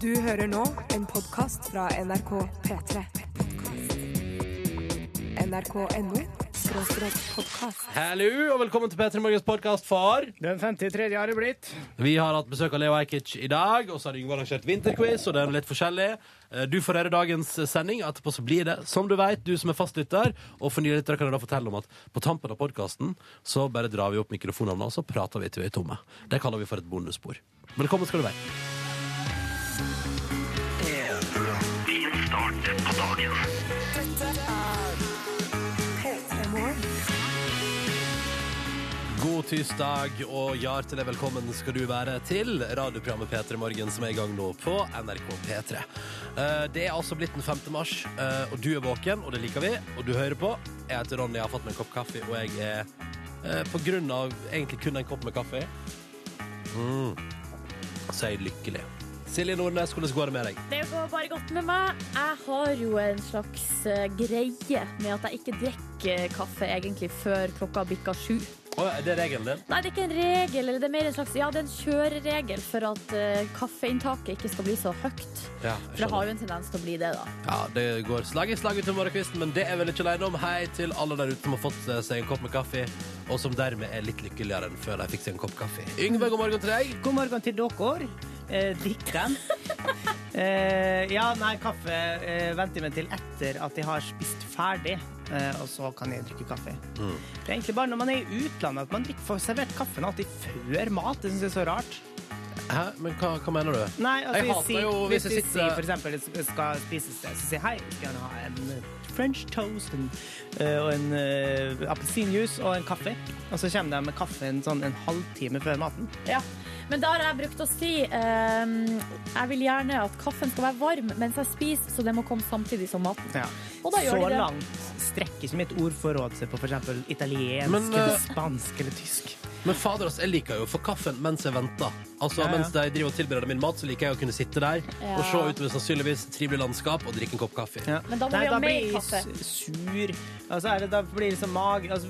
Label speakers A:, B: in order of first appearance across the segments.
A: Du hører nå en podkast fra NRK P3. NRK.no skråstrek podkast.
B: Hallo, og velkommen til P3 Morgens podkast for
C: Den 53. har det blitt.
B: Vi har hatt besøk av Leo Ajkic i dag, og så har Yngve arrangert vinterquiz, og den er litt forskjellig. Eh, Du får høre dagens sending, etterpå så blir det som du vet, du som er fastlytter. Og for nye lyttere kan jeg da fortelle om at på tampen av podkasten så bare drar vi opp mikrofonene, og så prater vi til vi er tomme. Det kaller vi for et bonusspor. Velkommen skal du være.
A: P3 Morgen.
B: God tirsdag, og hjertelig velkommen skal du være til radioprogrammet P3 Morgen, som er i gang nå på NRK P3. Eh, Det er altså blitt den 5. mars, eh, og du er våken, og det liker vi, og du hører på. Jeg heter Ronny, jeg har fått meg en kopp kaffe, og jeg er eh, på grunn av egentlig kun en kopp med kaffe, mm, så er jeg lykkelig. Silje Nordnes, hvordan går det med deg?
D: Det går bare godt med meg. Jeg har jo en slags eh, greie med at jeg ikke drikker eh, kaffe egentlig før klokka bikker sju.
B: Å, er det regelen din?
D: Nei, det er ikke en regel, eller det er mer en slags Ja, det er en kjøreregel for at eh, kaffeinntaket ikke skal bli så høyt.
B: Ja,
D: For det har jo en tendens til å bli det, da.
B: Ja, det går slag i slag utover morgenkvisten, men det er vel ikke alene om. Hei til alle der ute som har fått eh, seg en kopp med kaffe, og som dermed er litt lykkeligere enn før de fikk seg en kopp kaffe. Yngve, god morgen til deg.
C: God morgen til dere. Eh, Drikk den. Eh, ja, nei, kaffe eh, venter jeg med til etter at jeg har spist ferdig. Eh, og så kan jeg drikke kaffe.
B: Mm.
C: Det er egentlig bare når man er i utlandet at man drikker, får servert kaffen alltid før mat. Det syns jeg er så rart.
B: Hæ? Men hva, hva mener du?
C: Nei, altså,
B: Jeg
C: jeg
B: hater
C: sier-
B: jo hvis
C: hvis
B: jeg
C: du
B: sitter-
C: sier for eksempel jeg skal spise sted, så sier jeg hei, jeg skal gjerne ha en eh, French toast en, eh, og en uh, appelsinjuice og en kaffe. Og så kommer de med kaffen sånn en halvtime før maten.
D: Ja. Men da har jeg brukt å si eh, Jeg vil gjerne at kaffen skal være varm mens jeg spiser, så det må komme samtidig som maten.
C: Ja.
D: Og da gjør
C: så
D: de det.
C: langt strekker ikke mitt ordforråd seg på f.eks. italiensk,
B: Men, eh,
C: eller spansk eller tysk.
B: Men fader, altså, jeg liker jo å få kaffen mens jeg venter. Altså,
C: Ja, ja.
B: Mens de driver og tilbereder min mat, så liker jeg å kunne sitte der
D: Ja.
B: og se utover sannsynligvis et trivelig landskap og drikke en kopp kaffe.
C: Ja.
D: Men da må
C: Nei,
D: vi ha
C: da
D: mer
C: blir jeg
D: kaffe.
C: s- Sur. Altså, er det, da blir liksom mag, altså,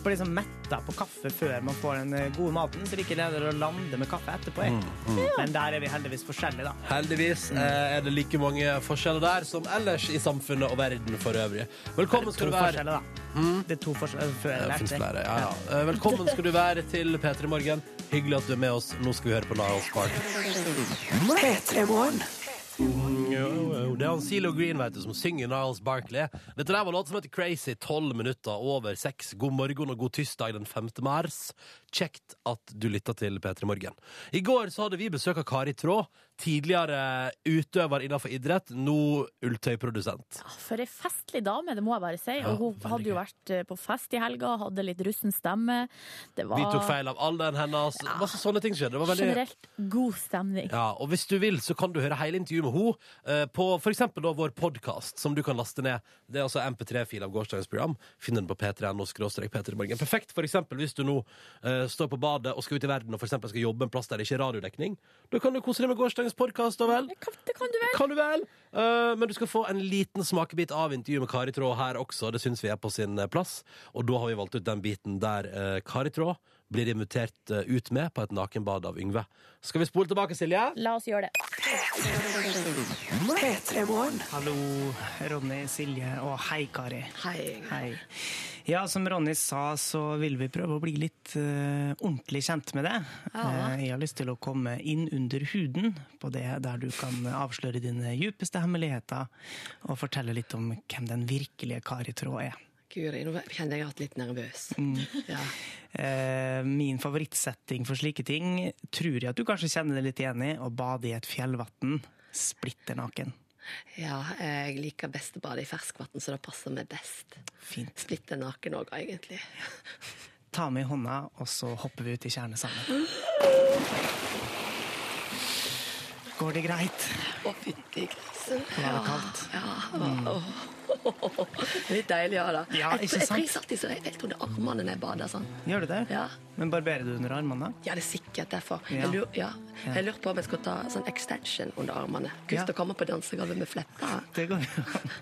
C: blir liksom metta på kaffe før man får den eh, gode maten, så det ikke leder å lande med kaffe etterpå.
B: Mm,
C: jeg. Men der er vi heldigvis forskjellige, da.
B: Heldigvis eh, er det like mange forskjeller der som ellers i samfunnet og verden for øvrig. Velkommen skal
C: To
B: du være. Mm.
C: forskjeller, da. Det er to forskjeller altså, før
B: Ja,
C: eller
B: Det finnes
C: etter.
B: flere, ja, ja. Eh, Velkommen skal du være til P3 Morgen. Hyggelig at du er med oss. Nå skal vi høre på Niles Park.
A: P3 Morgen.
B: Det er han Zelo Green vet du, som synger Niles Barkley. Dette der var låt som heter Crazy. Tolv minutter over seks. God morgen og god tirsdag den 5. mars. Kjekt at du lytta til P3 Morgen. I går så hadde vi besøk av Kari Traa. Tidligere utøver innenfor idrett, nå ulltøyprodusent.
D: Ah, For ei festlig dame, det må jeg bare si.
B: Ja,
D: og hun
B: veldig
D: hadde jo
B: gøy.
D: vært eh, på fest i helga, hadde litt russen stemme. Det var
B: Vi tok feil av alderen hennes. Masse sånne ting skjedde. Det var veldig
D: Ah. generelt god stemning.
B: Ja, og hvis du vil, så kan du høre hele intervjuet med henne eh, på for eksempel da vår podkast, som du kan laste ned. Det er altså MP3-fil av gårsdagens program. Finn den på p3.no. p3morgen. Perfekt for eksempel hvis du nå eh, står på badet og skal ut i verden og for eksempel skal jobbe en plass der det ikke er radiodekning. Da kan du kose deg med gårsdagens podkast, da vel?
D: Det kan- Det kan du vel?
B: Kan du vel? Eh, men du skal få en liten smakebit av intervjuet med Kari Traa her også. Det syns vi er på sin eh, plass. Og da har vi valgt ut den biten der eh, Kari Traa blir invitert eh, ut med på et nakenbad av Yngve. Skal vi spole tilbake, Silje?
D: La oss gjøre det.
A: P3 Morgen.
C: Hallo, Ronny, Silje og hei, Kari.
D: Hei.
C: Hei. Ja, som Ronny sa, så vil vi prøve å bli litt eh, ordentlig kjent med deg. Eh, jeg har lyst til å komme inn under huden på det der du kan avsløre dine djupeste hemmeligheter, og fortelle litt om hvem den virkelige Kari Traa er.
E: Guri, nå kjenner jeg at jeg er litt nervøs.
C: Mm.
E: Ja.
C: Eh, min favorittsetting for slike ting tror jeg at du kanskje kjenner deg litt igjen i. Å bade i et fjellvann splitter naken.
E: ja, jeg liker best å bade i ferskvann, så det passer meg best.
C: Fint.
E: Splitter naken òg, egentlig.
C: Ta med i hånda, og så hopper vi ut i tjernet sammen. Går det greit?
E: Å, fytti grisen.
C: Var det kaldt?
E: Ja. Åh. Litt deilig, ja da.
C: Mm. Ja,
E: jeg,
C: ikke
E: jeg
C: sant?
E: frys alltid så jeg helt under armene når jeg bader sånn.
C: Gjør du det?
E: Ja.
C: Men barberer du under armene?
E: Ja, det er sikkert derfor.
C: Ja.
E: Jeg, lurer, ja. jeg lurer på om jeg skal ta sånn extension under armene.
C: Ja.
E: Gust å komme på dansegulvet med flepper.
C: Det går jo an.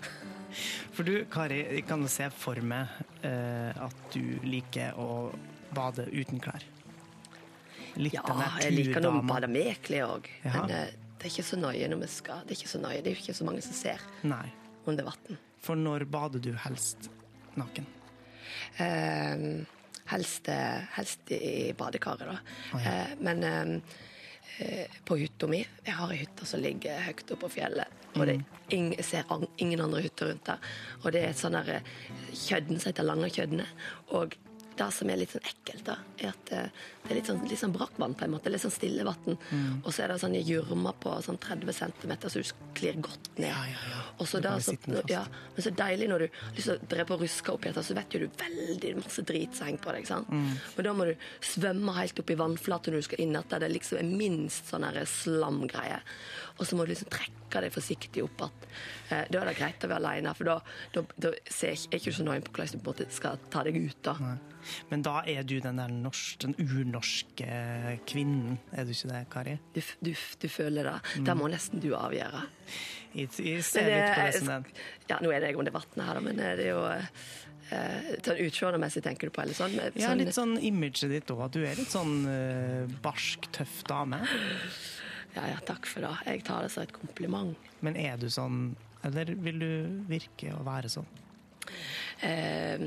C: For du, Kari, jeg kan jo se for meg eh, at du liker å bade uten klær. Litt
E: Ja,
C: den der
E: jeg liker noe
C: turdamen.
E: bademeklig òg.
C: Ja.
E: Men eh, det er ikke så nøye når vi skal. Det er ikke så nøye. Det er jo ikke så mange som ser
C: Nei.
E: under vann.
C: For når bader du helst naken?
E: Eh, helst, eh, helst i badekaret, da.
C: Å, ja.
E: eh, men eh, eh, på hytta mi Jeg har ei hytte som ligger høyt oppe på fjellet. Og
C: Mm.
E: det, er ing, jeg ser an, ingen andre hytter rundt der. Og det er et sånn der, eh, kjødden som heter Langakjøddene. Og det som er litt sånn ekkelt, da, er at eh, det er litt sånn, litt sånn brakkvann, på en måte. Litt sånn stille vann.
C: Mm.
E: Og så er det sånne gjørmer på sånn 30 cm, så du sklir godt ned.
C: Ja, ja, ja.
E: Og så
C: Du
E: da,
C: bare
E: så,
C: sitter med fast.
E: ja, men så deilig når du liksom drev og ruska opp i dette, så vet jo du veldig masse drit som henger på deg. sant?
C: Mm.
E: Men da må du svømme helt opp i vannflaten når du skal inn etter. Det liksom er minst sånn her slamgreie. Og så må du liksom trekke deg forsiktig opp igjen. Eh, da er det greit å være aleine, for da, da, da ser jeg, er ikke du så nøye på hvordan du på en måte skal ta deg ut. da.
C: Nei. Men da er du den der norsk, den urnorske kvinnen, er du ikke det, Kari?
E: Du, f- du, f- du føler det.
C: Mm.
E: Det må nesten du avgjøre.
C: Jeg, jeg ser litt på det som
E: sånn
C: den.
E: Ja, nå er det jeg under vannet her, da, men eh, det er jo eh, eh, Sånn utseendemessig tenker du på, eller sånn? med-
C: Ja, litt sånn imaget ditt òg, at du er litt sånn eh, barsk, tøff dame.
E: Ja, ja, takk for det. Jeg tar det som et kompliment.
C: Men er du sånn, eller vil du virke å være sånn?
E: Eh,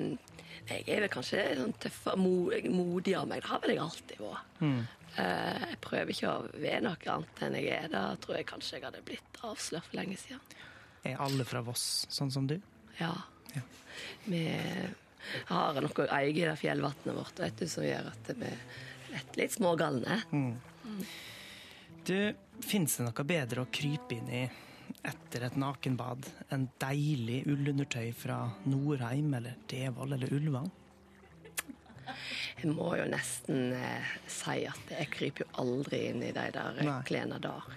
E: jeg er vel kanskje sånn tøff og mo- modig av meg. Det har vel jeg alltid vært. Eh, jeg prøver ikke å være noe annet enn jeg er. Da tror jeg kanskje jeg hadde blitt avslørt for lenge siden.
C: Er alle fra Voss sånn som du?
E: Ja.
C: Ja.
E: Vi har noe å eie i det fjellvannet vårt vet du, som gjør at vi er litt smågalne.
C: Du, Fins det noe bedre å krype inn i etter et nakenbad enn deilig ullundertøy fra Norheim eller Devold eller Ulvang?
E: Jeg må jo nesten eh, si at jeg kryper jo aldri inn i de der eh,
C: Nei.
E: klærne der.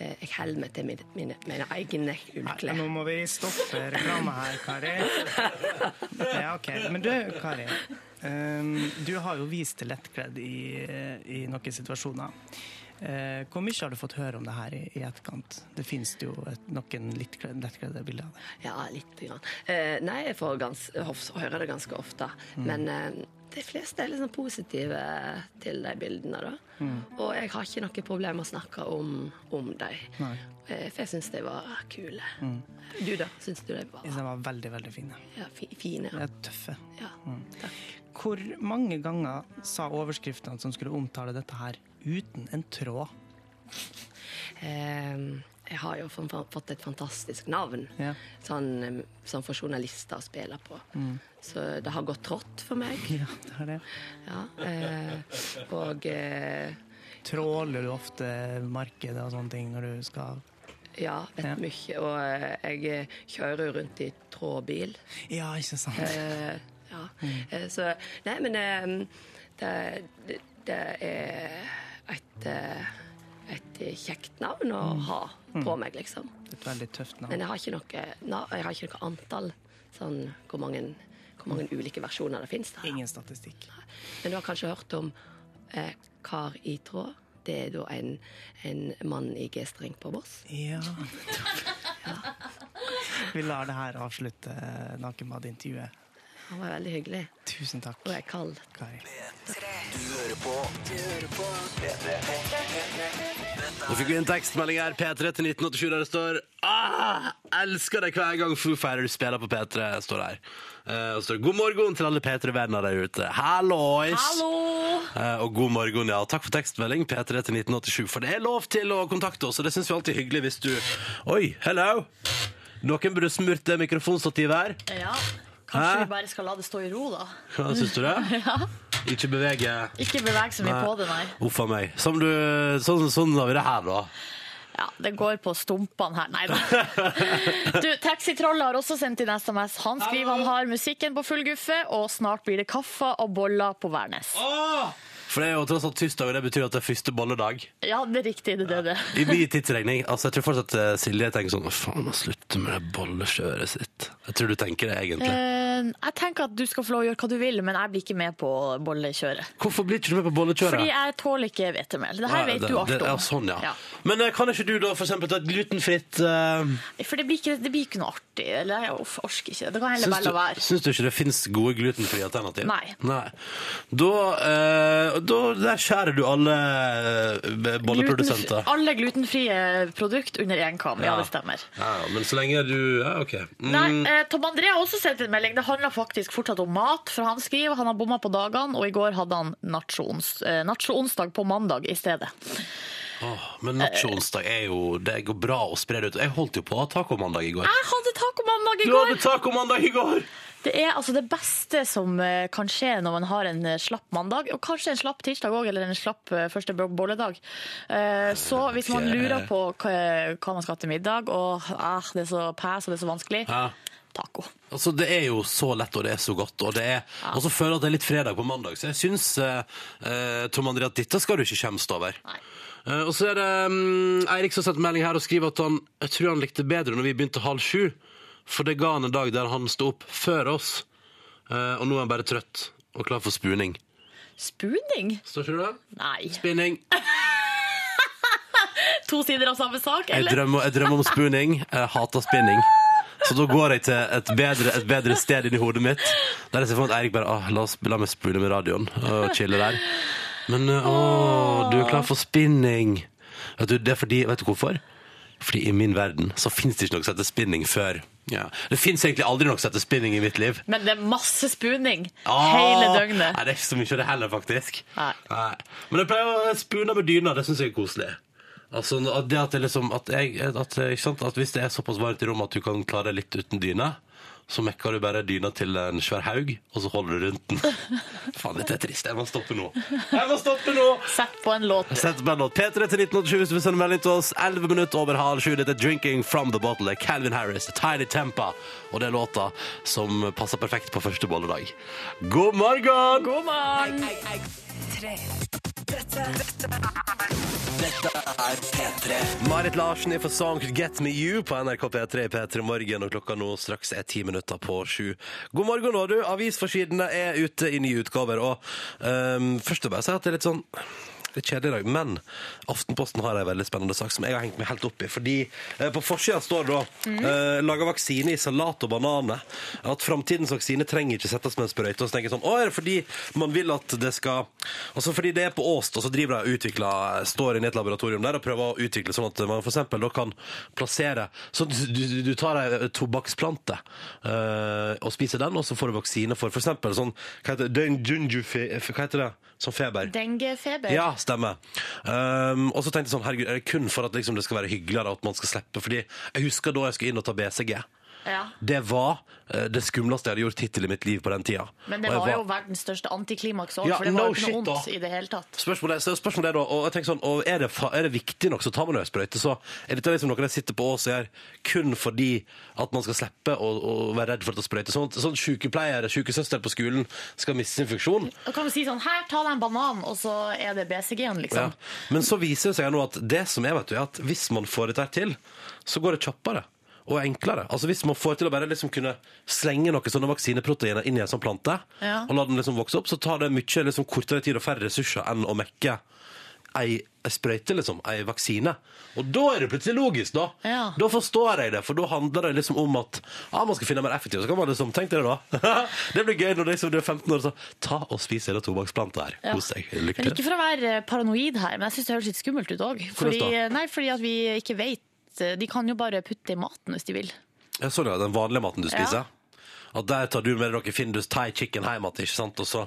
E: Eh, jeg holder meg til mine, mine, mine egne
C: Nei,
E: ullklær.
C: nå må vi stoppe reklama her, Kari. Ja, ok. Men du, Kari. ehm, du har jo vist til lettkledd i, i noen situasjoner. Eh, hvor mye har du fått høre om det her i, i etterkant? Det finnes det jo et, noen lettkledd, lettkledde bilder av det.
E: Ja, lite grann. Eh, nei, jeg får gans hof- høre det ganske ofte.
C: Mm.
E: Men eh, de fleste er liksom positive til de bildene, da.
C: Mm.
E: Og jeg har ikke noe problem med å snakke om, om dem.
C: Nei. Mm.
E: Eh, for jeg syns de var kule. Du, da? Syns du de var
C: Jeg synes De var veldig, veldig fine.
E: ja, fi fine?
C: De er tøffe.
E: Ja,
C: Mm.
E: takk.
C: Hvor mange ganger sa overskriftene som skulle omtale dette her, uten en tråd?
E: Eh, jeg har jo fan- fan- fått et fantastisk navn,
C: Ja.
E: sånn, eh, sånn for journalister å spille på.
C: Mm.
E: Så det har gått trått for meg.
C: Ja, det er det.
E: Ja, eh, og eh,
C: Tråler du ofte markedet og sånne ting når du skal
E: Ja, vet
C: Ja.
E: mye. Og eh, jeg eh, kjører jo rundt i trådbil.
C: Ja, ikke sant?
E: Eh, ja.
C: Mm.
E: Eh, så Nei, men eh, det, det, det er et, eh, et kjekt navn å
C: Mm.
E: ha på meg, liksom.
C: Et veldig tøft navn.
E: Men jeg har ikke noe, na- jeg har ikke noe antall. Sånn hvor mange, hvor mange ulike versjoner det fins.
C: Ingen statistikk.
E: Men du har kanskje hørt om eh, Kar i tråd? Det er da en, en mann i G-streng på Voss.
C: Ja. Vi lar det her avslutte nakenbadintervjuet.
E: Han var veldig hyggelig.
C: Tusen takk,
E: Og jeg er kald.
C: Kari.
B: Nå fikk vi en tekstmelding her, P3 til 1987, der det står ah, Elsker deg hver gang Foo Fighters spiller på P3, står det her. Eh, og så står det God morgen til alle P3-venner der ute. Hallois!
D: Hallo!
B: Eh, og god morgen, ja. Takk for tekstmelding, P3 til 1987. For det er lov til å kontakte oss, og det syns vi alltid er hyggelig hvis du Oi, hello! Noen burde smurt det mikrofonstativet her.
D: Ja,
B: Hæ?
D: kanskje vi bare skal la det stå i ro, da.
B: Hva syns du det? Ikke bevege
D: Ikke beveg så mye
B: Nei.
D: på det, nei.
B: Uff a meg. Som du, sånn, sånn har vi det her, da.
D: Ja, det går på stumpene her. Nei da. Du, Taxitrollet har også sendt inn SMS. Han skriver han har musikken på full guffe, og snart blir det kaffe og boller på Værnes.
B: For det er jo tross alt tirsdag, og det betyr at det er første bolledag.
D: Ja, det er riktig. Det er det.
B: I min tidsregning. Altså, jeg tror fortsatt eh, Silje tenker sånn Faen, nå slutter med det bollekjøret sitt. Jeg tror du tenker det, egentlig.
D: Eh, jeg tenker at du skal få lov å gjøre hva du vil, men jeg blir ikke med på bollekjøret.
B: Hvorfor blir ikke du med på bollekjøret?
D: Fordi jeg tåler ikke hvetemel. Det her
B: Nei,
D: vet
B: det-
D: du alt
B: det-
D: om.
B: Ja, sånn, ja. Men eh, kan ikke du da for eksempel ta et glutenfritt uh,
D: For det blir, ikke, det blir ikke noe artig. Eller jeg uff, orker ikke. Det kan heller
B: syns,
D: bare
B: du,
D: la være.
B: syns du ikke det finnes gode glutenfrie alternativ?
D: Nei.
B: Da, eh, da Der skjærer du alle eh, bolleprodusenter.
D: Glutenfri- alle glutenfrie produkt under én kam. Ja,
B: Ja.
D: det stemmer.
B: Ja, ja, men så lenge du Ja, OK. Mm,
D: Nei, eh, Tom André har også sendt en melding. Det handler faktisk fortsatt om mat. For han skriver han har bomma på dagene, og i går hadde han nacho-ons- eh, nacho-onsdag på mandag i stedet.
B: åh, men nacho-onsdag er jo Det går bra å spre det ut. Jeg holdt jo på å ha tacomandag i går.
D: Jeg hadde taco-mandag i
B: Du
D: går!
B: hadde tacomandag i går!
D: Det er altså det beste som eh, kan skje når man har en eh, slapp mandag, og kanskje en slapp tirsdag òg, eller en slapp eh, første bo- bolledag. Eh, Så hvis man
B: Ok.
D: lurer på hva hva man skal ha til middag, og ah, det er så pæs og det er så vanskelig,
B: Ja.
D: taco.
B: Altså, det er jo så lett, og det er så godt. Og, det er, og så føler jeg at det er litt fredag på mandag, så jeg syns, eh, eh, Tom André, at dette skal du ikke skjemmes over.
D: Nei.
B: Eh, og så er det mm, Eirik som har sendt melding her og skriver at han jeg tror han likte bedre når vi begynte halv sju, for det ga han en dag der han sto opp før oss, Eh, og nå er han bare trøtt og klar for spooning.
D: Spooning?
B: Står ikke du der?
D: Nei.
B: Spinning.
D: To sider av samme sak,
B: Jeg
D: eller?
B: drømmer, jeg drømmer om spooning. Jeg hater spinning. Så da går jeg til et bedre, et bedre sted inni hodet mitt. Der jeg ser for meg at Eirik bare ah, la, oss, la meg spoole med radioen og chille der. Men eh, å, du er klar for spinning. Vet du, det er fordi, vet du hvorfor? Fordi i min verden så fins det ikke noe som heter spinning før. Ja. Det fins egentlig aldri noe som heter spinning i mitt liv.
D: Men det er masse spooning
B: Ah,
D: hele døgnet.
B: Nei, det er ikke så mye av det heller, faktisk.
D: Nei.
B: Men jeg pleier å spune med dyna, det syns jeg er koselig. Altså, at det at, det liksom, at, jeg, at, ikke sant? at Hvis det er såpass varmt i rommet at du kan klare deg litt uten dyne, så mekker du bare dyna til en svær haug, og så holder du rundt den. Faen, dette er trist. Jeg må stoppe nå. Jeg må stoppe nå!
D: Sett på en låt.
B: Sett meg nå P3 til 1987 hvis du vil sende melding til oss. 11 minutter over halv sju. Dette er Drinking from the Bottle. Det er Calvin Harris, Tiny Tempa. Og det er låta som passer perfekt på første bolledag. God morgen!
D: God morgen!
B: Marit Larsen er for Song Get Me You på NRK P3 i P3 Morgen. Og klokka nå straks er ti minutter på sju. God morgen, nå, du. Avisforsidene er ute i nye utgaver. Og ehm, først vil jeg bare si at det er litt sånn litt kjedelig i dag, men Aftenposten har en veldig spennende sak som jeg har hengt meg helt opp i. Fordi eh, på forsida står da eh, 'laga vaksine i salat og bananer'. At framtidens vaksine trenger ikke settes med en sprøyte. Og så tenker jeg sånn Å, er det fordi man vil at det skal Altså fordi det er på Åst, og så driver de og utvikler Står inne i et laboratorium der og prøver å utvikle sånn at man f.eks. da kan plassere Så du, du- du tar ei tobakksplante eh, og spiser den, og så får du vaksine for f.eks. sånn Hva heter det? Dunjufe- Hva heter det? Sånn feber.
D: Dengefeber.
B: Ja, stemmer. Um, og så tenkte jeg sånn, herregud, er det kun for at liksom, det skal være hyggeligere at man skal slippe? Fordi jeg husker da jeg skulle inn og ta BCG.
D: Ja.
B: Det var eh, det skumleste jeg hadde gjort hittil i mitt liv på den tida.
D: Men det
B: Og jeg
D: var jo verdens største antiklimaks òg,
B: Ja,
D: for det var
B: no
D: jo ikke noe
B: shit, da.
D: vondt i det hele tatt.
B: Spørsmålet, er- så spørsmålet er da, og jeg tenker sånn, og er, det, fa- er det viktig nok, så tar man jo en sprøyte. Så er dette liksom noe jeg sitter på Ås og gjør kun fordi at man skal slippe å å være redd for å ta sprøyte? Sånn, sånn sykepleiere, sykesøster på skolen skal miste sin funksjon.
D: Da kan vi si sånn her, ta deg en banan, og så er det BCG-en, liksom.
B: Ja. Men så viser det seg nå at det som er, vet du, er at hvis man får dette her til, så går det kjappere og enklere. Altså Hvis man får til å bare liksom kunne slenge noen sånne vaksineproteiner inn i en sånn plante,
D: Ja.
B: og la den liksom vokse opp, så tar det mye liksom, kortere tid og færre ressurser enn å mekke ei ei sprøyte, liksom. Ei vaksine. Og da er det plutselig logisk, da.
D: Ja.
B: Da forstår jeg det, for da handler det liksom om at ja, man skal finne mer effektivt. Så kan man liksom tenke deg det, da. det blir gøy når liksom, du er 15 år og så ta og spis hele tobakksplanta her.
D: Ja.
B: Kos deg. Lykke
D: Men
B: til.
D: ikke for å være eh, paranoid her, men jeg syns det høres litt skummelt ut òg. Fordi,
B: da?
D: nei, fordi at vi ikke vet. eh, De kan jo bare putte det i maten hvis de vil.
B: Ja, sånn ja, den vanlige maten du
D: Ja.
B: spiser. At der tar du med deg noe Findus thai chicken hjem igjen, ikke sant? Og så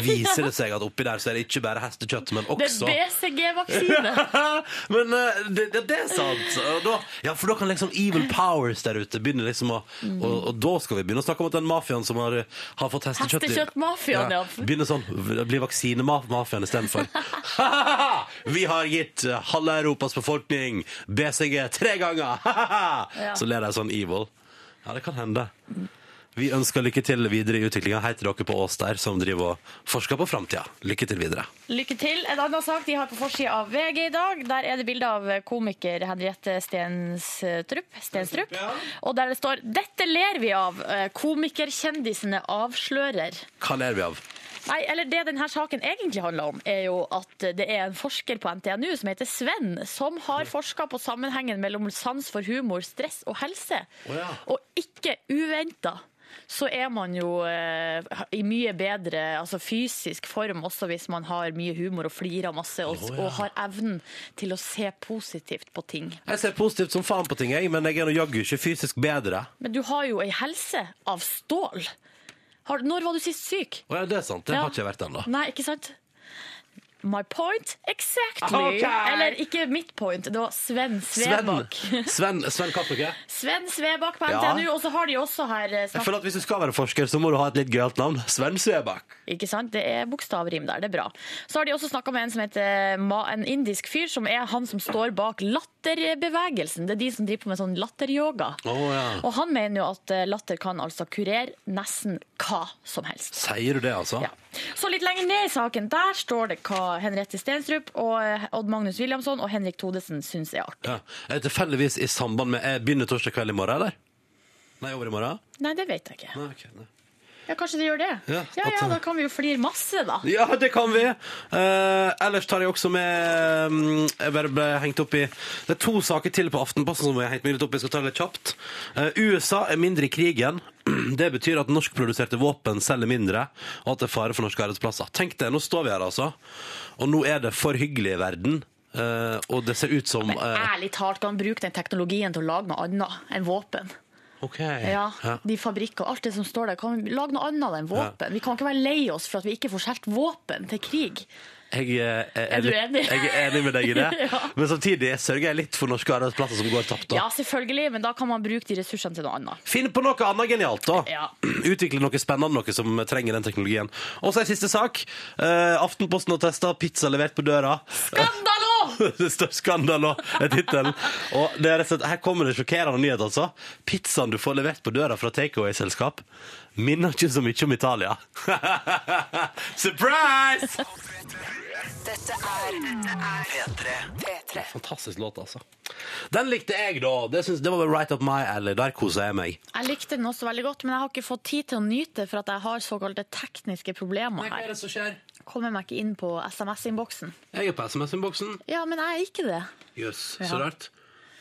B: viser det seg at oppi der så er det ikke bare hestekjøtt, men
D: Det
B: også
D: er BCG-vaksine!
B: men eh, det, det, det er sant. Og Da, ja, for da kan liksom evil powers der ute begynne liksom å og, og da skal vi begynne å snakke om at den mafiaen som har, har fått hestekjøtt i-
D: Hestekjøttmafiaen, ja.
B: Begynner sånn. Blir vaksinemafiaen istedenfor. vi har gitt eh, halve Europas befolkning BCG tre ganger! så ler de sånn evil. Ja, det kan hende. Vi ønsker lykke til videre i utviklinga. Hei til dere på Ås der, som driver og forsker på framtida. Lykke til videre.
D: Lykke til. En annen sak de har på forsida av VG i dag, der er det bilde av eh, komiker Henriette Stenstrup, Stenstrup. Og der det står 'Dette ler vi av. eh, Komikerkjendisene avslører'.
B: Hva ler vi av?
D: Nei, eller Det denne saken egentlig handler om, er jo at det er en forsker på NTNU som heter Sven, som har forska på sammenhengen mellom sans for humor, stress og helse.
B: Å ja.
D: Og ikke uventa så er man jo eh, i mye bedre altså fysisk form også hvis man har mye humor og flirer masse og,
B: Å, ja.
D: og har evnen til å se positivt på ting.
B: Jeg ser positivt som faen på ting, jeg, men jeg er nå jaggu ikke fysisk bedre.
D: Men du har jo ei helse av stål. Har, når var du sist syk?
B: Å ja, det er sant. Det
D: Ja.
B: har ikke jeg vært ennå.
D: Nei, ikke sant? My point exactly.
B: Ok.
D: Eller ikke mitt point, det var Sven
B: Sven,
D: Svebakk.
B: Sven, Sven hva for noe?
D: Sven Svebakk på
B: Ja.
D: NTNU, og så har de også her eh,
B: Jeg
D: snakk...
B: føler at Hvis du skal være forsker, så må du ha et litt gøyalt navn. Sven Svebakk.
D: Ikke sant? Det er bokstavrim der, det er bra. Så har de også snakka med en som heter eh, Ma- en indisk fyr, som er han som står bak latterbevegelsen. Det er de som driver på med sånn latteryoga.
B: Å, ja.
D: Og han mener jo at eh, latter kan altså kurere nesten hva som helst.
B: Sier du det, altså?
D: Ja. Så litt lenger ned i saken, der står det hva Henriette Stenstrup og eh, Odd Magnus Williamson og Henrik Todesen syns er artig.
B: Ja. Er det tilfeldigvis i samband med Jeg begynner torsdag kveld i morgen, eller? Nei, over i morgen?
D: Nei, det vet jeg ikke.
B: Nei, ok, nei.
D: Ja, Kanskje de gjør det?
B: Ja,
D: ja,
B: at-
D: ja da kan vi jo flire masse, da.
B: Ja, det kan vi! Eh, ellers tar jeg også med mm, Jeg bare ble hengt opp i Det er to saker til på Aftenposten som jeg har hengt meg litt opp i. Jeg skal ta det litt kjapt. Eh, USA er mindre i krigen. Det betyr at norskproduserte våpen selger mindre, og at det er fare for norske arbeidsplasser. Tenk det, nå står vi her, altså. Og nå er det for hyggelig i verden. eh, og det ser ut som
D: Men
B: eh,
D: ærlig talt, kan man bruke den teknologien til å lage noe annet enn våpen?
B: OK.
D: Ja,
B: Ja.
D: De fabrikker og alt det som står der, kan vi lage noe annet enn våpen? Vi kan ikke være lei oss for at vi ikke får solgt våpen til krig.
B: Jeg, eh, er,
D: Er du
B: litt-
D: enig?
B: Jeg er enig med deg i det.
D: Ja.
B: Men samtidig sørger jeg litt for norske arbeidsplasser som går tapt. da.
D: Ja, selvfølgelig, men da kan man bruke de ressursene til noe annet.
B: Finn på noe annet genialt, da.
D: Ja.
B: Utvikle noe spennende, noe som trenger den teknologien. Og så en siste sak. Eh, Aftenposten har testa pizza levert på døra.
D: Skandalo!
B: det står 'Skandalo' er tittelen. Og det er rett og slett, her kommer det sjokkerende nyhet, altså. Pizzaen du får levert på døra fra takeaway-selskap, minner ikke så mye om Italia. Surprise!
F: Dette er, dette er P3.
B: Fantastisk låt, altså. Den likte jeg, da. Det, syns- det var vel right up my alley. Der koser jeg meg.
D: Jeg likte den også veldig godt, men jeg har ikke fått tid til å nyte for at jeg har såkalte tekniske problemer her.
B: det som skjer?
D: Kommer meg ikke inn på SMS-innboksen.
B: Jeg er på SMS-innboksen.
D: Ja, men jeg er ikke det.
B: Jøss,
D: Ja.
B: så rart.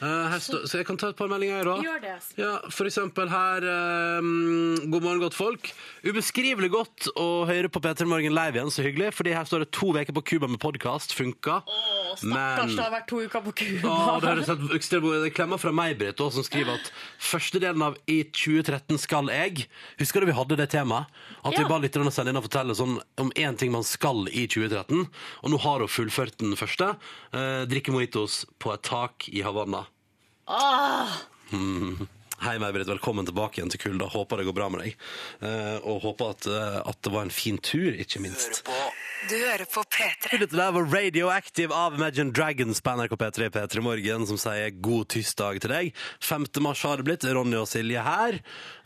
B: Eh, her står- så jeg kan ta et par meldinger, jeg, da.
D: Gjør det. altså.
B: Ja, for eksempel her eh, mm, God morgen, godt folk. Ubeskrivelig godt å høre på P3 Morgen live igjen, så hyggelig. Fordi her står det to uker på Cuba med podkast. Funka.
D: Å, Stakkars, det har vært to uker på Cuba.
B: Å, det høres helt ekstremt ut. Det er Klemmer fra meg, Britt, også, som skriver at første delen av I 2013 skal jeg. Husker du vi hadde det temaet? At vi
D: Ja.
B: ba lytterne sende inn og fortelle sånn, om én ting man skal i 2013. Og nå har hun fullført den første. Eh, drikke mojitos på et tak i Havanna.
D: Åh,
B: Hei, May-Britt. Velkommen tilbake igjen til Kulda. Håper det går bra med deg. Eh, og håper at, eh, at det var en fin tur, ikke minst.
F: Du hører på P3.
B: Dette der var Radioactive av Imagine Dragons på NRK P3 P3 Morgen, som sier god tirsdag til deg. 5. mars har det blitt. Ronny og Silje her.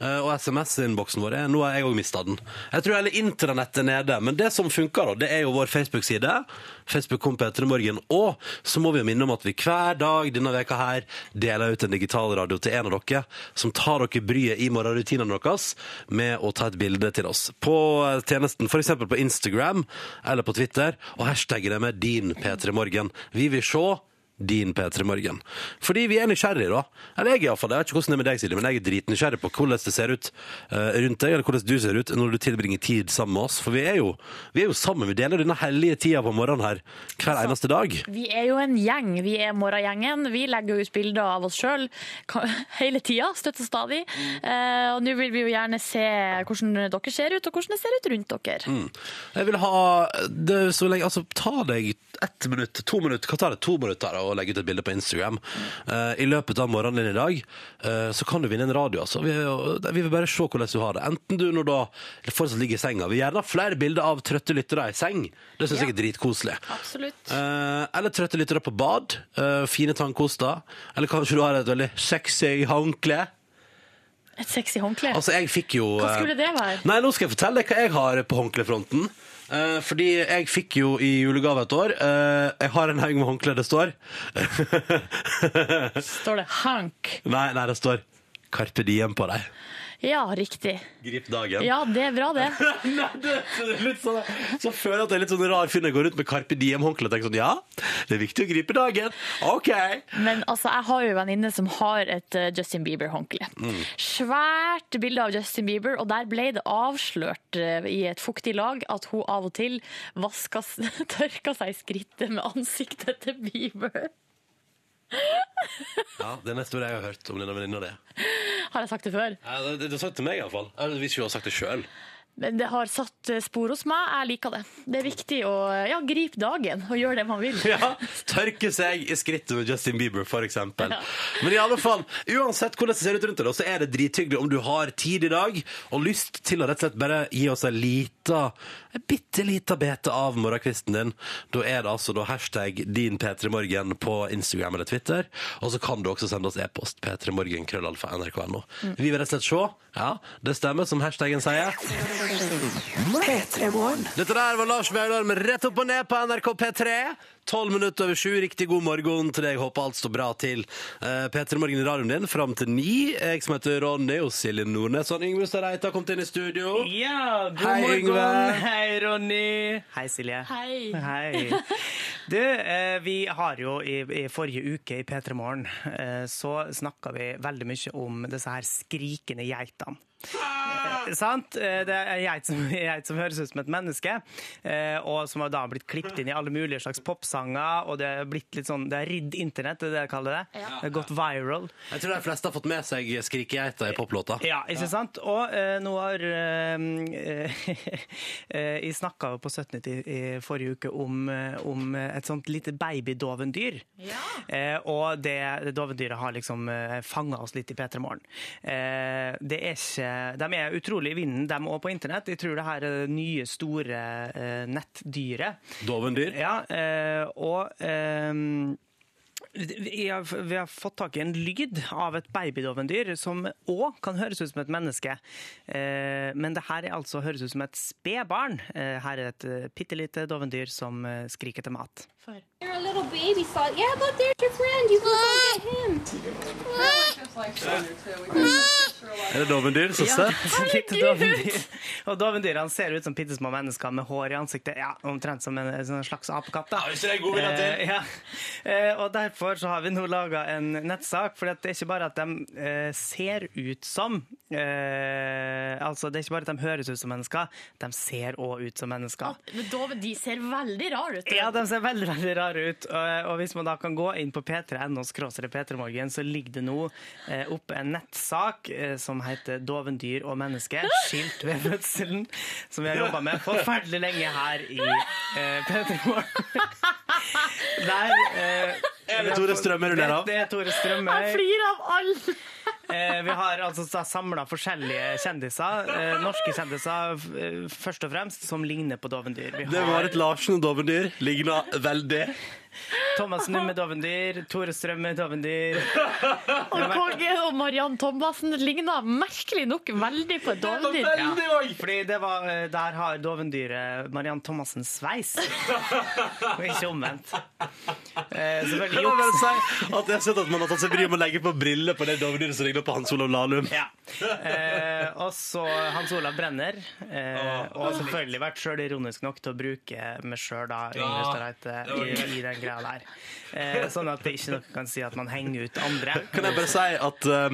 B: Eh, Og SMS-innboksen vår er Nå har jeg òg mista den. Jeg tror hele intranettet er nede. Men det som funker, da, det er jo vår Facebook-side. Facebook kom P3 Morgen. Og så må vi jo minne om at vi hver dag denne veka her deler ut en digital radio til en av dere som tar dere bryet i morgenrutinene deres med å ta et bilde til oss på eh, tjenesten, f.eks. på Instagram eller på Twitter, og hashtagge det med din P3 Morgen. Vi vil se din P3 Morgen. Fordi vi er nysgjerrige, da. Eller jeg, iallfall. Jeg vet ikke hvordan det er med deg, Silje, men jeg er dritnysgjerrig på hvordan det ser ut eh, rundt deg, eller hvordan du ser ut når du tilbringer tid sammen med oss. For vi er jo, vi er jo sammen. Vi deler denne hellige tida på morgenen her hver eneste dag.
D: vi er jo en gjeng. Vi er morgengjengen. Vi legger jo ut bilder av oss sjøl hele tida, støtt og stadig. Eh, og nå vil vi jo gjerne se hvordan dere ser ut, og hvordan det ser ut rundt dere.
B: Mm. Jeg vil ha det så lenge Altså, ta deg ett minutt, to minutter Hva tar det? To minutter å legge ut et bilde på Instagram. Eh, I løpet av morgenen din i dag eh, så kan du vinne en radio, altså. Vi, vi vil bare se hvordan du har det. Enten du når da fortsatt ligger i senga. Vi vil gjerne ha flere bilder av trøtte lyttere i seng. Det syns jeg er dritkoselig.
D: Absolutt.
B: Eh, eller trøtte lyttere på bad. eh, fine tannkoster. Eller kanskje du har et veldig sexy håndkle.
D: Et sexy håndkle?
B: Altså, jeg fikk jo
D: Hva skulle det være?
B: Nei, nå skal jeg fortelle deg hva jeg har på håndklefronten. Eh, fordi jeg fikk jo i julegave et år eh, Jeg har en haug med håndklær, det står.
D: Står det 'hank'?
B: nei, nei, det står Carpe Diem på deg.
D: Ja, riktig.
B: Grip dagen.
D: Ja, det er bra, det.
B: Nei, det er litt sånn, så jeg føler jeg at det er litt sånn rar fyr når jeg går rundt med Carpe Diem-håndkle og tenker sånn Ja, det er viktig å gripe dagen. OK.
D: Men altså, jeg har jo en venninne som har et eh, Justin Bieber-håndkle.
C: Mm.
D: Svært bilde av Justin Bieber, og der ble det avslørt eh, i et fuktig lag at hun av og til vaska, s- tørka seg i skrittet med ansiktet til Bieber.
B: Ja, Det er neste ord jeg har hørt om denne venninna di.
D: Har jeg sagt det før?
B: Ja, det- Det du sa det til meg, iallfall. Hvis ikke hun har sagt det sjøl.
D: Men det har satt eh, spor hos meg. Jeg liker det. Det er viktig å eh, ja, gripe dagen og gjøre det man vil.
B: Ja, tørke seg i skrittet med Justin Bieber, for eksempel. Men i alle fall, uansett hvordan det ser ut rundt deg, så er det drithyggelig om du har tid i dag og lyst til å rett og slett bare gi oss en lita, en bitte lita bete av morgenkvisten din. Da er det altså da hashtag din P3morgen på Instagram eller Twitter. Og så kan du også sende oss e-post p3morgenkrøllalfa.nrk.no. Vi vil rett og slett se. Ja, det stemmer som hashtaggen sier.
F: P3 Morgen.
B: Dette der var Lars Vaular med Rett opp og ned på NRK P3. Tolv minutter over sju. Riktig god morgen til deg. Håper alt står bra til. Eh, P3 Morgen i radioen din fram til ni. Jeg som heter Ronny og Silje Nordnes. Og Yngve Stareite har kommet inn i studio.
C: Ja, god
B: Hei,
C: morgen.
B: Yngve.
C: Hei, Ronny. Hei, Silje.
D: Hei.
C: Hei. Du, eh, vi har jo i, i forrige uke i P3 Morgen eh, så snakka vi veldig mye om disse her skrikende geitene.
D: Ah!
C: Eh, sant? Eh, Det er en geit som, en geit som høres ut som et menneske, eh, og som har da blitt klippet inn i alle mulige slags popsanger, og det er blitt litt sånn, det er ridd internett, det er det jeg kaller det.
D: Ja.
C: Det har gått viral.
B: Jeg tror de fleste har fått med seg Skrikegeita i poplåta.
C: Ja, ikke sant? Og eh, nå har eh, eh, Jeg snakka jo på 17.90 i forrige uke om, eh, om et sånt lite babydovendyr. Eh, og det, det dovendyret har liksom eh, fanga oss litt i P3 Morgen. Eh, det er ikke De er utrolig i vinden, de òg, på internett. Jeg tror det her er det nye, store eh, nettdyret.
B: Dovendyr.
C: Ja, eh, og ehm, vi har, vi har fått tak i en lyd av et babydovendyr som òg kan høres ut som et menneske. Eh, men det her er altså høres ut som et spedbarn. Eh, her er et eh, bitte lite dovendyr som eh, skriker etter mat.
G: You're a little baby salt. Yeah, look, there's your friend. You can go get him.
B: Er det dovendyr? Så søtt.
C: Et lite dovendyr. Og dovendyrene ser ut som bitte små mennesker med hår i ansiktet. Ja, Omtrent som en, en slags apekatt. da.
B: hvis det er god vilje til.
C: Eh, ja. Eh, og derfor så har vi nå laga en nettsak, for det er ikke bare at de eh, ser ut som eh, Altså, det er ikke bare at de høres ut som mennesker, de ser òg ut som mennesker.
D: Men Dove, de ser veldig rare ut.
C: Ja, de ser veldig veldig rare ut. Og, og hvis man da kan gå inn på p3.no p3morgen, så ligger det nå eh, oppe en nettsak eh, som heter 'Dovendyr og menneske skilt ved fødselen', som vi har jobba med forferdelig lenge her i eh, P3 Morgen. Der eh,
B: Er det Tore Strømøy du ler av?
C: Det, det er Tore
D: Jeg
C: Strømøy.
D: flirer av alle!
C: Eh, vi har altså samla forskjellige kjendiser, eh, norske kjendiser f- eh, først og fremst, som ligner på dovendyr. Vi
B: Det
C: har-
B: var et Larsen og dovendyr. Ligna veldig.
C: Thomas Numme Dovendyr, Tore Strømme Dovendyr.
D: Og Kåge og Mariann Thomassen ligner merkelig nok veldig på et dovendyr.
C: Ja. Fordi det var, eh, der har dovendyret Mariann Thomassens sveis. Og ikke omvendt. Eh,
B: Jeg
C: selvfølgelig
B: må bare
C: juks.
B: si at jeg har sett at man har tatt seg bryet med å legge på briller på det dovendyret som ligner på Hans Olav Lahlum.
C: Ja. Eh, og så Hans Olav Brenner. Eh, og selvfølgelig vært sjøl ironisk nok til å bruke meg sjøl da, Yngve Stareite, i, i den greia der. Eh, sånn at det ikke noe kan si at man henger ut andre.
B: Kan jeg bare si at um,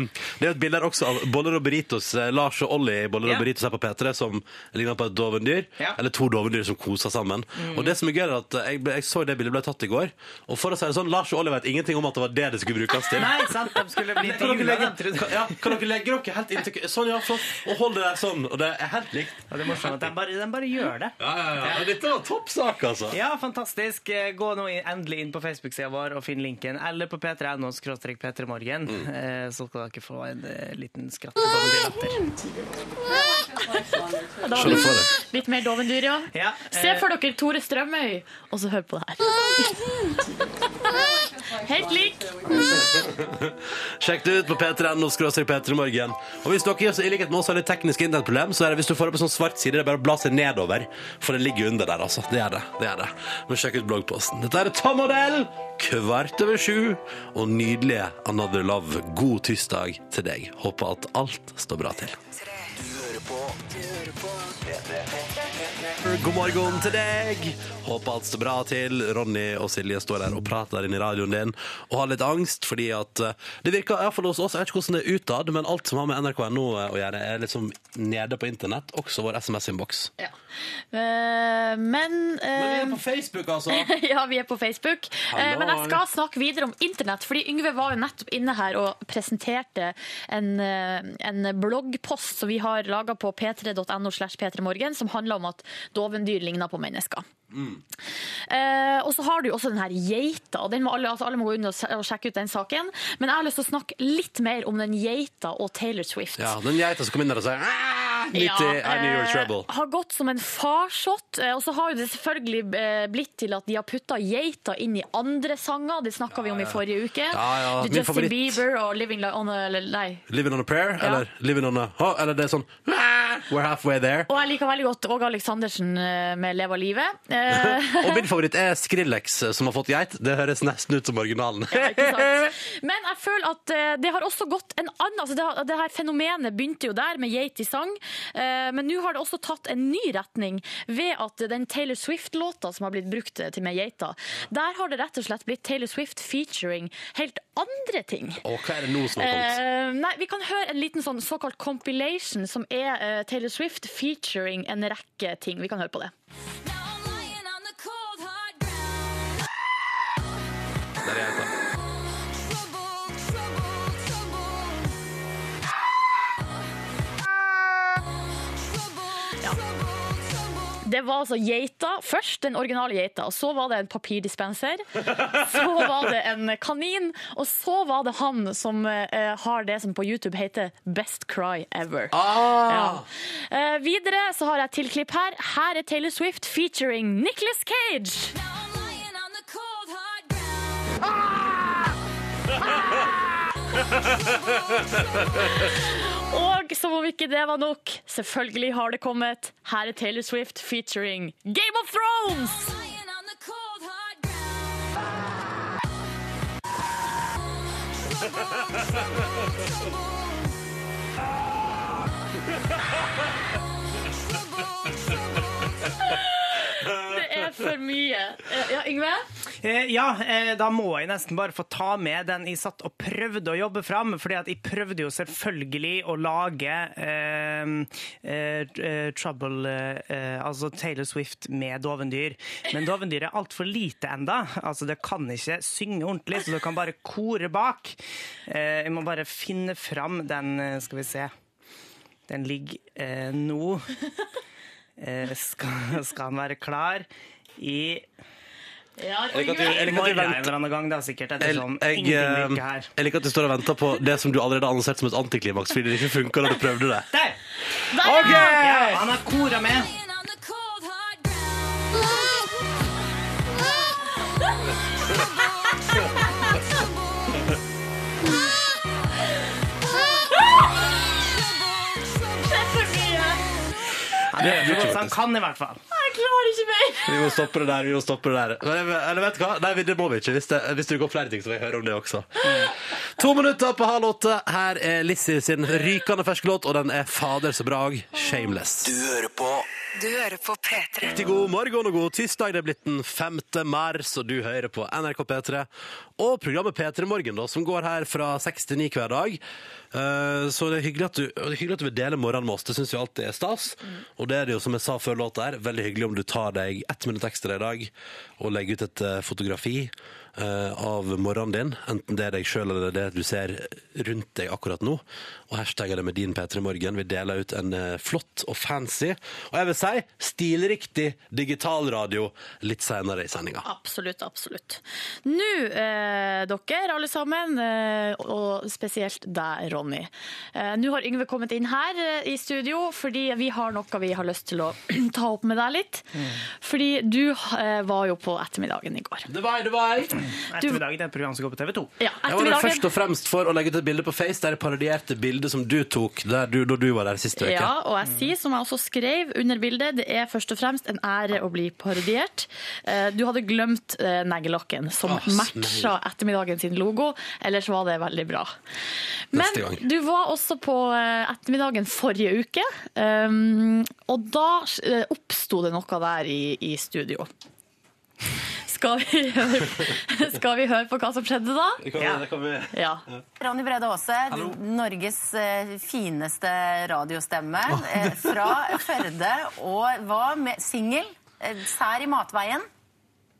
B: Det er jo et bilde her også av Boller og Burritos. eh, Lars og Olli i Boller
C: Ja.
B: og Burritos her på P3 som ligner på et dovendyr.
C: Ja. Mm.
B: Eller to dovendyr som koser sammen. Og det som er gøy er at eh, jeg, ble, jeg så det bildet ble tatt i går. Og for å si det sånn, Lars og Olli vet ingenting om at det var det det skulle brukes til.
C: Nei, sant, de skulle bli
B: Kan dere,
C: intervjua,
B: legge,
C: da.
B: kan, ja, kan dere legge dere helt inntil Sånn, ja. Sånn. Og hold det der sånn. Og det er helt likt.
C: Og det er morsomt at de bare, de bare gjør det.
B: Ja, ja, ja. Og Dette var toppsak, altså.
C: Ja, fantastisk. Eh, Gå nå i- endelig inn på Facebook-sida vår og finn linken, eller på p3.no skråstrek p3morgen,
B: Mm.
C: eh, så skal dere få en eh, liten skratt.
D: Da var
B: Skjønner
D: det
B: for det.
D: Litt mer dovendyr, ja.
C: Ja,
D: Se for dere Tore Strømøy, og så hør på det her. Helt lik.
B: Sjekk det ut på p3.no skråstrek p3morgen. Og hvis dere gjør så i likhet med oss har litt tekniske internettproblem, så er det hvis du får opp en sånn svart side, det er bare å bla seg nedover. For det ligger under der, altså. Det er det. det er det. Men sjekk ut bloggposten. Dette er Tom Odell, kvart over sju, og nydelige Another Love. God tirsdag til deg. Håper at alt står bra til. God morgen til deg! Håper alt står bra til. Ronny og Silje står der og prater inn i radioen din og har litt angst fordi at eh, det virker iallfall hos oss, jeg vet ikke hvordan det er utad, men alt som har med nrk.no å gjøre, er liksom nede på internett, også vår SMS-innboks.
D: Eh, Men eh,
B: på Facebook, altså!
D: ja, vi er på Facebook. Eh,
B: Hallo.
D: Men jeg skal snakke videre om internett, fordi Yngve var jo nettopp inne her og presenterte en, eh, en bloggpost som vi har laga på p3.no slash p3morgen, som handler om at dovendyr ligner på mennesker.
B: Mm.
D: Eh, og så har du jo også den her geita. og Den må alle, altså alle må gå inn og se- og sjekke ut den saken. Men jeg har lyst til å snakke litt mer om den geita og Taylor Swift.
B: Ja, den geita som kom inn der og sa «Ah, 90, I knew you were
D: eh,
B: trouble.
D: Har gått som en farsott. eh, Og så har jo det selvfølgelig eh, blitt til at de har putta geita inn i andre sanger. Det snakka vi om i forrige uke.
B: Ja, ja,
D: Du,
B: min
D: Justin
B: favoritt.
D: Bieber og Living Like on a, eller, Nei.
B: Living on a prayer, eller living on a oh, Eller det er sånn «Ah, We're halfway there.
D: Og jeg liker veldig godt Åge Aleksandersen eh, med Leva livet. Eh,
B: Og min favoritt er Skrillex, eh, som har fått geit. Det høres nesten ut som originalen.
D: Ja, ikke sant? Men jeg føler at eh, det har også gått en annen altså det, har- det her fenomenet begynte jo der med geit i sang, eh, men nå har det også tatt en ny retning ved at den Taylor Swift-låta som har blitt brukt eh, til med geita, der har det rett og slett blitt Taylor Swift featuring helt andre ting.
B: Og hva er det nå som har kommet?
D: Eh, nei, Vi kan høre en liten sånn såkalt compilation som er eh, Taylor Swift featuring en rekke ting. Vi kan høre på det.
B: Der er geita.
D: Det var altså geita først, den originale geita. og Så var det en papirdispenser. Så var det en kanin. Og så var det han som eh, har det som på YouTube heter Best Cry Ever.
B: Ah!
D: Ja. Eh, videre så har jeg et tilklipp her. Her er Taylor Swift featuring Nicholas Cage. Og som om ikke det var nok, selvfølgelig har det kommet. Her er Taylor Swift featuring Game of Thrones! Det er for mye. Eh, Ja, Yngve?
C: Eh, ja, eh, da må jeg nesten bare få ta med den jeg satt og prøvde å jobbe fram. fordi at jeg prøvde jo selvfølgelig å lage eh, eh, eh, Trouble eh, eh, Altså Taylor Swift med dovendyr. Men dovendyr er altfor lite enda. Altså Det kan ikke synge ordentlig, så det kan bare kore bak. Eh, jeg må bare finne fram den, eh, skal vi se. Den ligger eh, nå. Eh, skal, skal den være klar i
D: Ja,
B: liker at du-
D: Yngve.
B: jeg
C: i
B: liker at du
C: morgen en
B: venter-
C: eller annen gang, da, sikkert.
B: Jeg,
C: Ettersom
B: jeg,
C: ingenting
B: eh,
C: virker her.
B: jeg liker at du står og venter på det som du allerede har annonsert som et antiklimaks, fordi det ikke funker da du prøvde det.
C: Der!
D: Der, ja!
B: Ok!
C: Ja, han har kora med. Han,
B: Det er
C: gjør så godt
B: faktisk.
C: han sånn kan, i hvert fall.
D: Jeg klarer ikke mer!
B: Vi må stoppe det der. vi må stoppe det der Men, jeg- Eller vet du hva? Nei, det må vi ikke. Hvis det, hvis det går flere ting, så vil jeg høre om det også. To minutter på halv åtte. Her er Lissi sin rykende ferske låt, og den er fader så bra. 'Shameless'.
F: Du hører på P3.
B: Riktig god morgen og god tirsdag. Det er blitt den 5. mars, og du hører på NRK P3. Og programmet P3 Morgen, da, som går her fra 6 til 9 hver dag. Eh, Så det er hyggelig at du, og det er hyggelig at du vil dele morgenen med oss. Det syns vi alltid er stas. Og det er det jo, som jeg sa før låta her, veldig hyggelig om du tar deg ett minutt ekstra i dag og legger ut et eh, fotografi eh, av morgenen din, enten det er deg sjøl eller det du ser rundt deg akkurat nå, og hashtagger det med din P3 Morgen. Vi deler ut en eh, flott og fancy, og jeg vil si stilriktig digital radio litt senere i sendinga.
D: Absolutt, absolutt. Nå, eh, dere alle sammen, eh, og spesielt deg, Ronny. Eh, Nå har Yngve kommet inn her eh, i studio, fordi vi har noe vi har lyst til å ta opp med deg litt. Fordi du eh, var jo på ettermiddagen i går.
B: Det var, det var.
C: Ettermiddag, det er et program som går på TV 2.
B: Jeg
D: Ja,
B: var der
D: ettermiddagen.
B: først og fremst for å legge ut et bilde på Face der jeg parodierte bildet som du tok der du, da du var der sist uke. Mm.
D: Ja, og jeg sier, som jeg også skrev under bildet, det er først og fremst en ære å bli parodiert. Eh, Du hadde glemt eh, neglelakken, som
B: Ah,
D: matcha ettermiddagen sin logo. Ellers var det veldig bra. Men
B: Neste gang.
D: du var også på eh, ettermiddagen forrige uke, um, og da eh, oppsto det noe der i, i studio. Skal vi, høre, skal vi høre på hva som skjedde da?
B: Det kan, det kan vi...
D: Ja.
H: Ronny Brede Aase, Norges eh, fineste radiostemme eh, fra Førde. Og hva med singel? eh, Sær i matveien?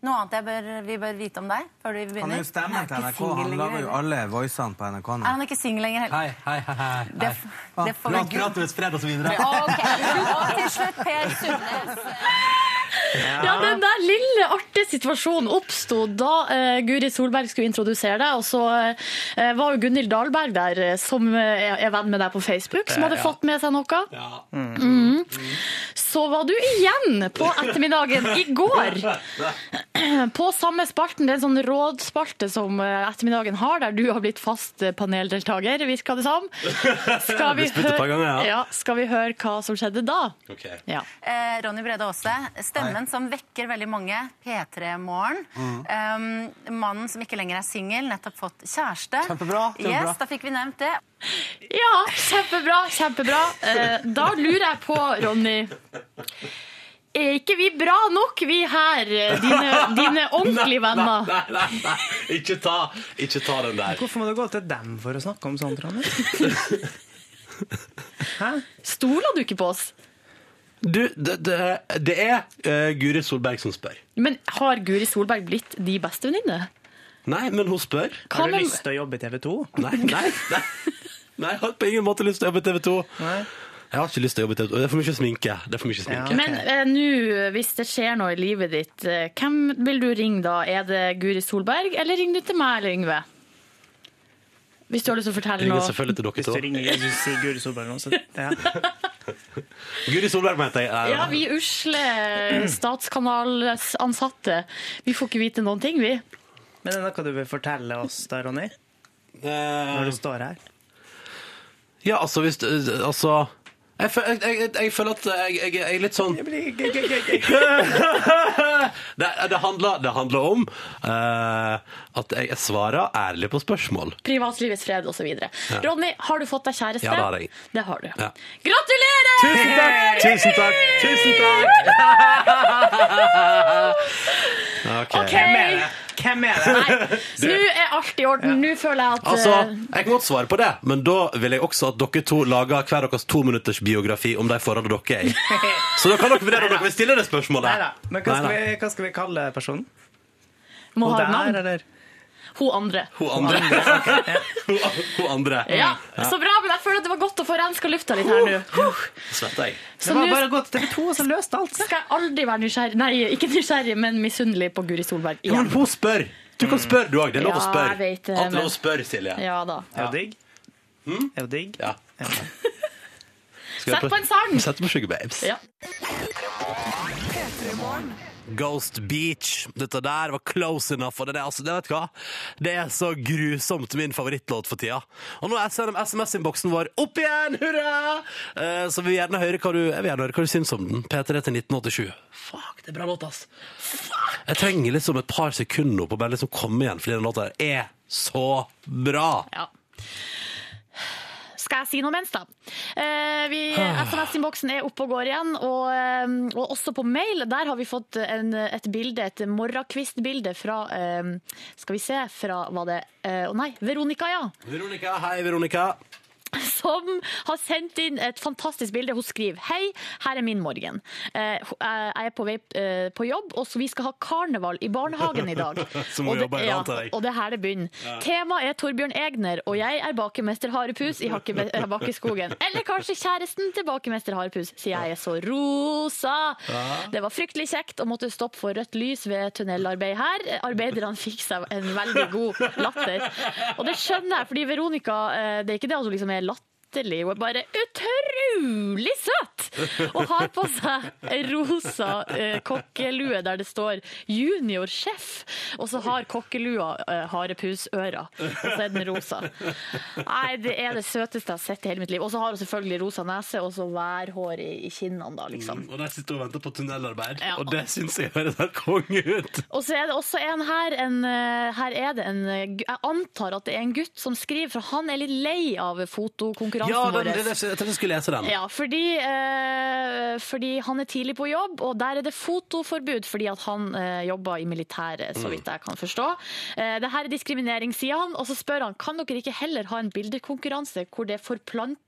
H: Noe annet jeg bør, vi bør vite om deg? før du
I: Han
H: begynner?
I: er jo stemmen til
H: ikke
I: NRK.
H: singel
I: Han
H: lenger,
I: lager jo
H: eller?
I: alle voicene på NRK nå.
H: Er han ikke singel lenger heller?
I: Hei, hei, hei. hei.
H: Det,
I: hei.
H: f- det får vi gud.
I: Gratulerer fredag og så videre.
H: Ok, Og til slutt Per Sundnes.
D: Ja, den der lille artige situasjonen oppsto da eh, Guri Solberg skulle introdusere deg, og så eh, var jo Gunhild Dahlberg der, eh, som eh, er venn med deg på Facebook, som hadde fått med seg noe. Mhm. Så var du igjen på ettermiddagen i går. På samme spalten, det er en sånn rådspalte som eh, ettermiddagen har, der du har blitt fast eh, paneldeltaker, virka det som. Skal vi,
B: Det spyttet et par
D: høre-
B: ganger, ja.
D: ja, skal vi høre hva som skjedde da?
B: Ok.
D: Ja.
H: Eh, Ronny Brede Aase, stemmen som vekker veldig mange. P3-morgen. Um, mannen som ikke lenger er singel, nettopp fått kjæreste.
I: Kjempebra, kjempebra.
H: Yes, da fikk vi nevnt det.
D: Ja, kjempebra, kjempebra. Eh, da lurer jeg på, Ronny Er ikke vi bra nok, vi her, eh, dine, dine ordentlige venner?
B: Nei, nei, nei. Ikke ta, ikke ta den der.
C: Hvorfor må du gå til dem for å snakke om sånt, Ronny?
D: Stoler du ikke på oss?
B: Du, det, det, det er eh, Guri Solberg som spør.
D: Men har Guri Solberg blitt de bestevenninne?
B: Nei, men hun spør.
D: Hva
C: Har du
D: med-
C: lyst til å jobbe i TV 2?
B: Nei, nei, nei. Nei, Jeg har på ingen måte lyst til å jobbe i TV 2.
C: Nei.
B: Jeg har ikke lyst til å jobbe i TV 2. Det er for mye sminke. Det er for mye sminke.
D: Men eh, nå, hvis det skjer noe i livet ditt, eh, hvem vil du ringe da? Er det Guri Solberg, eller ringer du til meg eller Yngve? Hvis du har lyst til å fortelle
B: Jeg ringer
D: noe.
B: selvfølgelig til
C: Hvis du
B: dere to.
C: ringer Jesus i Guri Solberg nå, så ja.
B: Guri Solberg, mente jeg. Nei,
D: Ja,
B: nei.
D: vi usle statskanalsansatte. Vi får ikke vite noen ting, vi.
C: Men det er noe du vil fortelle oss da, Ronny? Når du står her?
B: Eh, Ja, altså hvis du- Altså jeg, fø- jeg, jeg, jeg føler at jeg, jeg, jeg er litt sånn det, det, handler, det handler om eh, at jeg, jeg svarer ærlig på spørsmål.
D: privatlivets fred osv. Ronny, har du fått deg kjæreste?
B: Ja, det har jeg.
D: Det har du.
B: Ja.
D: Gratulerer!
B: Tusen takk! Tusen takk! Tusen takk! Ok.
D: Ok.
C: Hvem er det?
D: Nei, nå er alt i orden. Nå føler jeg at
B: Altså,
D: eh,
B: Jeg kan godt svare på det, men da vil jeg også at dere to lager hver deres to minutters biografi om de forholdene dere er i. Så da kan dere vurdere om dere vil stille det spørsmålet.
C: Nei da. Men hva skal,
B: Neida.
C: Vi, hva skal vi kalle personen?
D: må
C: Hun
D: ha et
C: der,
D: navn.
C: eller?
D: Hun andre.
B: Hun andre. Hun hun andre.
D: Ja, Så bra, men jeg føler at det var godt å få renska lufta litt her nå. Huh.
B: Svetter jeg.
D: Så
C: Det
D: nå
C: var bare å gå til TV 2, og så løste alt seg.
D: skal jeg aldri være nysgjerrig, nei, ikke nysgjerrig, men misunnelig på Guri Solberg
B: Ja, men
D: igjen.
B: hun spør! Du kan spørre, du òg. Det er lov å
D: Mm. Ja,
B: spørre.
D: jeg vet det,
B: Alt er lov å
D: men-
B: spørre, Silje.
D: Ja da.
C: Er det digg?
B: Mm.
C: Er det digg?
B: Ja. Skal jeg
D: Sett på en sang!
B: Sett på Sugar Babes.
D: Ja.
B: Ghost Beach. Dette der var close enough. Og det, er, altså, det, vet du hva? det er så grusomt min favorittlåt for tida. Og nå er SMS-innboksen vår opp igjen! Hurra! Eh, så vi vil gjerne høre hva du, jeg vil gjerne høre hva du syns om den. P3 til 1987. Fuck, det er bra låt, ass. Fuck! Jeg trenger liksom et par sekunder nå på å bare liksom komme igjen, fordi den låta her er så bra.
D: Ja. Skal jeg si noe mens, da? Eh, vi- SMS-innboksen er oppe og går igjen. Og, eh, og også på mail der har vi fått en, et bilde, et morgenkvistbilde fra eh, Skal vi se, fra var det eh, Å nei, Veronica, ja.
B: Veronica, hei, Veronica.
D: Som har sendt inn et fantastisk bilde. Hun skriver Hei, her er min morgen. Eh, ho- eh, jeg er på vei eh, på jobb, og så vi skal ha karneval i barnehagen i dag.
B: Som hun
D: Og det-
B: jobber i dag, antar jeg.
D: og det er her det begynner. Temaet er Torbjørn Egner, og jeg er bakemester Harepus i Hakkebe- eh, Bakkeskogen. Eller kanskje kjæresten til bakemester Harepus, sier jeg er så rosa. Det var fryktelig kjekt å måtte stoppe for rødt lys ved tunnelarbeid her. Arbeiderne fikk seg en veldig god latter. Og det skjønner jeg, fordi Veronica, eh, det er ikke det at hun liksom er latter latterlig. Hun er bare utrolig søt! Og har på seg en rosa eh, kokkelue der det står 'junior sjef', og så har kokkelua eh, harepusører, og så er den rosa. Nei, det er det søteste jeg har sett i hele mitt liv. Og så har hun selvfølgelig rosa nese og så værhår i, i kinnene, da, liksom.
B: Mm. Og der sitter hun og venter på tunnelarbeid,
D: Ja.
B: og det syns jeg høres helt konge ut!
D: Og så er det også en her, en, eh, her er det en, eh, gu- jeg antar at det er en gutt som skriver, for han er litt lei av fotokonkurransen
B: Ja, den,
D: vår.
B: det, det, jeg tenkte jeg skulle lese den.
D: Ja, fordi, eh, fordi han er tidlig på jobb, og der er det fotoforbud fordi at han eh, jobber i militæret,
B: Mm.
D: så vidt jeg kan forstå. Eh, det her er diskriminering, sier han, og så spør han kan dere ikke heller ha en bildekonkurranse hvor det er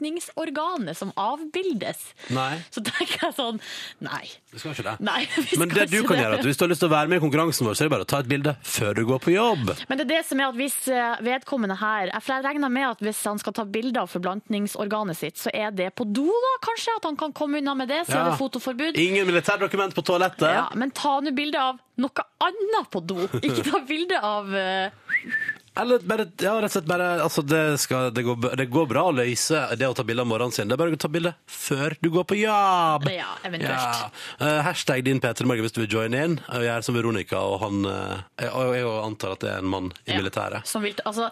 D: forplantningsorganet som avbildes.
B: Nei.
D: Så tenker jeg sånn, nei.
B: Du skal ikke det.
D: Nei, vi
B: Men
D: skal
B: det du
D: ikke
B: kan
D: det.
B: gjøre, er at hvis du har lyst til å være med i konkurransen vår, så er det bare å ta et bilde før du går på jobb.
D: Men det er det som er at hvis eh, vedkommende her For jeg regner med at hvis han skal ta bilder av forplantningsorganet sitt, så er det på do, da, kanskje? At han kan komme unna med det, så er
B: Ja.
D: det fotoforbud.
B: Ingen militærdokument på toalettet.
D: Ja, men ta nå bilde av noe annet på do. Ikke ta bilde av eh,
B: Eller bare, ja, rett og slett bare altså det, skal, det, går, det går bra å løse det å ta bilde om morgenen sin. Det er bare å ta bilde før du går på jobb.
D: Ja, eventuelt.
B: Eh, hashtag din Peter Morgen hvis du vil joine inn. Og Jeg er som Veronica, og han eh, jeg, og jeg antar at det er en mann i
D: Ja,
B: militæret.
D: Som vil, altså,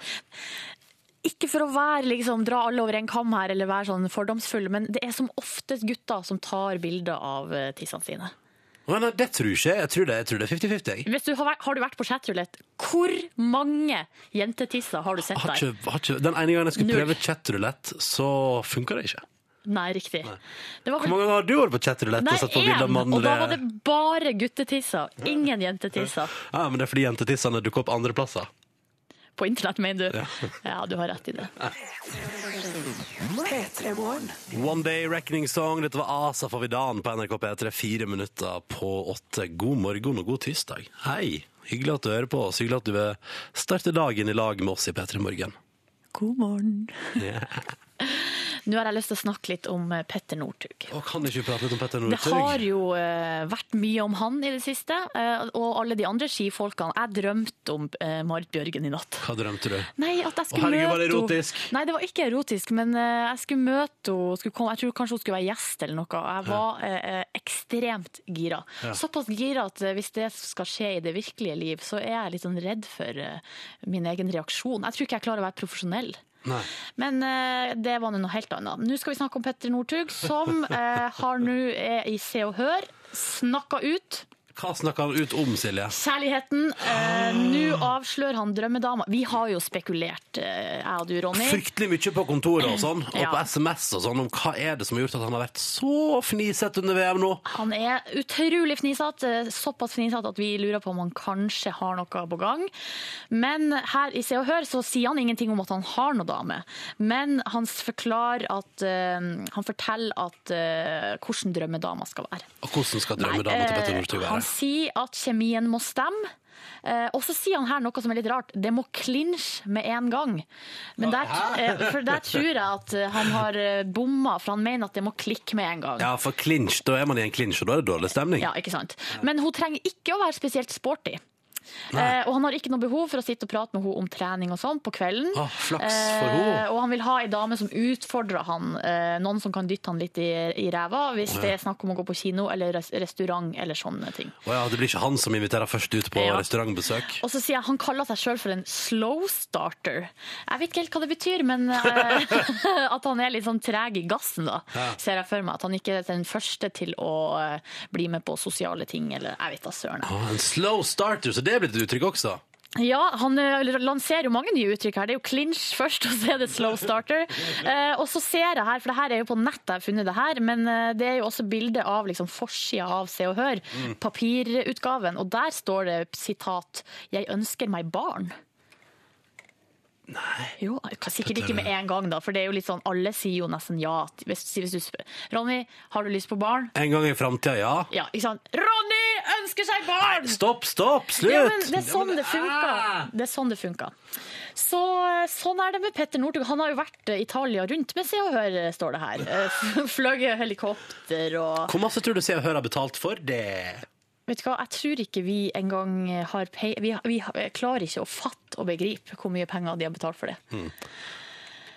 D: ikke for å være, liksom, dra alle over en kam her eller være sånn fordomsfull, men det er som oftest gutter som tar bilder av eh, tissene sine.
B: Men nei, det tror ikke jeg. Jeg tror det, jeg tror det er 50-50. jeg.
D: Hvis du har, vært- har du vært på chatroulette, hvor mange jentetisser har du sett
B: Har
D: der?
B: ikke, har ikke, den ene gangen jeg skulle
D: Null.
B: prøve chatrulett, så funka det ikke.
D: Nei, riktig. Det
B: Hvor
D: var vel
B: mange ganger har du vært på chatrulett
D: Nei,
B: og satt på bilde av
D: én, og da var det
B: mannlige
D: bare guttetisser. Ingen jentetisser.
B: Ja, men det er fordi jentetissene dukker opp andreplasser.
D: På internett, mener du? Ja, du har rett i det.
B: One Day Reckoning Song. Dette var Asa Favidan på NRK P3, fire minutter på åtte. God morgen og god tirsdag. Hei. Hyggelig at du hører på oss. Hyggelig at du vil starte dagen i lag med oss i P3 Morgen.
D: God morgen.
B: Ja.
D: Nå har jeg lyst til å snakke litt om eh, Petter Northug.
B: Og kan ikke vi prate litt om Petter
D: Det har
B: Northug?
D: jo eh, vært mye om han i det siste, eh, og alle de andre skifolkene. Jeg drømte om eh, Marit Bjørgen i natt.
B: Hva drømte du?
D: Nei, at jeg skulle
B: Å, herregud, var det
D: møte henne-
B: erotisk?
D: Nei, det var ikke erotisk, men eh, jeg skulle møte henne skulle komme, Jeg tror kanskje hun skulle være gjest eller noe. og Jeg var eh, eh, ekstremt gira. Såpass gira at eh, hvis det skal skje i det virkelige liv, så er jeg litt sånn redd for eh, min egen reaksjon. Jeg tror ikke jeg klarer å være profesjonell.
B: Nei.
D: Men eh, det var nå noe helt annet. Nå skal vi snakke om Petter Northug, som eh, har nå er i Se og Hør. Snakka ut
B: Hva snakka han ut om, Silje?
D: kjærligheten. Eh, Nå avslører han drømmedama. Vi har jo spekulert, eh, jeg og du, Ronny.
B: Fryktelig mye på kontoret og sånn, og
D: Ja.
B: på SMS og sånn, om hva er det som har gjort at han har vært så fnisete under VM nå?
D: Han er utrolig fnisete, eh, såpass fnisete at vi lurer på om han kanskje har noe på gang. Men her i Se og Hør så sier han ingenting om at han har noe dame. Men han forklarer at eh, Han forteller at eh, hvordan drømmedama skal være.
B: Og hvordan skal
D: Nei,
B: drømmedama til Petter
D: eh,
B: Northug
D: Han
B: være?
D: sier at kjemien må stemme. Eh, og så sier han her noe som er litt rart. Det må klinsje med en gang. Men der, eh, for der tror jeg at eh, han har eh, bomma, for han mener at det må klikke med en gang.
B: Ja, for clinch, da er man i en clinch, og da er det dårlig stemning.
D: Ja, ikke sant? Men hun trenger ikke å være spesielt sporty. Eh, og han har ikke noe behov for å sitte og prate med henne om trening og sånn på kvelden.
B: Å, flaks for
D: Eh,
B: henne.
D: og han vil ha ei dame som utfordrer han. Eh, noen som kan dytte han litt i, i ræva hvis det er snakk om å gå på kino eller res restaurant eller sånne ting.
B: Å ja, det blir ikke han som inviterer først ut på
D: Ja.
B: restaurantbesøk.
D: Og så sier jeg han kaller seg sjøl for en slow starter. Jeg vet ikke helt hva det betyr, men eh, at han er litt sånn treg i gassen, da, ser jeg for meg. At han ikke er den første til å eh, bli med på sosiale ting, eller jeg vet da søren.
B: Ah, en slow starter, så det er blitt et uttrykk også.
D: Ja, han eh, lanserer jo mange nye uttrykk her. Det er jo clinch først, og så er det slow starter. Eh, og så ser jeg her, for det her er jo på nettet jeg har funnet det her, men eh, det er jo også bilde av liksom, forsida av Se og Hør, papirutgaven, og der står det sitat 'Jeg ønsker meg barn'. Nei Jo, k- Sikkert ikke med en gang, da, for det er jo litt sånn, alle sier jo nesten ja. til- Hvis, hvis du spør Ronny, har du lyst på barn?
B: En gang i framtida, ja.
D: Ja, ikke sant? Ronny ønsker seg barn!
B: Stopp, stopp, slutt!
D: Ja, men det er sånn det funker. Det er sånn det funker. Så, sånn er det med Petter Northug. Han har jo vært eh, Italia rundt med Se og Hør, eh, står det her. Eh, Fløyet helikopter og
B: Hvor masse tror du Se og Hør har betalt for det?
D: Vet du hva, jeg tror ikke vi engang har pei... Vi, vi har- Hmm. klarer ikke å fatte og begripe hvor mye penger de har betalt for det.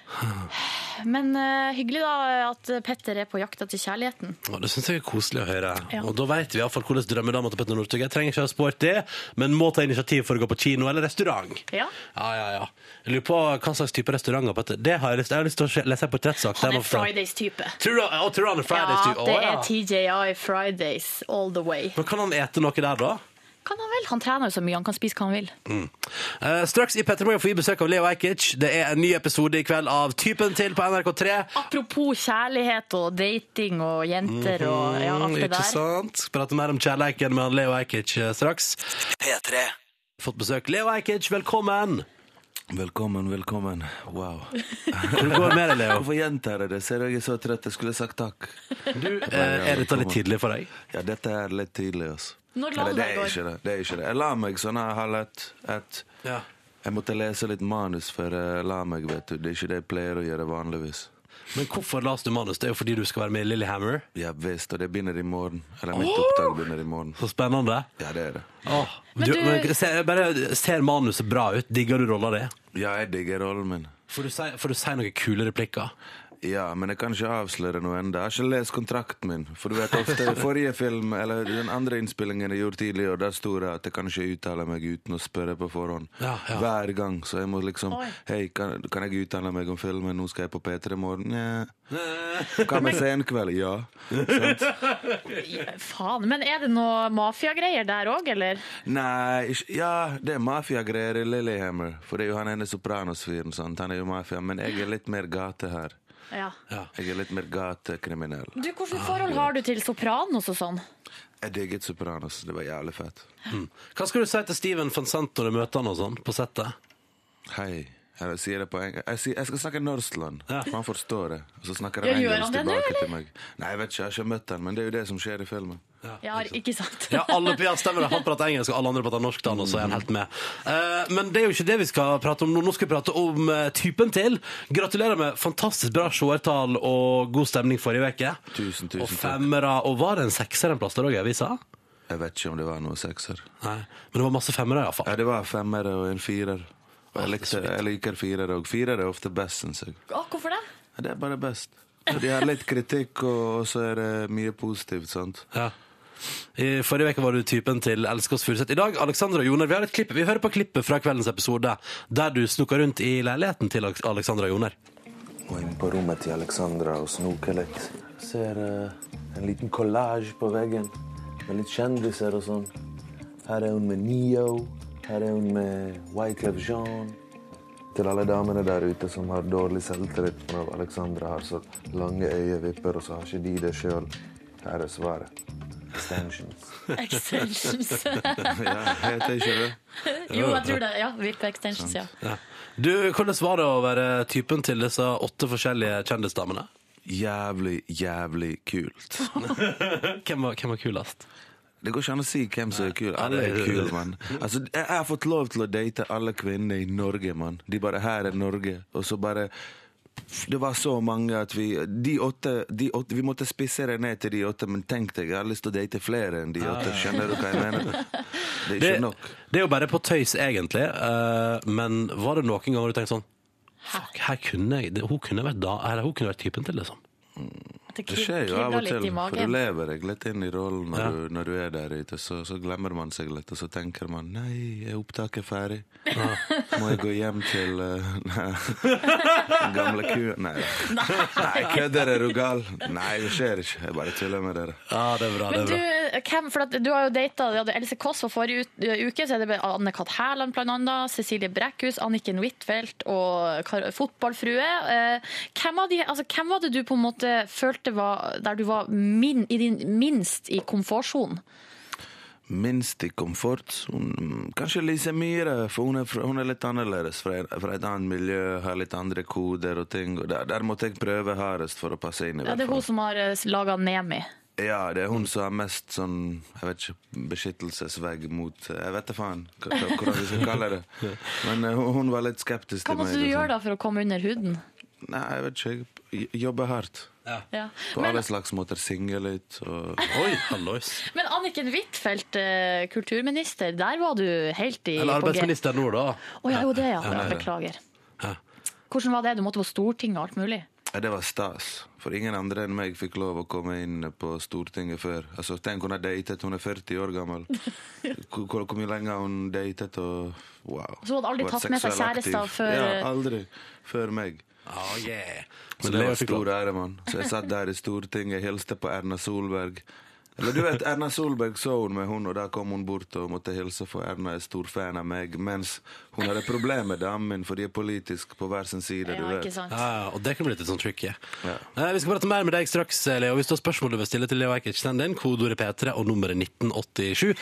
D: Men eh, hyggelig da at Petter er på jakt etter kjærligheten.
B: Og det syns jeg er koselig å høre.
D: Ja.
B: Og da vet vi iallfall hvordan drømmedama til Petter Northug er. Trenger ikke ha spurt det, men må ta initiativ for å gå på kino eller restaurant.
D: Ja.
B: Ja, ja, ja. Jeg lurer på hva slags type restaurant han er på Petter. Det har jeg lyst Jeg har lyst til å se- lese en portrettsak.
D: Han
B: der
D: er
B: man får-
D: Fridays-type.
B: Tror du han- å, tror du han er
D: Ja,
B: Fridays? type? Å,
D: det
B: ja.
D: er TJI Fridays all the way.
B: Men kan han ete noe der, da?
D: Kan han vel? Han trener jo så mye, han kan spise hva han vil.
B: Eh, straks i Petter Morgen får vi besøk av Leo Ajkic. Det er en ny episode i kveld av Typen til på NRK3.
D: Apropos kjærlighet og dating og jenter og ja, alt det
B: Ikke
D: der.
B: sant? Prate mer om kjærleiken med han Leo Ajkic eh, straks.
F: P3.
B: Fått besøk. Leo Ajkic, velkommen!
I: Velkommen, velkommen. Wow.
B: Hvordan går det med deg, Leo?
I: Hvorfor gjentar jeg det? Ser du jeg er så trøtt? Jeg skulle sagt takk.
B: Eh, er dette litt tidlig for deg?
I: Ja, dette er litt tidlig, altså.
D: Når la du
I: Eller, det
D: deg i
I: er
D: går?
I: ikke det. det er ikke det. Jeg la meg sånn her halv ett. ett.
B: Ja.
I: Jeg måtte lese litt manus før jeg la meg, vet du. Det er ikke det jeg pleier å gjøre vanligvis.
B: Men hvorfor las du manus? Det er jo fordi du skal være med i Lillehammer.
I: Ja visst, og det begynner i morgen. Eller mitt oppdrag begynner i morgen.
B: Så spennende.
I: Ja, det er det.
B: Åh,
D: Men
B: du,
D: du-
B: men ser, bare ser manuset bra ut? Digger du rolla det?
I: Ja, jeg digger rollen min.
B: Får du, si, får du si noen kule replikker?
I: Ja, men jeg kan ikke avsløre noe ennå. Jeg har ikke lest kontrakten min. For du vet ofte i forrige film, eller den andre innspillingen jeg gjorde tidligere, der sto det at jeg kan ikke uttale meg uten å spørre på forhånd.
B: Ja, ja.
I: Hver gang. Så jeg må liksom Hei, kan, kan jeg uttale meg om filmen? Nå skal jeg på P3 i morgen. Nja. Hva med senkveld? Ja.
D: Faen, men er det noe mafiagreier der òg, eller?
I: Nei ikke- Ja, det er mafiagreier i Lillehammer. For det er jo han ene sopranos-fyren, sant. Han er jo mafia. Men jeg er litt mer gate her.
D: Ja.
I: Jeg er litt mer gatekriminell.
D: Du, Hvilket forhold har du til Sopranos og sånn?
I: Jeg digget Sopranos. Det var jævlig fett.
B: Hva skal du si til Steven van Sant når du møter han og sånn på settet?
I: Hei. Jeg sier det på engelsk. Jeg, sier, jeg skal snakke norskland.
B: Ja.
I: For han forstår det. Og så snakker
D: Ja,
I: han
D: gjør
I: engelsk
D: han det nå,
I: tilbake
D: eller?
I: til meg. Nei, jeg vet ikke. Jeg har ikke møtt han, men det er jo det som skjer i filmen.
D: Ja, ikke sant?
B: Ja, alle ja, stemmer det. Han prater engelsk, og alle andre prater norsk, da, og så er han helt med. Eh, men det er jo ikke det vi skal prate om nå. Nå skal vi prate om eh, typen til. Gratulerer med fantastisk bra seertall og god stemning forrige uke.
I: Tusen, tusen
B: Og
I: takk.
B: femmere. Og var det en sekser en plass der òg i avisa?
I: Jeg vet ikke om det var noen sekser.
B: Nei. Men det var masse femmere, iallfall.
I: Ja, det var femmere og en firer. Og jeg,
B: det er så
I: likte, jeg liker firere òg. Firere er ofte best, syns jeg.
D: Å, hvorfor det?
I: Ja, det er bare best. De har litt kritikk, og og så er det mye positivt, sant.
B: Ja. I forrige uke var du typen til Elskås Furuseth. I dag, Alexandra og Joner, vi har et klipp. Vi hører på klippet fra kveldens episode der du snoker rundt i leiligheten til Alex- Alexandra og Joner.
I: Gå inn på rommet til Alexandra og snoke litt. Ser eh, en liten collage på veggen med litt kjendiser og sånn. Her er hun med Neo. Her er hun med Wyclef Jean. Til alle damene der ute som har dårlig selvtillit for at Alexandra har så lange øyevipper, og så har ikke de det sjøl. Her er svaret. Extensions.
D: Extensions.
I: ja, heter ikke det?
D: jo, jeg tror det. Ja, virka extensions, ja.
B: Du, Hvordan var det å være typen til disse åtte forskjellige kjendisdamene?
I: Jævlig, jævlig kult.
B: Hvem var, hvem var kulest?
I: Det går ikke an å si hvem som er kul. Alle er kule, mann. Altså, jeg jeg har fått lov til å date alle kvinner i Norge, mann. De bare Her er Norge. Og så bare Det var så mange at vi De åtte, de åtte Vi måtte spisse det ned til de åtte, men tenk deg, jeg har lyst til å date flere enn de åtte. Skjønner du hva jeg mener? Det er
B: Det,
I: ikke nok.
B: det er jo bare på tøys, egentlig. eh, men var det noen ganger du tenkte sånn Fuck, her kunne jeg, det, hun, kunne vært da, her, hun kunne vært typen til, liksom.
D: At det
I: Det skjer jo av og
D: kribler
I: til, for
D: litt i
I: du
D: magen.
I: lever deg litt inn i rollen når,
B: Ja.
I: du, når du er der ute. Så, så glemmer man seg litt, og så tenker man nei, er opptaket ferdig? Må jeg gå hjem til eh, nei, den gamle kua? Nei, nei kødder er du gal? Nei, det skjer ikke. Jeg bare tuller med dere.
B: Ja, det er bra,
D: Men du, hvem, for at du har jo data ja, det er Else Kåss for forrige ut- eh, uke, så er det Anne-Kat. Hærland blant annet, Cecilie Brækhus, Anniken Huitfeldt og Kar- fotballfrue. Eh, Hvem, av de, altså, hvem var det du på en måte følte var der du var min, i din, minst i komfortsonen?
I: Minst i komfort. Hun, kanskje Lise Myhre, for hun er, fra- hun er litt annerledes. Fra, fra et annet miljø, har litt andre koder og ting. Og der, der måtte jeg prøve hardest for å passe inn. i
D: Ja,
I: hvert
D: det er
I: fall.
D: hun som har laga Nemi.
I: Ja, det er hun som har mest sånn Jeg vet ikke, beskyttelsesvegg mot Jeg vet da faen hva- hva- hvordan vi skal kalle det. Men eh, hun, hun var litt skeptisk
D: Hva
I: til meg.
D: måtte du
I: og
D: gjøre
I: sånn.
D: da for å komme under huden?
I: Nei, jeg vet ikke. jeg j- Jobbe hardt.
D: Ja.
I: På
D: Men,
I: alle slags måter. Synge litt og
B: Oi, hallois.
D: men Anniken Huitfeldt, eh, kulturminister, der var du helt i
B: Eller
D: på G.
B: arbeidsminister nå, da.
D: Å ja, jo det, ja.
I: Ja, ja, ja.
D: Beklager.
B: Ja.
D: Hvordan var det? Du måtte på Stortinget og alt mulig?
I: Ja, det var stas, for ingen andre enn meg fikk lov å komme inn på Stortinget før. Altså, Tenk, hun har datet, hun er 40 år gammel. Hvor, hvor hvor mye lenger har hun datet, og wow.
D: Så hun hadde aldri
I: Vært
D: tatt med seg
I: seksuell
D: kjærester
I: aktiv.
D: før-
I: Ja, aldri. Før meg.
B: Oh, yeah.
I: Så det var stor ære, mann. Så jeg satt der i Stortinget, hilste på Erna Solberg. Eller du vet, Erna Solberg så hun med hun, og da kom hun bort og måtte hilse, for Erna er stor fan av meg. Mens hun hadde problemer med damen min, for de er politisk på hver sin side, du
D: Ja, ikke
I: vet.
D: sant?
B: Ja, og det kan bli litt sånn tricky.
I: Ja.
B: Eh, vi skal prate mer med deg straks, Leo. Hvis du har spørsmål du vil stille til Leo Ajkic, send inn kodeordet P3 og nummeret 1987.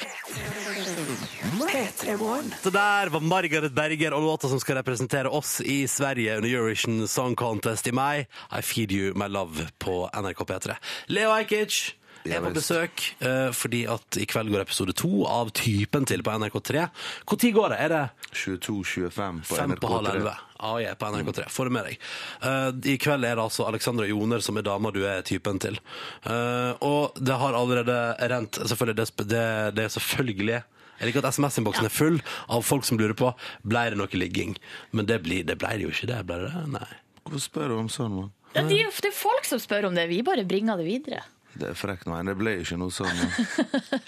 B: Det der var Margaret Berger og låta som skal representere oss i Sverige under Eurovision Song Contest i mai. I Feed You My Love på NRK P3. Leo Ajkic er
I: Ja,
B: på
I: visst.
B: besøk eh, fordi at i kveld går episode to av Typen til på NRK3. Når går det? Er det
I: 22-25 på
B: Fem på Mm. halv
I: NRK3.
B: elleve. Ja, jeg er på NRK3. Får det med deg. Eh, I kveld er det altså Alexandra Joner som er dama du er typen til. Eh, og det har allerede rent Selvfølgelig, det, sp- det, det er selvfølgelig Jeg liker at SMS-innboksen er full av folk som lurer på Ble det noe ligging. Men det, blir, det ble det jo ikke. det, ble det det? Nei.
I: Hvorfor spør du om sånn, mann?
D: Ja, det, er jo- det er folk som spør om det. Vi bare bringer det videre.
I: Det er frekt, men det ble ikke noe sånn. mann.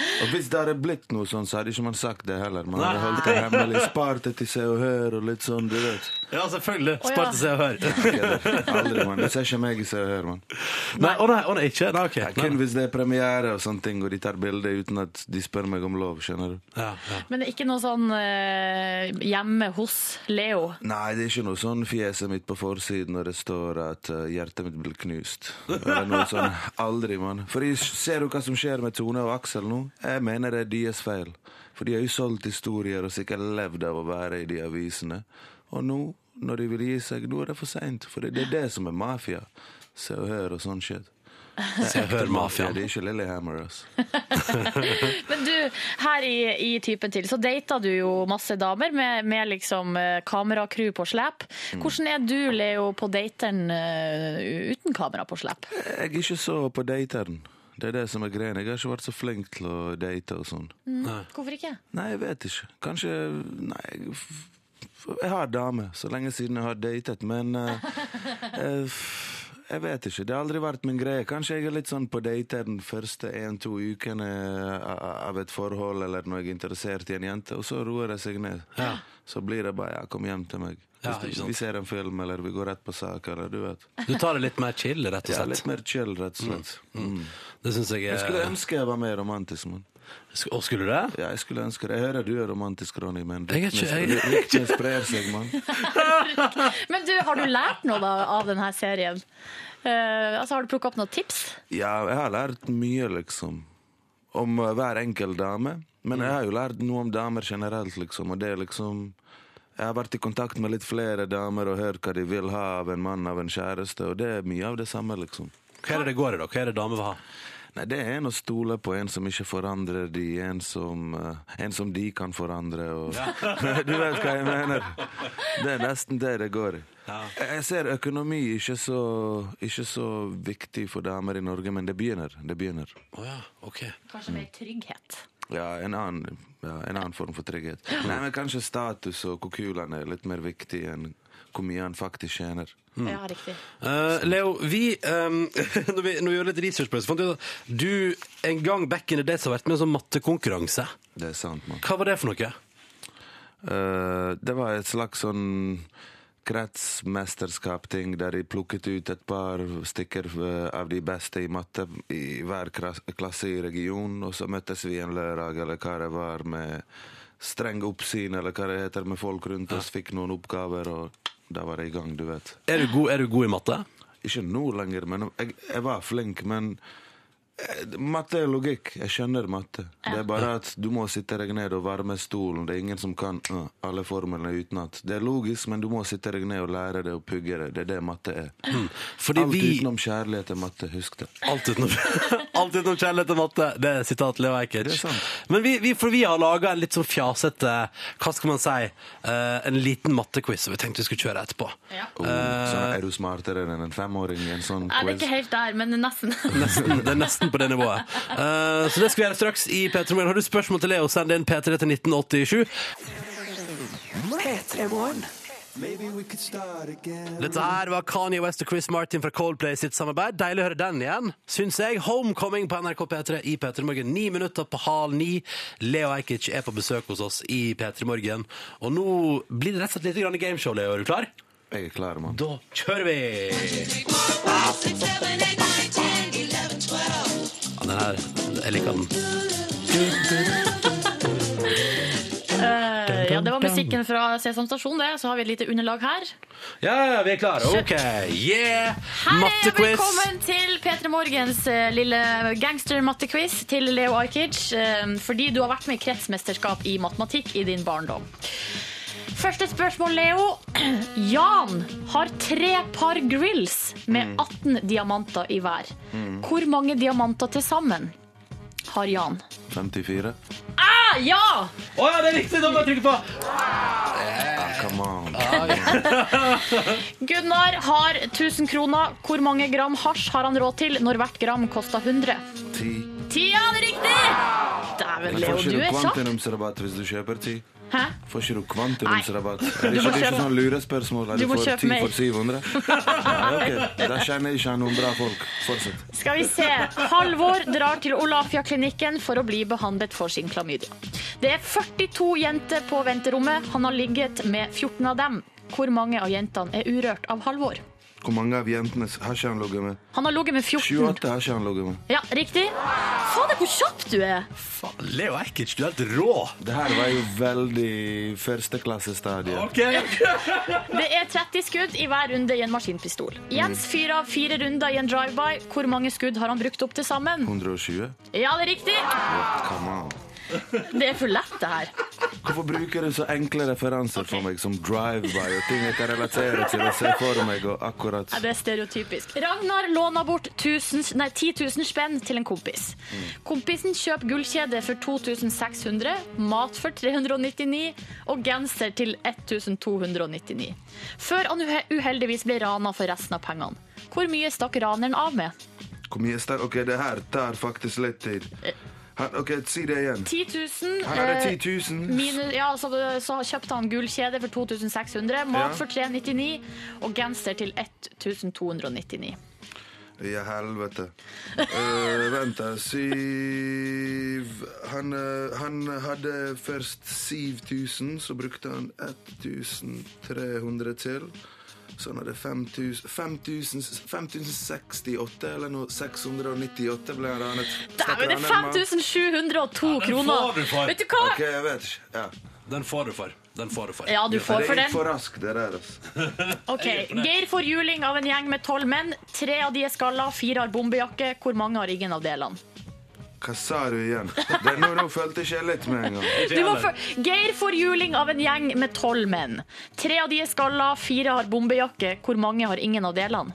I: Og hvis det hadde blitt noe sånn, så hadde ikke man sagt det heller. Man hadde holdt det hemmelig, spart det til Se og Hør og litt sånn, du vet.
B: Ja, selvfølgelig.
D: ja.
B: Spart til Se og Hør.
I: Aldri, mann. Du ser ikke meg i Se og Hør, mann.
B: Nei, å nei, å nei, ikke? Nei, ok.
I: Ja,
B: Nei,
I: Kun hvis det er premiere og sånne ting, og de tar bilde uten at de spør meg om lov, skjønner du.
B: Ja, ja.
D: Men det er ikke noe sånn eh, hjemme hos Leo.
I: Nei, det er ikke noe sånn fjeset mitt på forsiden når det står at eh, hjertet mitt blir knust. Eller noe sånn. Aldri, mann. For jeg ser jo hva som skjer med Tone og Aksel nå. Jeg mener det er deres feil. For de har jo solgt historier og sikkert levd av å være i de avisene. Og nå, når de vil gi seg, nå er det for seint. For det, det er det som er mafia. Se og hør og sånn shit.
B: Se og Hør Mafia.
I: Det er ikke Lillehammer, altså.
D: Men du, her i, i Typen til, så data du jo masse damer med, med liksom eh, kameracrew på slep. Hvordan er du, Leo, på dateren eh, uten kamera på slep?
I: Jeg er ikke så på dateren. Det er det som er greia. Jeg har ikke vært så flink til å date og sånn.
B: Mm.
D: Hvorfor ikke?
I: Nei, jeg vet ikke. Kanskje Nei. Jeg, f- jeg har dame, så lenge siden jeg har datet, men eh, eh, f- Jeg vet ikke. Det har aldri vært min greie. Kanskje jeg er litt sånn på dater den første en-to ukene a- av et forhold, eller når jeg er interessert i en jente, og så roer det seg ned. Så blir det bare ja, 'kom hjem til meg'.
B: Ja,
I: Hvis
B: ikke
I: du,
B: sant.
I: vi ser en film, eller vi går rett på sak, eller du vet.
B: Du tar det litt mer chill, rett og
I: Ja,
B: slett.
I: litt mer chill, rett og slett. Mm.
B: Det syns jeg
I: Jeg skulle
B: er
I: ønske jeg var mer romantisk, mann.
B: Sk- Å, skulle du det?
I: Ja, jeg skulle ønske det. Jeg hører du er romantisk, Ronny, men
B: Jeg er ikke-
I: ryktene-
B: jeg-
I: ryktene sprer seg, mann.
D: Men du, har du lært noe da, av denne serien? Eh, altså, har du plukket opp noen tips?
I: Ja, jeg har lært mye, liksom. Om eh, hver enkelt dame. Men jeg har jo lært noe om damer generelt, liksom. Og det er liksom Jeg har vært i kontakt med litt flere damer og hørt hva de vil ha av en mann, av en kjæreste, og det er mye av det samme, liksom.
B: Hva er det det går i, da? Hva er det damer vil ha?
I: Nei, det er en å stole på, en som ikke forandrer de, en som, eh, en som de kan forandre. Og... du vet hva jeg mener. Det er nesten det det går i. Jeg- Jeg ser økonomi ikke så, ikke så viktig for damer i Norge, men det begynner. Det begynner.
B: Å ja, ok.
D: Kanskje mer trygghet?
I: Ja, en annen, ja, en annen form for trygghet. Nei, men Kanskje status og hvor kul han er, litt mer viktig enn hvor mye han faktisk tjener.
D: Ja, riktig.
B: Eh, Leo, vi, um, når vi Når vi gjorde litt research på det, så fant vi ut at du en gang back in the days har vært med i en sånn mattekonkurranse.
I: Det er sant, mann.
B: Hva var det for noe?
I: Eh, det var et slags sånn kretsmesterskap-ting der de plukket ut et par stykker eh, av de beste i matte i hver kras- klasse i regionen, og så møttes vi en lørdag eller hva det var med streng oppsyn eller hva det heter, med folk rundt oss, fikk noen oppgaver, og da var det i gang, du vet.
B: Er du god, er du god i matte?
I: Ikke nå lenger, men jeg, jeg var flink, men eh, Matte er logikk. Jeg skjønner matte. Det er bare at du må sitte deg ned og varme stolen. Det er ingen som kan øh, alle formlene utenat. Det er logisk, men du må sitte deg ned og lære det og pugge det. Det er det matte er.
D: Mm.
B: Fordi
I: Alt
B: vi
I: utenom kjærlighet er matte. Husk det.
B: Alt utenom, alt utenom kjærlighet og matte. Det er sitat Leo
I: Det
B: Ajkic.
I: er sant.
B: Men vi, vi, for vi har laga en litt sånn fjasete, hva skal man si, eh, en liten mattequiz som vi tenkte vi skulle kjøre etterpå.
I: Oh, sånn, er du smartere enn en femåring i en sånn
D: Nei, Eh. det er
I: quiz?
D: ikke helt der, men nesten.
B: Nesten, det er nesten på det nivået. Eh, så det skal vi gjøre straks i P3 Morgen. Har du spørsmål til Leo, send inn P3 til 1987. Dette her var Kanye West og Chris Martin fra Coldplay sitt samarbeid. Deilig å høre den igjen, syns jeg. Homecoming på NRK P3 i P3 Morgen. Ni minutter på halv ni. Leo Ajkic er på besøk hos oss i P3 Morgen. Og nå blir det rett og slett litt grann gameshow, Leo. Er du klar?
I: Jeg er klar, mann.
B: Da kjører vi! Ja, den her, jeg liker den.
D: Eh, ja, det var musikken fra Sesam Stasjon, det. Så har vi et lite underlag her.
B: Ja, ja, vi er klare. OK. Yeah!
D: Hei, og
B: Mattequiz.
D: velkommen til P3 Morgens eh, lille gangster-mattequiz til Leo Ajkic. eh, Fordi du har vært med i kretsmesterskap i matematikk i din barndom. Første spørsmål, Leo. Jan har tre par grills med 18 diamanter i hver. Hvor mange diamanter til sammen har Jan?
I: 54.
D: Ah, ja!
B: Å ja, det er riktig! Da må jeg trykke på.
I: Ah, come on.
D: Gunnar har 1000 kroner. Hvor mange gram hasj har han råd til når hvert gram koster 100?
I: 10.
D: Tida er riktig! Dæven,
I: Men
D: Leo,
I: får
D: du
I: ikke
D: er
I: du
D: kjapp.
I: kvantumsrabatt hvis du kjøper 10?
D: Hæ?
I: Får ikke du kvantumsrabatt? Er
D: Du
I: det ikke, det
D: må
I: er ikke
D: kjøpe-
I: sånn lurespørsmål? Er
D: Du
I: du
D: må
I: får
D: kjøpe
I: 10
D: mer.
I: for 700? Nei, ok. Da kjenner jeg ikke noen bra folk. Fortsett.
D: Skal vi se. Halvor drar til Olafia-klinikken for å bli behandlet for sin klamydia. Det er 42 jenter på venterommet. Han har ligget med 14 av dem. Hvor mange av jentene er urørt av Halvor?
I: Hvor mange av jentene har ikke han ligget med?
D: Han har ligget med 14.
I: 28 har ikke han ligget med.
D: Ja, riktig. Fader, hvor kjapp du er!
B: Faen, Leo Ajkic, du er helt rå.
I: Det her var jo veldig førsteklassestadiet.
B: OK.
D: Det er 30 skudd i hver runde i en maskinpistol. Jens fyrer av fire runder i en drive-by. Hvor mange skudd har han brukt opp til sammen?
I: 120?
D: Ja, det er riktig!
I: Come on.
D: Det er for lett, det her.
I: Hvorfor bruker du så enkle referanser for meg som drive-by og ting jeg kan relatere til og se for meg og akkurat
D: Ja, Det er stereotypisk. Ragnar låner bort 1000, nei, 10 000 spenn til en kompis. Kompisen kjøper gullkjede for 2600, mat for 399 og genser til 1299. Før han uhe- uheldigvis ble rana for resten av pengene. Hvor mye stakk raneren av med?
I: Hvor mye sterk OK, det her tar faktisk litt tid. Han, OK, si det igjen.
D: 10 000
I: Her er det
D: eh,
I: 10 000.
D: Minus, ja, så, så kjøpte han gullkjede for 2600, mat
I: Ja.
D: for 399 og genser til 1299.
I: I helvete. Eh, vent, da. Syv han, eh, han hadde først 7000, så brukte han 1300 til. Så han hadde 5000 5000 5068, eller noe 698 ble han ranet. Stakk
D: Dæven, det er
I: raneren, mann.
D: 5702
B: den
D: kroner!
B: får du for.
D: Vet du hva?
I: OK, jeg vet ikke. Ja.
B: Den får du for. Den får du for.
D: Ja, du får
I: det
D: for
I: gikk
D: den.
I: for raskt, det der. Altså.
D: Ok, Geir får juling av en gjeng med tolv menn. Tre av de er skalla, fire har bombejakke. Hvor mange har ingen av delene?
I: Hva sa du igjen? Det er nå, nå følte ikke jeg litt med en gang.
D: Du må for- Geir får juling av en gjeng med tolv menn. Tre av de er skalla, fire har bombejakke. Hvor mange har ingen av delene?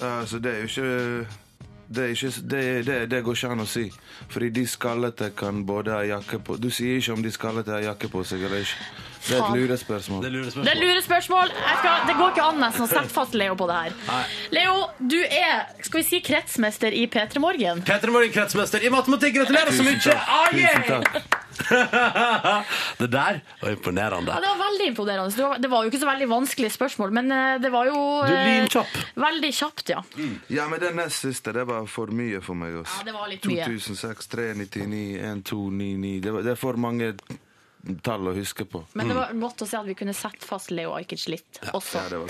I: Altså, det er jo ikke det, er ikke, det, det, det går ikke an å si. Fordi de skallete kan både ha jakke på Du sier ikke om de skallete har jakke på seg eller ikke. Det er
D: Faen.
I: et lurespørsmål.
B: Det lurer
D: Det er lure spørsmål. Jeg skal, det går ikke an nesten å sette fast Leo på det her. Leo, du er skal vi si, kretsmester i P3 Morgen.
B: Petter Morgen, kretsmester i matematikk. Gratulerer så mye! Ah,
I: Tusen
B: yeah!
I: takk.
B: det der var imponerende.
D: Ja, det var veldig imponerende. Du var- Det var jo ikke så veldig vanskelige spørsmål, men eh, det var jo
B: Du er
D: eh,
B: lynkjapp.
D: Veldig kjapt, ja.
I: Ja, men den nest siste, det var for mye for meg.
D: Ja,
I: Også.
D: det var litt mye.
I: 2006, 399, 1299 det, var- det er for mange tall å huske på.
D: Men det
B: Mm.
D: var godt å se at vi kunne sette fast Leo Ajkic litt også.
I: Ja, det var.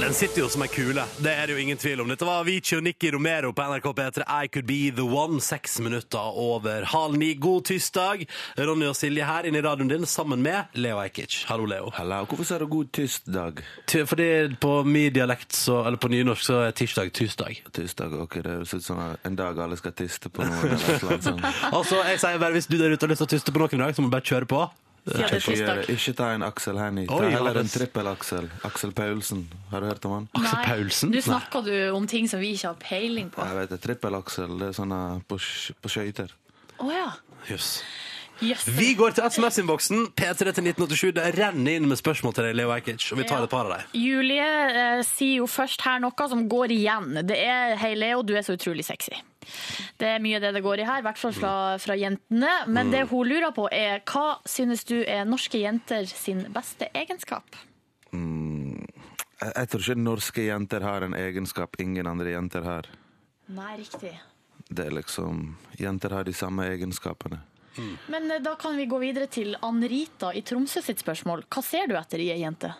B: Den sitter jo som ei kule. Det er det jo ingen tvil om. Dette var Avicii og Nikki Romero på NRK P3. I Could Be The One. Seks minutter over halv ni. God tirsdag. Ronny og Silje her inne i radioen din sammen med Leo Ajkic. Hallo, Leo.
I: Hallo, hvorfor sa du god tirsdag?
B: Ty- Fordi på min dialekt, så, eller på nynorsk, så er tirsdag tirsdag.
I: Tirsdag, ok, det høres ut som en dag alle skal tiste på noe. Eller et eller annet sånt.
B: Altså, jeg sier bare Hvis du der ute har lyst til å tyste på noen i dag, så må du bare kjøre på.
D: Siden det er
I: Ikke, gjør
D: tirsdag.
I: det. ikke ta en Aksel Hennie. Ta
B: Oi,
I: heller en
B: Johannes.
I: trippel-Aksel. Aksel Paulsen. Har du hørt om han?
B: Aksel
D: Nei,
B: Paulsen?
D: Nå
B: Nei.
D: snakker du om ting som vi ikke har peiling på.
I: Jeg vet det. Trippel-Aksel, det er sånne på, sk- på skøyter.
D: Å ja.
B: Jøss.
D: Jøss.
B: Vi går til SMS-innboksen. P3 til 1987. Det renner inn med spørsmål til deg, Leo Ajkic, og vi tar et par av dem.
D: Julie eh, sier jo først her noe som går igjen. Det er 'Hei, Leo, du er så utrolig sexy'. Det er mye det det går i her, i hvert fall fra, fra jentene.
B: Mm.
D: Men det hun lurer på, er hva synes du er norske jenter sin beste egenskap?
I: Jeg, jeg tror ikke norske jenter har en egenskap ingen andre jenter har.
D: Nei, riktig.
I: Det er liksom Jenter har de samme egenskapene.
D: Men eh, da kan vi gå videre til Ann-Rita i Tromsø sitt spørsmål. Hva ser du etter i ei jente?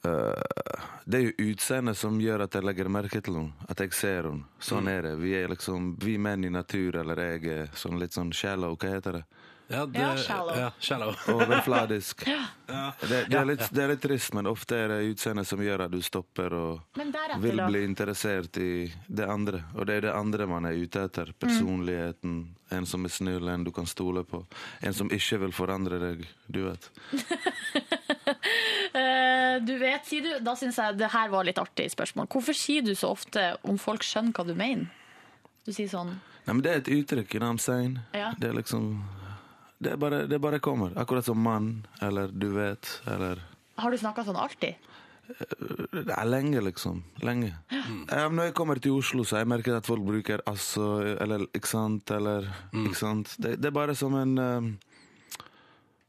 I: Det er jo utseendet som gjør at jeg legger merke til henne. At jeg ser henne. Sånn er det. Vi er liksom Vi menn i natur, eller jeg er sånn litt sånn shallow, hva heter det?
B: Ja, det,
D: Ja, shallow.
B: Ja, shallow.
I: Overfladisk. Det, det, er litt, det er litt trist, men ofte er det utseendet som gjør at du stopper og
D: Men deretter,
I: vil
D: da?
I: bli interessert i det andre. Og det er det andre man er ute etter. Personligheten. En som er snill, en du kan stole på. En som ikke vil forandre deg. Du vet.
D: Eh, Du vet, sier du. Da syns jeg det her var litt artig spørsmål. Hvorfor sier du så ofte om folk skjønner hva du mener? Du sier sånn
I: Nei, men Det er et uttrykk, you know what I'm saying?
D: Ja.
I: Det er liksom det, er bare, det bare kommer. Akkurat som mann, eller du vet, eller
D: Har du snakka sånn alltid?
I: Det er lenge, liksom. Lenge. Eh, når jeg kommer til Oslo, så har jeg merket at folk bruker altså, eller ikke sant, eller ikke sant. Det, det er bare som en eh,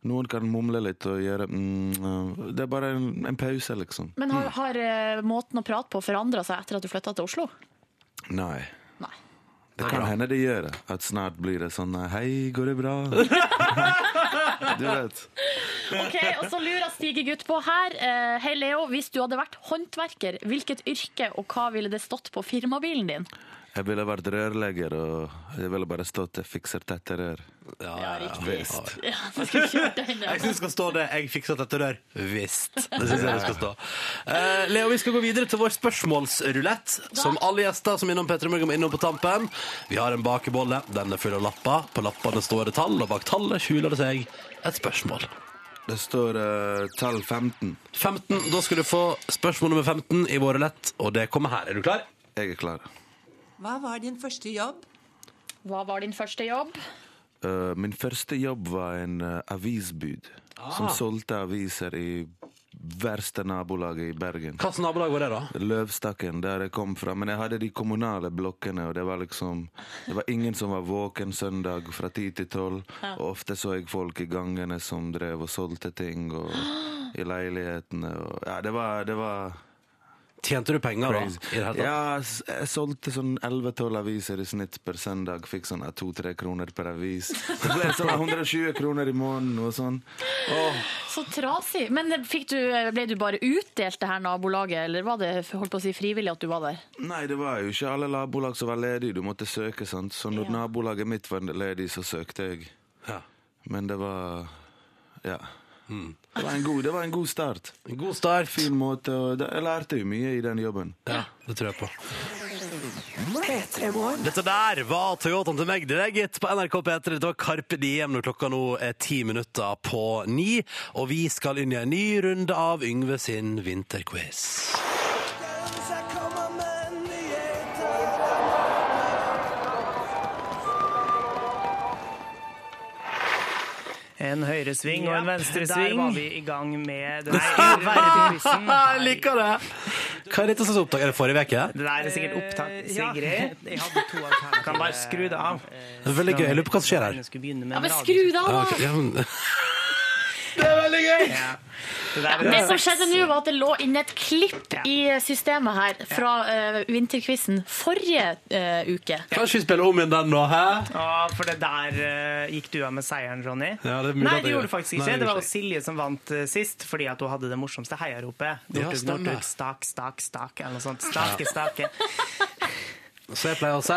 I: Noen kan mumle litt og gjøre mm, eh, Det er bare en, en pause, liksom.
D: Men har, har eh, måten å prate på forandra seg etter at du flytta til Oslo?
I: Nei.
D: Nei.
I: Det kan hende det gjør det. At snart blir det sånn eh, Hei, går det bra? du vet.
D: Ok, Og så lurer Stige-gutt på her. eh, Hei, Leo. Hvis du hadde vært håndverker, hvilket yrke og hva ville det stått på firmabilen din?
I: Jeg ville vært rørlegger, og jeg ville bare stått og fikser tette rør.
B: Ja, ja, ja.
I: Visst.
D: Ja, du skulle kjørt den, ja.
B: Jeg syns det skal stå det. Jeg fiksa dette der. Visst. Det synes jeg det skal stå. Eh, Leo, vi skal gå videre til vår spørsmålsrulett. Som alle gjester som er innom Petra Morgen må innom på tampen. Vi har en bakebolle. Den er full av lapper. På lappene står det tall, og bak tallet skjuler det seg et spørsmål.
I: Det står eh, tall 15.
B: 15. Da skal du få spørsmål nummer 15 i vår rulett, og det kommer her. Er du klar?
I: Jeg er klar.
J: Hva var din første jobb?
D: Hva var din første jobb?
I: Eh, min første jobb var en eh, avisbud som solgte aviser i verste nabolaget i Bergen.
B: Hvilket nabolag var det, da?
I: Løvstakken, der jeg kom fra. Men jeg hadde de kommunale blokkene, og det var liksom Det var ingen som var våken søndag fra ti til tolv. Og ofte så jeg folk i gangene som drev og solgte ting, og i leilighetene og Ja, det var, det var
B: Tjente du penger, da?
I: crazy.
B: I det hele tatt?
I: Ja, s- jeg solgte sånn 11-12 aviser i snitt per søndag. Fikk sånn 2-3 kroner per avis. Det ble sånn 120 kroner i måneden og sånn.
D: Så trasig. Men fikk du, ble du bare utdelt det her nabolaget, eller var det holdt på å si, frivillig at du var der?
I: Nei, det var jo ikke alle nabolag som var ledige. Du måtte søke, sant. Så når nabolaget mitt var ledig, så søkte jeg.
B: Ja.
I: Men det var Ja.
B: Hmm.
I: Det, var en god, det var en god start.
B: God start.
I: Fin måte. Og det, jeg lærte jo mye i den jobben.
B: Ja, det tror jeg på.
A: P3 Morgen.
B: Dette der var Toyotaen til meg, det er gitt, på NRK P3. Dette var Karpe Diem når klokka nå er ti minutter på ni. Og vi skal inn i en ny runde av Yngve sin vinterquiz.
C: En høyresving og en venstresving. Der var vi i gang med den verden-quizen.
B: Jeg liker det! Hva er dette som er opptak? Er det forrige uke?
C: Det der er sikkert opptak. Sigrid, kan bare skru det av.
B: Det er Veldig gøy. Jeg lurer på hva som skjer her.
D: Ja, men skru det av,
B: Ja,
D: da!
B: ok. Ja, men-
D: Det som skjedde nå, var at det lå inne et klipp i systemet her fra uh, vinterquizen forrige eh, uke.
B: Kanskje vi spiller om igjen den nå, hæ?
C: Ja, for det der eh, gikk du av med seieren, Ronny.
B: Ja, det er mulig
C: Nei,
B: at
C: det
B: jeg gjør.
C: gjorde du faktisk
B: Nei,
C: ikke.
B: det
C: det var
B: gjorde
C: jo Silje som vant eh, sist, fordi at hun hadde det morsomste heiaropet.
B: Ja,
C: Northug,
B: stemmer.
C: Northug, stak, stak, stak, eller noe sånt. Stake, stake.
B: Så jeg pleier å si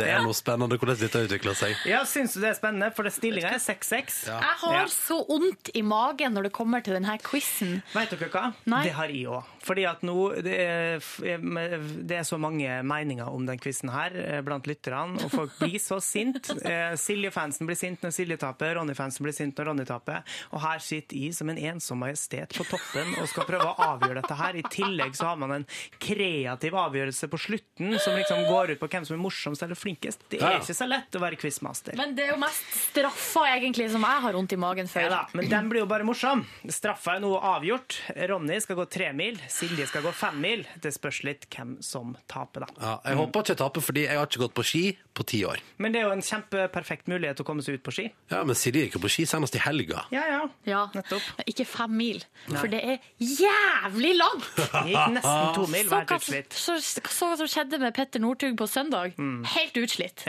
B: det er noe spennende hvordan dette utvikler seg.
C: Ja, syns du det er spennende? For det stillinga er 6-6.
D: Jeg har
C: Ja.
D: så vondt i magen når det kommer til denne quizen.
C: Vet dere hva?
D: Nei.
C: Det har jeg òg. Fordi at nå det er, f- det er så mange meninger om den quizen her eh, blant lytterne, og folk blir så sint. Eh, Silje-fansen blir sint når Silje taper, Ronny-fansen blir sint når Ronny taper. Og her sitter jeg som en ensom majestet på toppen og skal prøve å avgjøre dette her. I tillegg så har man en kreativ avgjørelse på slutten som liksom går går ut på hvem som er morsomst eller flinkest. Det
D: Ja.
C: er ikke så lett å være quizmaster.
D: Men det er jo mest straffa egentlig som jeg har vondt i magen for.
C: Ja da, men den blir jo bare morsom. Straffa er noe avgjort. Ronny skal gå tre mil, Silje skal gå fem mil. Det spørs litt hvem som taper, da.
B: Ja, jeg håper ikke jeg taper, fordi jeg har ikke gått på ski på ti år.
C: Men det er jo en kjempeperfekt mulighet til å komme seg ut på ski.
B: Ja, Men Silje gikk jo på ski senest i helga.
C: Ja, ja.
D: Men Ikke fem mil, for det er jævlig langt!
B: Gikk nesten to mil,
D: Så
C: vært
D: hva-
C: utslitt.
D: Så, så hva som skjedde med Petter Northug på søndag.
C: Mm.
D: Helt utslitt.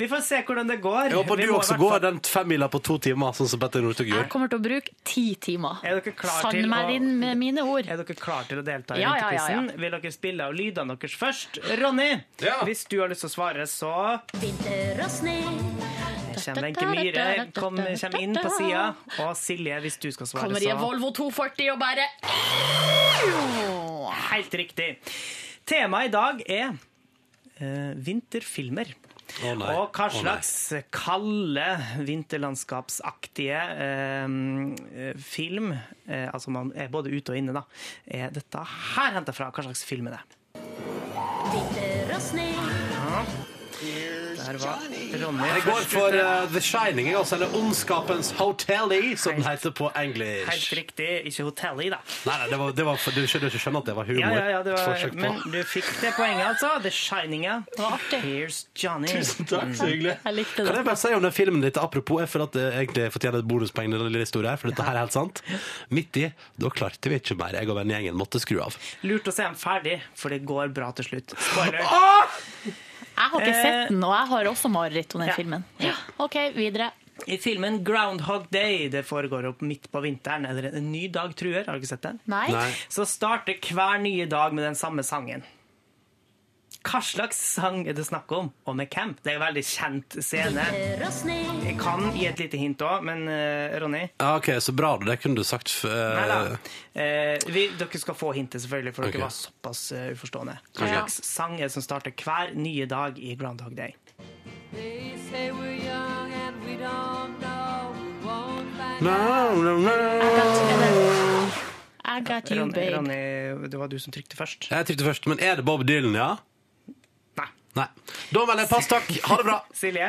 C: Vi får se hvordan det går.
B: Jeg håper
C: Vi
B: du
C: må i
B: også
C: hvert
B: går den femmila på to timer, sånn som Petter Northug
D: Jeg
B: gjorde.
D: kommer til å bruke ti timer.
C: Er dere klar
D: Sand
C: til å-
D: meg inn med mine ord.
C: Er dere klare til å delta i
D: Ja, ja, ja,
C: Vinterquizen?
D: ja.
C: Vil dere spille av lydene deres først? Ronny, hvis du har lyst til å svare, så kommer Wenche Myhre kom, kommer inn på sida. Og Silje, hvis du skal svare,
D: Kommer i en
C: så
D: Volvo 240 og bare
C: Helt riktig. Temaet i dag er eh, vinterfilmer.
B: Å nei.
C: Og hva
B: Å nei.
C: slags kalde, vinterlandskapsaktige eh, film eh, Altså man er både ute og inne, da. Er dette her henta fra? Hva slags film er det? Ja. Der var Ronny
B: Jeg går
C: først
B: for
C: ute.
B: eh, The Shining, jeg, altså, eller Ondskapens Hotelli, som den heter på engelsk.
C: Helt riktig. Ikke Hotellet i, da.
B: Nei, nei, det var, det var for, du, skjønner, du skjønner at det var humor?
C: Ja, ja, ja, det var,
B: Forsøk på.
C: men du fikk det poenget, altså. The Shininga. Det var artig. Here's Johnny.
B: Tusen takk, så hyggelig.
C: Mm. Jeg likte
B: Kan jeg bare si om den filmen litt, apropos, jeg føler at det egentlig fortjener et bonuspoeng i den lille historien her, for dette her er helt sant. Midt i, da klarte vi ikke mer. Jeg og vennegjengen måtte skru av.
C: Lurt å se den ferdig, for det går bra til slutt. Spoiler.
B: Ah!
D: Jeg har ikke
C: Eh.
D: sett den, og jeg har også mareritt om den
C: Ja.
D: filmen. Ja, OK, videre.
C: I filmen Groundhog Day, det foregår opp midt på vinteren, eller En ny dag truer, har du ikke sett den?
D: Nei. Nei.
C: Så starter hver nye dag med den samme sangen. Hva slags sang er det snakk om, og med hvem? Det er en veldig kjent scene. Jeg kan gi et lite hint òg, men eh, Ronny
B: Ja, ok, så bra, det kunne du sagt. eh,
C: Neida. Eh, vi, dere skal få hintet, selvfølgelig, for
B: Ok.
C: dere var såpass eh, uforstående. Hva
B: Ok.
C: slags sang er det som starter hver nye dag i Groundhog Day?
K: They say we're young and we don't know. We won't find
D: I got you,
C: Ronny,
D: babe.
C: Ronny, det var du som trykte først.
B: Jeg trykte først, men er det Bob Dylan, ja?
C: Nei.
B: Da melder jeg pass, takk. Ha det bra.
C: Silje,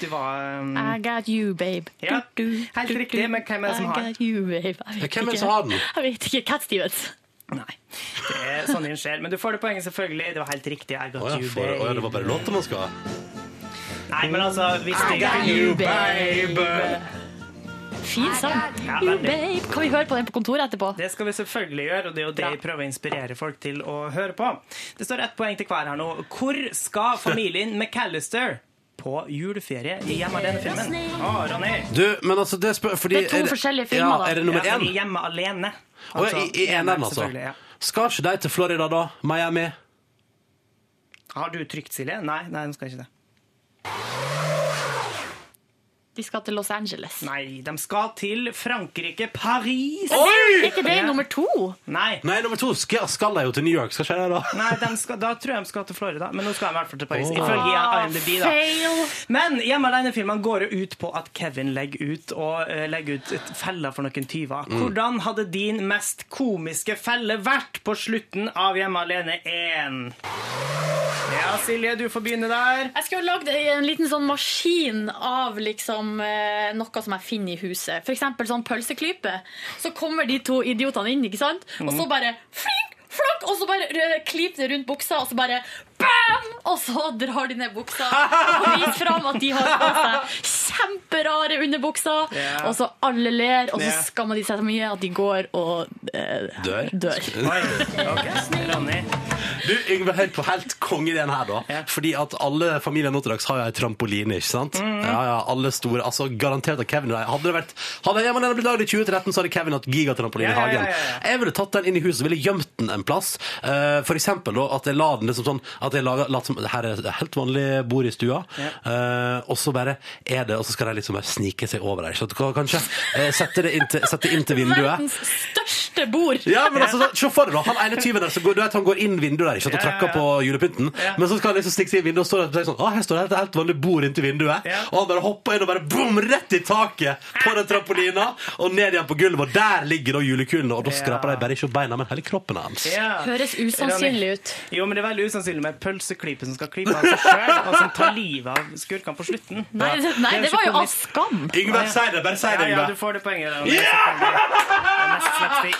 C: du var um,
D: I got you, babe.
C: Ja, helt riktig, men hvem er det som har
D: I
C: den?
D: got you, babe. Jeg vet
C: Hvem er det
D: ikke.
C: som har den?
D: Jeg vet ikke. Cat Stevens.
C: Det er sånn din skjer. Men du får det poenget, selvfølgelig. Det var helt riktig. I got
B: Å ja,
C: you,
B: for,
C: babe.
B: å, ja, det var bare låter man skal ha.
C: Nei, men altså, hvis
B: I
C: det
B: got you, babe.
D: Fin sang.
C: Ja,
D: you,
C: veldig.
D: babe. Kan vi høre på den på kontoret etterpå?
C: Det skal vi selvfølgelig gjøre, og det er jo det jeg prøver å inspirere folk til å høre på. Det står ett poeng til hver her nå. Hvor skal familien McAllister på juleferie i Hjemme alene-filmen? Å, Ronny.
B: Du, men altså, det spør... Fordi, er ja, Er det nummer
C: Ja,
B: én?
C: fordi Hjemme alene.
B: Å ja, i, i eneren, altså.
C: selvfølgelig, ja.
B: Skal ikke de til Florida, da? Miami?
C: Har du trykt, Silje? Nei, nei, hun skal ikke det.
D: De skal til Los Angeles.
C: Nei, de skal til Frankrike, Paris.
D: Oi! Er ikke det
C: Ja.
D: nummer to?
C: Nei.
B: Nei, nummer to skal, skal de jo til New York. Skal ikke de det, da?
C: Nei, de skal, da tror jeg de skal til Florida, men nå skal de i hvert fall til Paris.
B: Åh.
C: Ifølge IMDb, da.
B: Fail.
C: Men Hjemme alene-filmen går jo ut på at Kevin legger ut og eh, legger ut et fella for noen tyver.
B: Mm.
C: Hvordan hadde din mest komiske felle vært på slutten av Hjemme alene 1? Ja, Silje, du får begynne der.
D: Jeg skulle lagd en liten sånn maskin av liksom, eh, noe som jeg finner i huset. For eksempel sånn pølseklype. Så kommer de to idiotene inn, ikke sant? Og så
B: Mm.
L: Mhm.
D: bare flink, flink, og så bare eh, klyper det rundt buksa, og så bare bam! Og så drar de ned buksa og viser fram at de har på seg kjemperare underbukser.
C: Ja.
D: Og så alle ler, og så
C: Ja.
D: skammer de seg så mye at de går og eh,
B: Dør.
D: dør.
C: Oi, ok, Ronny.
B: Du, Yngve, hør på helt konge i den her, da. Fordi at alle familier nå til dags har jo ei trampoline, ikke sant?
M: Mm.
B: Ja, ja, alle store, altså Garantert at Kevin og jeg- Hadde det vært Hadde jeg hadde blitt laget i 2013, så hadde Kevin hatt gigatrampoline i
M: Ja, ja, ja,
B: hagen. Jeg ville tatt den inn i huset, ville gjemt den en plass. Eh, for eksempel da, at jeg la den liksom sånn At jeg laga, latt som Her er det helt vanlig bord i stua, Eh, og så bare er det Og så skal de liksom bare snike seg over der. Så at- kanskje eh, sette det inn til, sette inn til vinduet.
D: Verdens største bord.
B: Ja, men altså, så- Se for deg da, han ene tyven der, så går, du vet, han går inn vinduet der ikke, sant, og
D: Ja, ja,
B: trakker
D: ja.
B: på julepynten.
D: Ja.
B: Men så skal han liksom stikke seg inn i vinduet og stå der og tenke sånn, ah, her står det et helt vanlig bord inntil vinduet. Og han bare hopper inn og bare boom, rett i taket på den trampolina, og ned igjen på gulvet, og der ligger da julekulene, og da skraper de bare ikke opp beina, men hele kroppen hans.
C: Ja.
D: Høres usannsynlig ut.
C: Jo, men det er veldig usannsynlig med pølseklype som skal klype av seg sjøl, og som tar livet av skurkene på slutten. Ja.
D: Nei, det, nei,
C: er
D: det
C: ikke
D: var jo av
C: komisk.
D: skam.
B: Yngve, si det, bare si det,
C: Ja, ja,
B: Yngve.
C: du får det poenget. da.
B: Ja!
D: Det-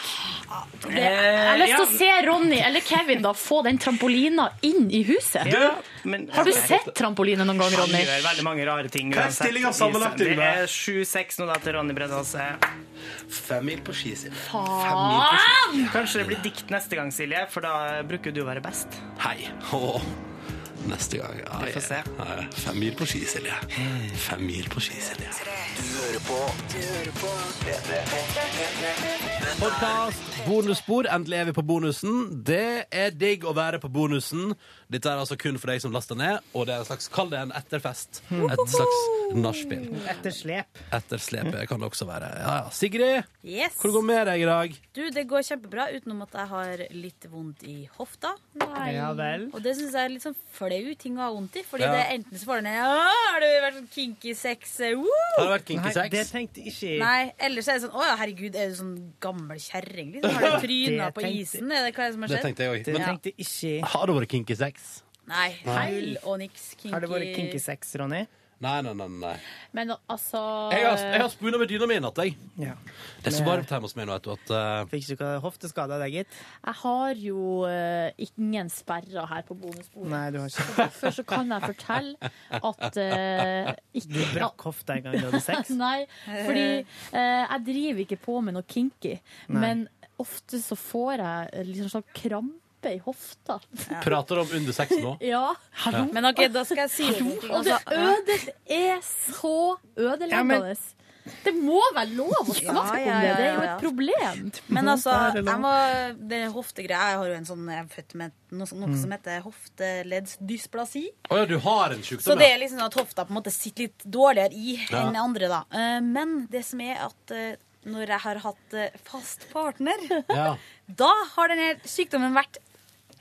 C: Eh,
D: Jeg har lyst til å se Ronny eller Kevin da få den trampolina inn i huset.
C: Ja, men- altså,
D: Har du sett trampoline noen gang,
C: Han
D: Ronny?
C: gjør veldig mange rare ting.
B: Hva er
C: uansett.
B: stillingen sammenlagt, Yngve?
C: Det er 7-6 nå da til Ronny Bredde Aase.
B: Fem mil på ski, Silje.
C: Kanskje det blir dikt neste gang, Silje, for da bruker du å være best.
B: Hei. Åh. Neste gang. Ja,
C: Vi får se.
B: ja, ja. Fem mil på ski, Silje. Fem mil på ski, Silje. Podcast, bonusspor. Endelig er vi på bonusen. Det er digg å være på bonusen. Dette er altså kun for deg som laster ned, og det er en slags, kall det en etterfest. Et slags nachspiel.
L: Etterslep.
B: Etterslepet kan det også være. Ja, ja. Sigrid,
L: Yes.
B: hvordan går det med deg i dag?
L: Du, det går kjempebra, utenom at jeg har litt vondt i hofta.
B: Nei. Ja vel.
L: Og det syns jeg er litt sånn flau ting å ha vondt i. Fordi
M: Ja.
L: det er enten så får du ned «Å, Har du vært sånn kinky sex? eh, woo!»
B: Har det vært kinky sex?
M: Det tenkte ikke jeg.
L: Nei, ellers er det sånn Å ja, herregud, er du sånn gammel kjerring? Liksom? Har du tryna
M: Det
L: på
M: tenkte-
L: isen? Er det hva som har
B: Det
L: skjedd?
B: tenkte jeg òg.
L: Ja.
B: Har det vært kinky sex?
L: Nei,
B: Nei.
L: null og niks. Kinky.
C: Har det vært kinky sex, Ronny?
B: Nei, nei, nei. nei.
L: Men altså
B: Jeg har,
D: eh,
B: jeg har spuna med dyna mi i natt, jeg. Det er så varmt hjemme hos meg nå, vet du, at eh,
C: Fikk du ikke hofteskade av deg, gitt?
D: Jeg har jo eh, ingen sperrer her på bonusbordet.
C: Nei, du har ikke.
D: Så Derfor så kan jeg fortelle at eh, ikke
C: Du brakk hofta en gang du hadde sex.
D: Nei, fordi eh, jeg driver ikke på med noe kinky.
C: Nei.
D: Men ofte så får jeg eh, liksom sånn krampe i hofta.
B: Prater om under sex nå.
D: Ja.
B: Hallo?
L: Men ok, da skal jeg si
D: Hallo?
L: noe,
D: Og det
L: altså.
D: øde- er så
L: Ja,
D: ødeleggende.
L: men-
D: Det må være lov å
L: Ja,
D: snakke
L: ja,
D: om det.
L: ja,
D: Det er jo
L: ja,
D: et problem.
L: Men altså,
D: Det er
L: jeg
D: lov.
L: må, det er hoftegreier Jeg har jo en sånn Jeg er født med noe, som- noe
B: Mm.
L: som heter hofteleddsdysplasi.
B: Å ja, du har en
L: Så
B: sjukdom,
L: det er
B: Sånn, ja.
L: liksom at hofta på en måte sitter litt dårligere i
B: Ja.
L: enn andre, da. Eh, Men det som er at eh, når jeg har hatt eh, fast partner,
B: Ja.
L: da har denne sykdommen vært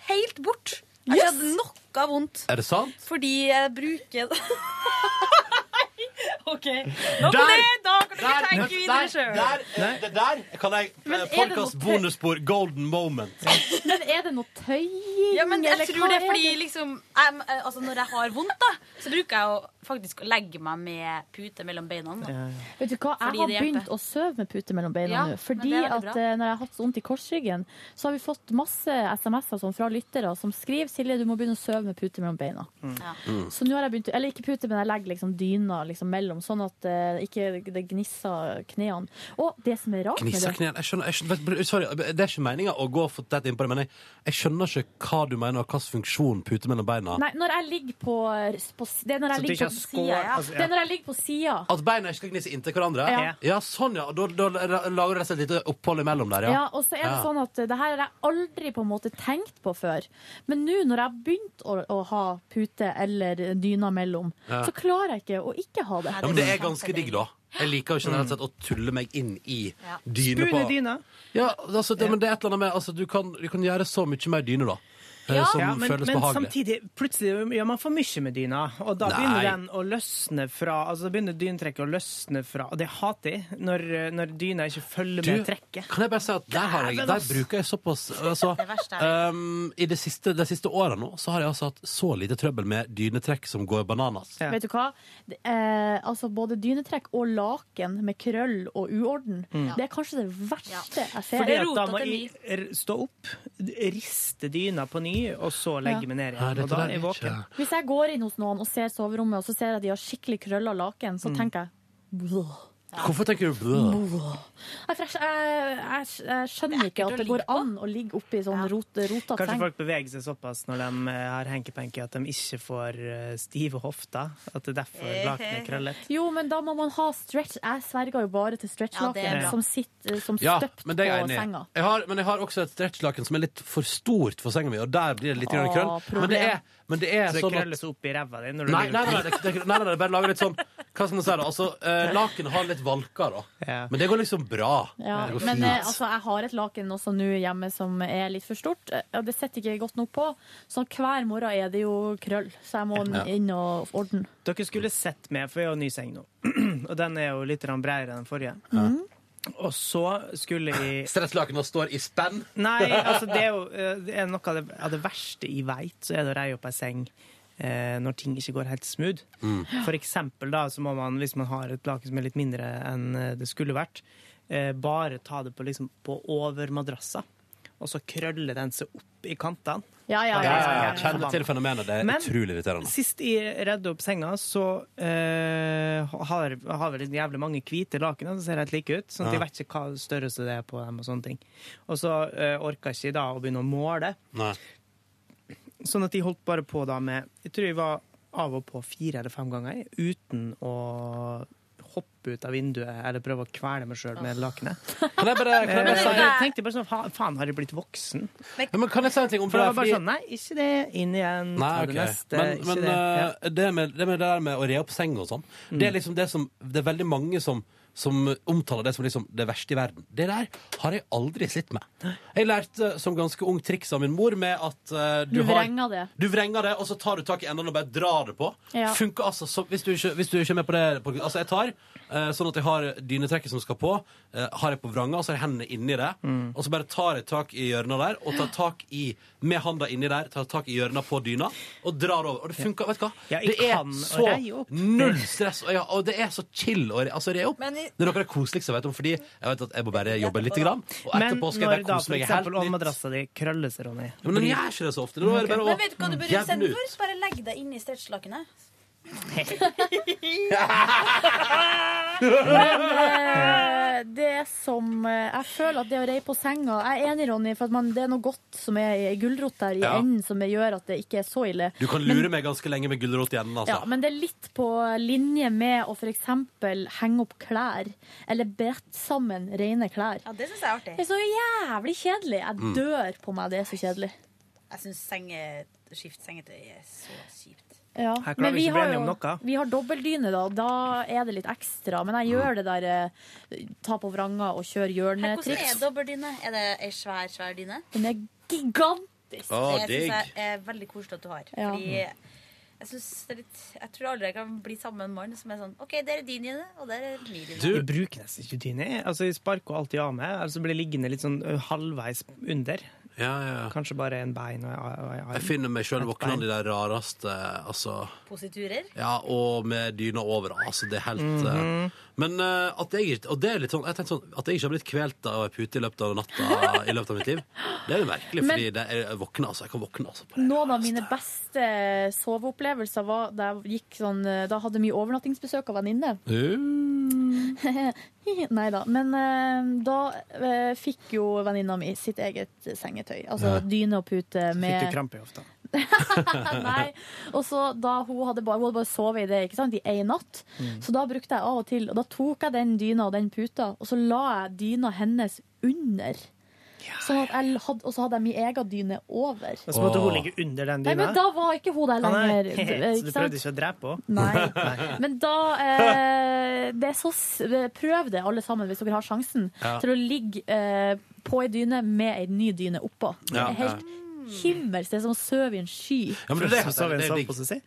L: helt bort. Jeg har hatt noe vondt.
B: Er det sant?
L: Fordi jeg bruker OK.
B: Der!
L: Nok om det! Da kan dere
B: Der!
L: tenke videre sjøl.
B: Der! Det der kan jeg
D: Men er det
B: Podkast
D: noe-
B: bonusspor golden moment.
D: Men er det noe tøying?
L: Ja, men jeg
D: eller
L: tror
D: hva
L: det er fordi
D: det?
L: liksom jeg, altså, Når jeg har vondt, da, så bruker jeg jo faktisk å legge meg med pute mellom beina. Da.
D: Vet du hva,
L: Fordi
D: Jeg har
L: det hjelper.
D: begynt å sove med pute mellom beina
L: Ja,
D: nå.
L: men
D: Fordi
L: det er veldig
D: at
L: bra.
D: eh, når jeg har hatt så vondt i korsryggen, så har vi fått masse SMS-er sånn fra lyttere som skriver Silje, du må begynne å sove med pute mellom beina. Mm.
L: Ja.
D: Så nå har jeg begynt, eller ikke pute, men jeg legger liksom dyna liksom mellom, sånn at eh, ikke det gnisser knærne. Og det som er rart med
B: Gnissa
D: det
B: knærne. Jeg skjønner, jeg skjønner, sorry, det er ikke meninga å gå for tett innpå det, men jeg, jeg skjønner ikke hva du mener, og hvilken funksjon pute mellom beina
D: Nei, når jeg ligger på, på Det er når
B: Så
D: jeg
B: du
D: ligger
B: ikke
D: på
B: har skår,
D: sida. Ja.
B: altså, ja.
D: Det er når jeg ligger på sida.
B: At beina ikke skal gnisse inntil hverandre?
D: Ja.
B: sånn, ja. Da, da lager det seg et lite opphold imellom der,
D: Ja.
B: ja.
D: og så er det
B: Ja.
D: sånn at eh, det her har jeg aldri på en måte tenkt på før. Men nå når jeg har begynt å, å ha pute eller dyna mellom,
B: Ja.
D: så klarer jeg ikke å ikke ha det.
B: Ja, men det er ganske digg, da. Jeg liker jo generelt sett å tulle meg inn i dyne på
C: Spune dyna.
B: Ja, altså, det, men det er et eller annet med altså, du, kan, du kan gjøre så mye mer dyne, da. eh, Som
C: Ja, men,
B: føles
C: men
B: behagelig.
C: samtidig, plutselig gjør man for mye med dyna, og da
B: Nei.
C: begynner den å løsne fra Altså da begynner dyntrekket å løsne fra Og det hater jeg, når, når dyna ikke følger
B: Du,
C: med trekket.
B: Kan jeg bare si at der, har jeg,
C: Dæven,
B: der
C: ass.
B: bruker jeg såpass altså,
C: Det verste er-
B: ehm, I de siste, de siste åra nå så har jeg altså hatt så lite trøbbel med dynetrekk som går bananas.
D: Vet du hva? Det, eh, altså Både dynetrekk og laken med krøll og uorden.
C: Mm.
D: Det er kanskje det verste jeg ser.
C: Fordi at da må jeg r- stå opp, riste dyna på ny, og så legge
D: Ja.
C: meg ned
B: Nei,
C: igjen.
B: dette
C: Og da
B: der
C: er jeg
B: er
C: våken.
B: ikke-
D: Hvis jeg går inn hos noen og ser soverommet, og så ser jeg at de har skikkelig krølla laken, så
B: Mm.
D: tenker jeg «Blå».
B: Hvorfor tenker du blø?
D: Nei, for Jeg, jeg, jeg, jeg skjønner ikke at det går an å ligge oppi sånn rot, rota
C: Kanskje
D: seng.
C: folk beveger seg såpass når de eh, har henkepenke at de ikke får eh, stive hofter. At det er derfor lakenet er krøllet.
B: eh.
D: Jo, men da må man ha stretch. Jeg sverger jo bare til stretchlaken
C: Ja, det er bra.
D: som sitter eh, som
B: Ja,
D: støpt
B: men det er jeg
D: på
B: enig i.
D: senga.
B: Jeg har, men jeg har også et stretchlaken som er litt for stort for senga mi, og der blir det litt grann
D: Åh,
B: krøll. Men det,
D: problem.
B: er, Men det er
C: Så det
B: sånn at
C: krølles opp i ræva di når du
B: Nei, nei, nei,
C: ligger-
B: det, det, nei, nei, det bare lager litt sånn Hva skal man si da? Altså, eh, laken har litt valker da Men det går liksom bra
D: Ja,
B: Det går
D: men
B: fint.
D: eh, altså, jeg har et laken også nå hjemme som er litt for stort, eh, og det sitter ikke godt nok på. Så hver morgen er det jo krøll, så jeg må
C: Ja.
D: inn og ordne.
C: Dere skulle sett meg, for jeg har ny seng nå. og den er jo litt grann bredere enn den forrige. Og så skulle jeg
B: Stresslakene står i spenn?
C: Nei, altså det er jo eh, det er noe av det, av det verste jeg veit, så er det å reie opp ei seng eh, når ting ikke går helt smooth.
K: Mm.
C: For eksempel da, så må man, hvis man har et laken som er litt mindre enn eh, det skulle vært, eh, bare ta det på, liksom, på over madrassa, og så krøller den seg opp i kantene.
D: Ja,
B: ja, ja, ja. Kjenner til fenomenet, det er
C: Men-
B: utrolig irriterende
C: Sist jeg redde opp senga, så eh, har, har vi liksom jævlig mange hvite lakener som ser helt like ut. Sånn
B: Ja.
C: at jeg vet ikke hva størrelse det er på dem. Og sånne ting. Og så eh, orka jeg ikke da å begynne å måle.
B: Nei.
C: Sånn at de holdt bare på da med Jeg tror jeg var av og på fire eller fem ganger jeg, uten å hoppe ut av vinduet eller prøve å kvele meg sjøl med lakenet.
B: Kan jeg bare, kan jeg bare
C: Eh,
B: si
C: jeg tenkte bare sånn, "Fa- faen, har jeg blitt voksen?
B: Ja, Men kan jeg si en ting om
C: For det
B: her?
C: var bare
B: Fordi-
C: sånn, nei, ikke det, inn igjen,
B: Nei,
C: ta
B: ok.
C: det neste,
B: men,
C: ikke
B: men
C: det. Ja. Mm.
B: eh, det, med, det med det der med å re opp seng og sånn, det er liksom det som Det er veldig mange som som omtaler det som liksom det verste i verden. Det der har jeg aldri slitt med. Jeg lærte som ganske ung triks av min mor med at eh, du,
D: Du
B: har
D: vrenger det.
B: Du vrenger det, og så tar du tak i endene og bare drar det på.
D: Ja.
B: Funker altså som hvis, du ikke- hvis du ikke er med på det på, Altså, jeg tar eh, sånn at jeg har dynetrekket som skal på, eh, har jeg på vranga, og så har jeg hendene inni det.
M: Mm.
B: Og så bare tar jeg tak i hjørnet der, og tar tak i med handa inni der, tar tak i hjørnet på dyna, og drar over. Og det funker, vet du hva?
C: Ja, jeg
B: det
C: kan
B: er
C: å
B: så
C: reie opp.
B: null stress, og, ja, og det er så chill å re, altså, re opp.
N: Men i-
B: Det er noe av det koseligste jeg vet om, fordi jeg vet at jeg må bare jobbe litt, grann, og
C: Men
B: etterpå skal
C: når
B: jeg bare
C: da
B: kose
C: for
B: meg helt
C: eksempel om madrassa di krøller seg, Ronny
B: Ja, men den gjør ikke det så ofte. Nå er det bare å
L: Men vet du hva du burde gjøre
B: jevne
L: istedenfor?
B: Mm. ut.
L: Bare legg deg inn i stretchlakenet.
D: Men eh, det som eh, Jeg føler at det å reie på senga Jeg er enig, Ronny, for at man, det er noe godt som er ei gulrot der i
B: Ja.
D: enden som gjør at det ikke er så ille.
B: Du kan lure meg ganske lenge med gulrot i enden, altså.
D: Ja, men det er litt på linje med å f.eks. henge opp klær, eller brette sammen rene klær.
L: Ja, det syns jeg er artig.
D: Det er så jævlig kjedelig. Jeg
L: Mm.
D: dør på meg, det er så kjenner kjedelig.
L: Jeg syns skiftsengetøy er så kjipt.
D: Ja.
C: Her klarer
D: Men
C: vi
D: vi
C: ikke å bli
D: har,
C: enige om
D: jo,
C: noe.
D: vi har dobbeltdyne, da. Da er det litt ekstra. Men jeg gjør det der eh, ta på vranga og kjøre
L: Her, hvordan er
D: hjørnetriks.
L: dobbeldyne? Er det ei svær, svær dyne?
D: Den er gigantisk.
L: det syns jeg er veldig koselig at du har.
D: Ja.
L: Fordi jeg, synes det er litt, jeg tror aldri jeg kan bli sammen med en mann som er sånn OK, der er din dyne, og der er min dyne.
C: Jeg bruker nesten ikke dyne. jeg. Altså, jeg sparker alltid av meg, eller så blir jeg liggende litt sånn ø, halvveis under. Kanskje bare en bein og en og en arm.
B: Jeg finner meg sjøl
C: Et
B: våken av
C: bein.
B: de der rareste Altså
L: Positurer.
B: Ja, og med dyna over. Altså, det er helt eh, Men eh, at jeg, ikke- og det er litt sånn, jeg tenkte sånn At jeg ikke har blitt kvelt av ei pute i løpet av natta I løpet av mitt liv, det er jo merkelig,
D: Men-
B: fordi det er, jeg våkner, altså. Jeg kan våkne, altså.
D: Noen av mine beste soveopplevelser var da jeg gikk sånn eh, Da hadde jeg mye overnattingsbesøk av venninne. Nei da. Men eh, da eh, fikk jo venninna mi sitt eget sengetøy. Altså
C: Ja.
D: dyne og pute med
C: Fikk du krampe i hofta?
D: Nei. Og så da hun hadde bare, hun hadde bare sovet i det ikke sant? i én natt,
C: Mm.
D: så da brukte jeg av og til Og da tok jeg den dyna og den puta, og så la jeg dyna hennes under. Sånn at jeg hadde, og så hadde jeg min egen dyne over.
C: Og så måtte hun ligge under den
D: Nei,
C: dyna?
D: men da var ikke hun der
C: Ah, nei.
D: lenger.
C: Så du
D: Ikke sant?
C: prøvde ikke å drepe henne?
D: Nei. Men da eh, det er så, s- Prøv det, alle sammen, hvis dere har sjansen,
C: Ja.
D: til å ligge eh, på ei dyne med ei ny dyne oppå. Det
B: Ja,
D: er helt
C: Mm.
D: himmels. Det er som å sove i en sky.
B: Ja, men det er det jeg
C: Så vi en sånn-
B: det er digg.
C: sovepose, si?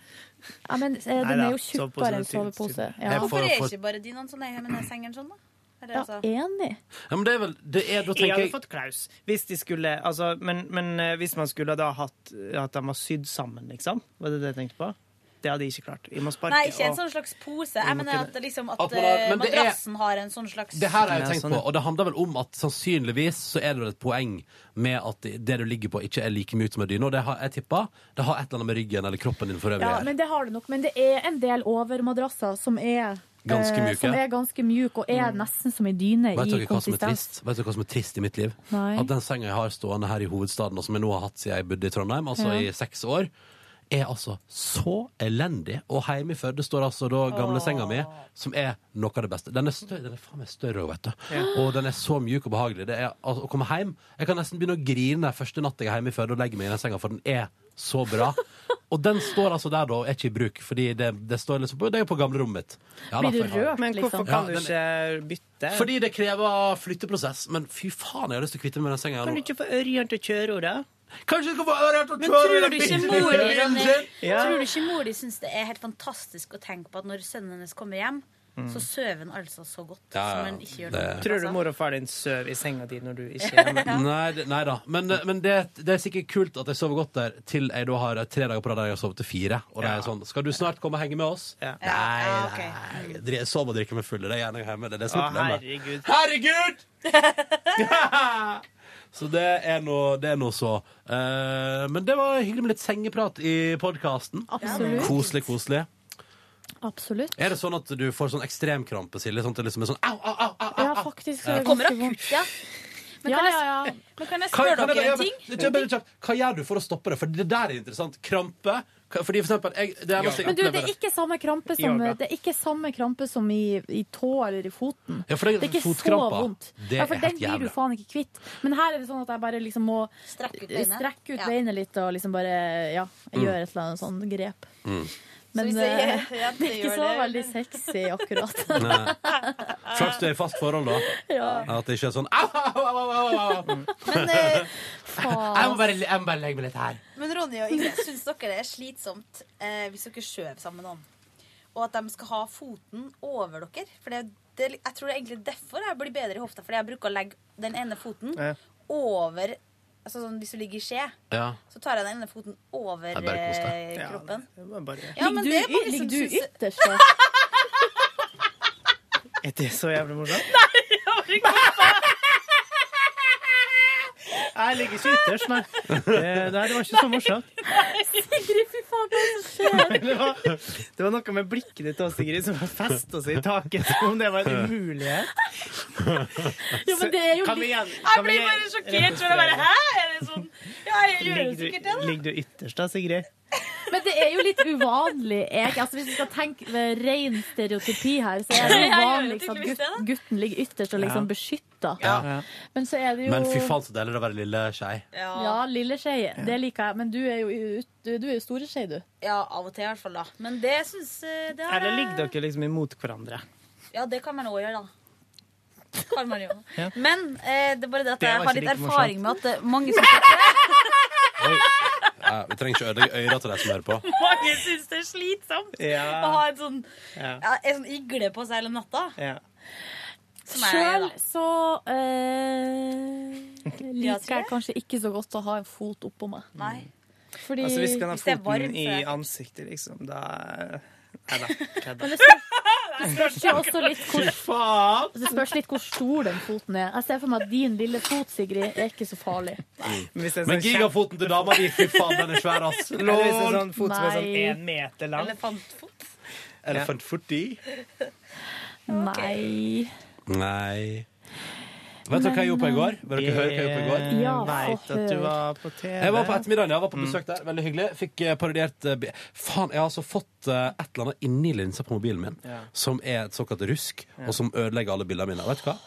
D: Ja, men eh,
C: Nei
D: den
C: da,
D: er jo
C: sovepose er
D: tjukkere enn
C: tynt,
D: sovepose.
B: tynt. Jeg
D: Ja.
B: får-
L: Hvorfor er
B: for-
L: ikke bare dynene sånn? Nei, men er sengen sånn, da? Eller,
D: Ja,
L: altså-
D: enig.
B: Ja, men det er vel det er, da
C: Jeg
B: tenker
C: hadde
B: jeg
C: fått klaus. Hvis de skulle, altså, men, men eh, hvis man skulle da hatt eh, at de var sydd sammen, liksom? Var det det jeg tenkte på? Det hadde jeg ikke klart. Jeg må sparke.
L: Nei, ikke en
C: og-
L: sånn slags pose.
C: Vi må
L: Jeg mener
C: kunne-
L: at, det liksom, at,
B: At man har-
L: eh,
B: men det er-
L: madrassen har en sånn slags
B: Det her har jeg tenkt
C: sånn,
B: på,
C: ja.
B: og det handler vel om at sannsynligvis så er det vel et poeng med at det du ligger på, ikke er like mye som en dyne. Og det har jeg tippa. Det har et eller annet med ryggen eller kroppen din for øvrig.
D: Ja,
B: her.
D: men det har du nok. Men det er en del overmadrasser som er
B: Ganske
D: eh,
B: myke.
D: Som er ganske mjuke, og er nesten som ei dyne
B: Vet
D: i
B: dere, hva som er
D: konsistens.
B: trist? Vet dere hva som er trist i mitt liv?
D: Nei.
B: At den senga jeg har stående her i hovedstaden, og som jeg nå har hatt siden jeg bodde i Trondheim, altså
D: Ja.
B: i seks år, er altså så elendig. Og hjemme i Førde står altså da gamle senga mi, som er noe av det beste. Den er, større, den er faen meg større òg, vet du. Og den er så mjuk og behagelig. Det er, altså, å komme hjem Jeg kan nesten begynne å grine første natt jeg er hjemme i Førde og legger meg i den senga, for den er Så bra. Og den står altså der, da, og er ikke i bruk. Fordi det, det står liksom på, det er jo på gamlerommet mitt. Ja, da,
C: Blir du
B: får jeg ha
D: sånn
C: rørt,
B: den.
C: Men
D: liksom.
C: hvorfor
B: Ja,
C: kan du
B: den-
C: ikke bytte?
B: Fordi det krever flytteprosess. Men fy faen, jeg har lyst til å kvitte meg med den senga.
C: Kan
B: her
C: du
B: nå.
C: ikke få Ørjan til å kjøre henne?
B: Kanskje du skal få Ørjan til å
L: Men
B: kjøre
L: tror
B: den
L: du ikke
B: bilen
L: mor
B: min
L: di
B: hjem
L: Ronny,
B: til?
C: Ja.
L: Tror du ikke mor di syns det er helt fantastisk å tenke på at når sønnen hennes kommer hjem,
C: Mm.
L: så sover han altså så godt som han ikke gjør noe altså.
C: Tror du mor og far din sover i senga di når du ikke er hjemme?
B: Nei, det- nei da. Men, eh, men det, det er sikkert kult at jeg sover godt der til jeg da har eh, tre dager på rad der jeg har sovet til fire. Og det er sånn Skal du snart komme og henge med oss? Nei, nei. Dri- Sov og drikke meg full. Det er gjerne hjemme. Det er det som
C: Å,
B: er problemet.
C: herregud.
B: Herregud! Så det er noe, det er noe så. Eh, men det var hyggelig med litt sengeprat i podkasten.
D: Absolutt.
B: Koselig, koselig.
D: Absolutt.
B: Er det sånn at du får sånn ekstremkrampe, Silje? Sånn at det liksom er sånn au, au, au, au!
D: Ja, faktisk.
B: Ja.
D: er
B: Det
D: det
B: kommer
D: ganske vondt.
L: Ja. Men
D: Ja,
L: kan jeg,
D: ja, ja.
L: Men kan jeg
B: Hva,
L: spørre
B: kan jeg-
L: dere
B: jeg-
L: en ting?
B: jeg- jeg- bare kjapt, hva gjør du for å stoppe det? For det der er interessant. Krampe. Hva- Fordi for eksempel jeg, det er eneste jeg
D: Men du, det
B: opplever-
D: er ikke samme krampe som,
B: Yoga.
D: det er ikke samme krampe som i, i tå eller i foten.
B: Ja, for det er
D: ikke så
B: fotkrampa.
D: vondt.
B: Det
D: ja,
B: er
D: for
B: helt
D: den blir du
B: jævlig.
D: faen ikke kvitt. Men her er det sånn at jeg bare liksom må
L: strekke
D: ut beinet, litt og liksom bare ja,
B: Mm.
D: gjøre et eller annet sånn grep. Men
L: hvis jeg-
D: eh,
L: ja,
D: det er
L: gjør
D: ikke så veldig
L: det,
D: sexy akkurat.
B: Nei. Flaks du er i fast forhold, da.
D: Ja.
B: At det ikke er sånn au, au, au, au, au, au.
C: Mm.
L: Men, eh,
B: jeg, må bare, jeg må bare legge meg litt her.
L: Men Ronny og Ingrid, syns dere det er slitsomt eh, hvis dere skjøver sammen med noen? Og at de skal ha foten over dere? For det, det, jeg tror det er egentlig derfor jeg blir bedre i hofta. Fordi jeg bruker å legge den ene foten
B: Ja.
L: over altså sånn, Hvis du ligger i skje,
B: Ja.
L: så tar jeg den ene foten over
B: Jeg bare koser
L: eh,
B: deg. Ja,
L: kroppen.
D: Ligger du
L: er mange
D: i-
L: som
D: ligger du
L: syns-
D: ytterst, da?
C: Er det så jævlig morsomt? Jeg ligger ikke ytterst, nei. Eh, Nei, det var ikke så morsomt.
D: Sigrid, fy faen, hva er det som skjer?
C: Det var, det var noe med blikket ditt også, Sigrid, som festa seg i taket som om det var en umulighet.
D: Jo, men det er jo
C: Kan vi
D: litt-
C: igjen-
L: Jeg
C: kan vi
L: blir bare
C: igjen-
L: sjokkert. Tror jeg bare, Hæ? Er det sånn? Ja, jeg gjør det
C: Ligger
L: sikkert
C: du,
L: det, da.
C: ligger du ytterst da, Sigrid?
D: Men det er jo litt uvanlig. Jeg, altså, hvis vi skal tenke ved ren stereotypi her, så er det jo
L: Ja, jeg gjør jo
D: vanligst at
L: tydeligvis
D: gutt, gutten ligger ytterst og liksom
B: Ja.
D: beskytter.
B: Ja.
D: Men så er det jo
B: Men fy faen, så deilig det er å være lille skei.
D: Ja, lille skei. Det liker jeg. Men du er jo, ut- du, du er jo store skei, du.
L: Ja, av og til i hvert fall, da. Men det syns eh, det har
C: Eller
L: jeg-
C: ligger dere liksom imot hverandre?
L: Ja, det kan man òg gjøre, da. Kan man jo.
C: Ja.
L: Men eh, det er bare det at
C: Det
L: jeg
C: var
L: har
C: ikke
L: litt
C: like
L: erfaring med at det, mange syns
B: Ja, vi trenger ikke ødelegge øra til de som hører på.
L: mange syns det er slitsomt
B: Ja.
L: å ha en sånn,
B: Ja.
L: ja, en sånn igle på seg hele natta. Som jeg er,
D: Sjøl
L: da.
D: så eh,
L: Ja,
D: liker jeg kanskje ikke så godt å ha en fot oppå meg.
L: Nei.
D: Fordi
C: altså hvis du kan ha
D: det er
C: foten
D: varmt, så
C: i
D: er jeg-
C: ansiktet, liksom, da Nei da.
D: Men
C: kødda.
D: det spørs- det spørs jo også litt hvor
C: Fy faen!
D: Det spørs litt hvor stor den foten er. Jeg ser for meg at din lille fot, Sigrid, er ikke så farlig.
B: Men gigafoten til dama di, fy faen, den er svær, ass.
C: sånn Eller hvis det er sånn fot som er sånn
D: Nei.
C: én meter lang.
L: Elefantfot.
B: Elephant footy.
D: Nei.
B: Nei. Vet dere hva jeg gjorde på i går? Vil dere høre hva jeg gjorde på i går?
C: Jeg vet at du var på TV.
B: Jeg var på ettermiddagen, jeg var
D: Mm.
B: på besøk der. Veldig hyggelig. Fikk eh, parodiert eh, bi- Faen, jeg har altså fått eh, et eller annet inni linsa på mobilen min
C: Ja.
B: som er et såkalt rusk, og som ødelegger alle bildene mine. Vet du hva?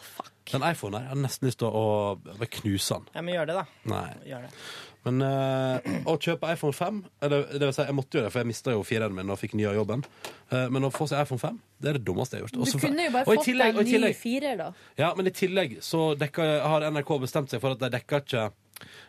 B: Den iPhonen her, jeg har nesten lyst til å å knuse den.
C: Ja, men gjør det, da.
B: Nei.
C: Gjør det.
B: Men eh, å kjøpe iPhone 5 eller, Det vil si, jeg måtte jo det, for jeg mista jo 4-en min og fikk ny av jobben. Eh, men å få seg iPhone 5, det er det dummeste jeg har gjort.
D: Du
B: Også for-
D: kunne jo bare
B: og i
D: fått
B: tillegg- og
D: deg
B: i
D: en ny
B: tillegg-
D: firer, da.
B: ja, men i tillegg så dekker, har NRK bestemt seg for at de dekker ikke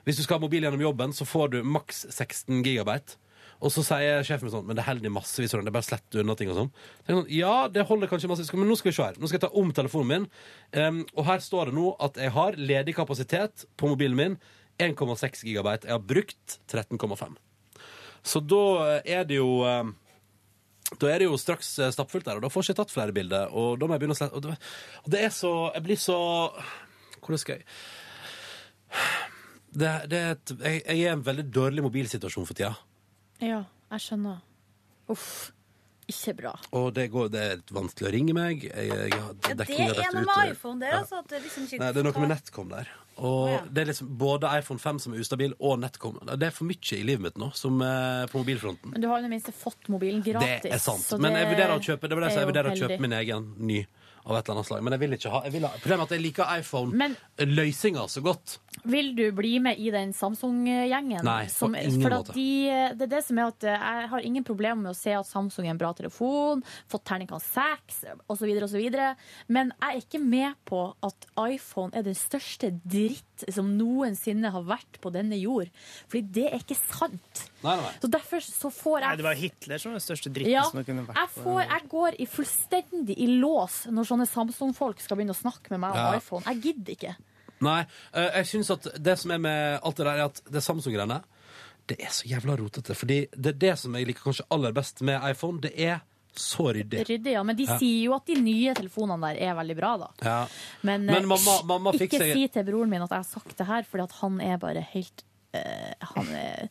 B: Hvis du skal ha mobil gjennom jobben, så får du maks 16 gigabyte. Og så sier sjefen min sånn Men det holder i massevis. Sånn. Det er bare slett unna ting og sånn. Så jeg er sånn, Ja, det holder kanskje massevis. Men nå skal vi se her. Nå skal jeg ta om telefonen min. Ehm, og her står det nå at jeg har ledig kapasitet på mobilen min. 1,6 gigabyte. Jeg har brukt 13,5. Så da er det jo ehm, da er det jo straks eh, stappfullt der, og da får jeg ikke tatt flere bilder. Og da må jeg begynne å slette. Og det, og det er så Jeg blir så Hvordan skal jeg det, det er et, jeg, jeg er i en veldig dårlig mobilsituasjon for tida.
D: Ja, jeg skjønner. Uff. Ikke bra.
B: Og det, går, det er vanskelig å ringe meg. Jeg, jeg har
L: Ja, det
B: dekningen
L: er
B: rett ut,
L: noe
B: og-
L: med iPhone, det.
B: Ja.
L: Altså, at det liksom ikke
B: Nei, det er noe med NetCom der. Og det er liksom både iPhone 5 som er ustabil, og NetCom. Det er for mye i livet mitt nå, som eh, på mobilfronten.
D: Men du har i det minste fått mobilen gratis.
B: Det er sant.
D: så
B: Men
D: det
B: jeg vurderer å kjøpe Det var det jeg sa,
D: er
B: jeg
D: jo
B: vurderer å
D: heldig.
B: kjøpe min egen ny av et eller annet slag. Men jeg vil ikke ha, jeg vil ha Problemet er at jeg liker iPhone
D: Men
B: løsninga så godt.
D: Vil du bli med i den Samsung-gjengen?
B: Nei, på
D: Som-
B: ingen
D: for at
B: måte.
D: De, det er det som er at eh, jeg har ingen problemer med å se at Samsung er en bra telefon, fått terningkast seks osv., osv., men jeg er ikke med på at iPhone er den største dritt som noensinne har vært på denne jord. Fordi det er ikke sant.
B: Nei, nei.
D: Så derfor så får jeg
C: Nei, det var Hitler som var den største dritten
D: ja,
C: som det kunne vært.
D: jeg, får, jeg går i fullstendig i lås når sånne Samsung-folk skal begynne å snakke med meg om
B: Ja.
D: iPhone. Jeg gidder ikke.
B: Nei, eh, jeg synes at det som er med alt det der, er at det Samsung-greiene Det er så jævla rotete. Fordi det er det som jeg liker kanskje aller best med iPhone. Det er så ryddig.
D: Ryddig, ja. Men de sier jo at de nye telefonene der er veldig bra, da.
B: Ja.
D: Men,
B: Men
D: eh,
B: mamma- mamma fikk
D: ikke
B: seg-
D: si til broren min at jeg har sagt det her, fordi at han er bare helt eh, han, er,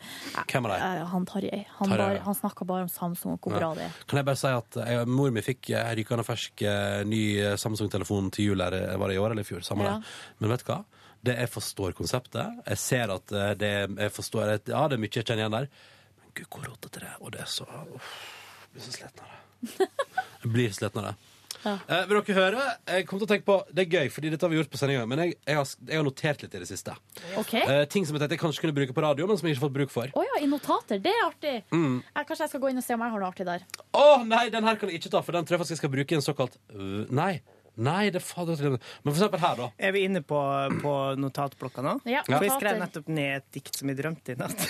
B: Hvem er det?
D: eh, han Tarjei. Han,
B: Tarjei,
D: bare-
B: ja.
D: han snakka bare om Samsung og hvor bra det er.
B: Kan jeg bare si at jeg, mor mi fikk eh, rykende fersk eh, ny eh, Samsung-telefon til jul her, eh, var det i år eller i fjor? Samme
D: Ja.
B: det. Men vet du hva? Det, jeg forstår konseptet. Jeg ser at eh, det, jeg forstår, at- ja, det er mye jeg kjenner igjen der. Men gud, hvor rotete det er. Og det er så uff, Jeg blir så sliten av det. Jeg blir sliten av det. Eh, vil dere høre? Jeg kom til å tenke på, Det er gøy, fordi dette har vi gjort på sendinga, men jeg, jeg, har, jeg har notert litt i det siste.
D: OK?
B: Eh, ting som jeg tenkte jeg kanskje kunne bruke på radio, men som jeg ikke har fått bruk for.
D: Å ja, i notater. Det er artig.
B: Mm.
D: Jeg, kanskje jeg skal gå inn og se om jeg har noe artig der.
B: Å nei, den her kan jeg ikke ta, for den tror jeg faktisk jeg skal bruke i en såkalt øh, Nei. Nei, det er fader Men for eksempel her, da.
C: Er vi inne på, på notatblokka nå?
D: Ja,
C: For jeg
D: notater.
C: skrev nettopp ned et dikt som jeg drømte i natt.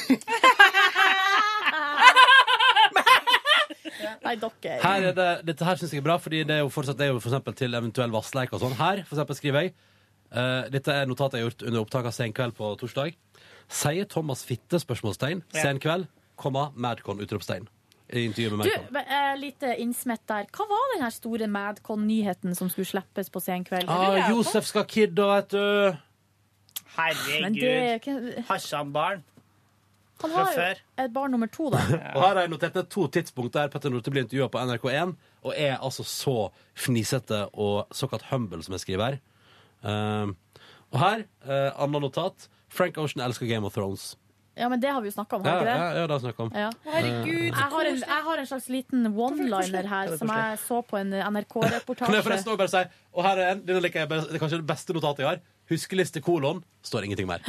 D: Nei, dere.
B: Her er det, dette her syns jeg er bra, Fordi det er jo fortsatt det er jo for eksempel til eventuell vassleik og sånn. Her for eksempel skriver jeg eh, Dette er notatet jeg har gjort under opptak av Senkveld på torsdag. Sier Thomas Fitte? spørsmålstegn
D: Ja.
B: Senkveld, komma, Madcon? utropstegn. I intervjuet med
D: Du,
B: Madcon.
D: eh, lite innsmett der. Hva var den her store Madcon-nyheten som skulle slippes på sen kveld?
B: Ah, Josef skal ha kid, da, vet du.
D: Men
C: Herregud.
D: det,
C: Har ikke han barn?
D: han
C: Fra
D: har jo
C: før.
D: et barn nummer to, da.
B: Og her har jeg notert ned to tidspunkt der Petter Norte blir intervjua på NRK1, og er altså så fnisete og såkalt humble, som jeg skriver her. Ehm, og her, uh, annet notat. Frank Ocean elsker Game of Thrones.
D: Ja, men det har vi jo snakka om,
B: Ja,
D: har vi
B: ja,
D: ikke det?
B: ja, det har jeg snakket om.
D: Ja.
B: Eh,
D: jeg, har en, jeg har en slags liten one-liner her
B: Ja, det er
D: som jeg så på en eh,
B: Kan jeg
D: NRK-reportasje.
B: forresten også bare si Og her er en, denne liker jeg best, Det er kanskje det beste notatet jeg har. Huskeliste kolon. Står ingenting mer.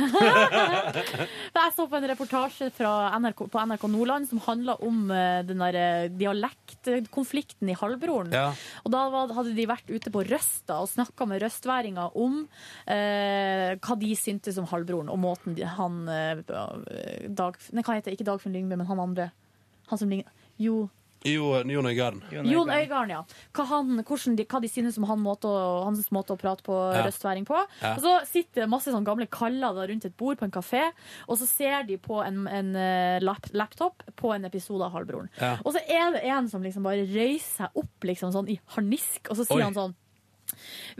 D: Jeg så på en reportasje fra NRK, på NRK Nordland som handla om eh, den der eh, dialektkonflikten i halvbroren.
O: Ja.
D: Og da var, hadde de vært ute på Røsta og snakka med røstværinger om eh, hva de syntes om halvbroren, og måten de- han eh, Dag, nei, hva heter det? Ikke Dagfinn Lyngbø, men han andre. Han som ligner Jo.
B: Jo, Jon Øigarden.
D: Jon Øygarden, ja. Hva, han, hvordan de, hva de synes om han måte å, hans måte å prate på
B: Ja.
D: røstværing på.
B: Ja.
D: Og så sitter det masse sånn gamle kaller da rundt et bord på en kafé, og så ser de på en, en eh, lap, laptop på en episode av Halvbroren.
O: Ja.
D: Og så er det en som liksom bare reiser seg opp liksom sånn i harnisk, og så sier
O: Oi.
D: han sånn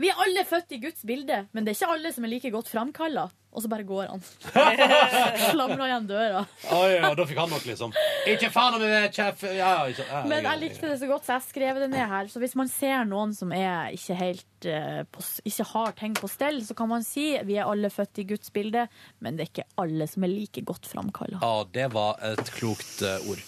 D: vi er alle født i Guds bilde, men det er ikke alle som er like godt framkalla. Og så bare går han. Slamrer igjen døra.
B: Oi, og da fikk han nok, liksom. Ikke faen om jeg er kjef... Ja, ja, ikke- ja,
D: Men jeg
B: ja, ja.
D: likte det så godt, så jeg skrev det ned her. Så hvis man ser noen som er ikke helt eh, på, s- ikke har ting på stell, så kan man si vi er alle født i Guds bilde, men det er ikke alle som er like godt framkalla.
B: Ja, det var et klokt eh, ord.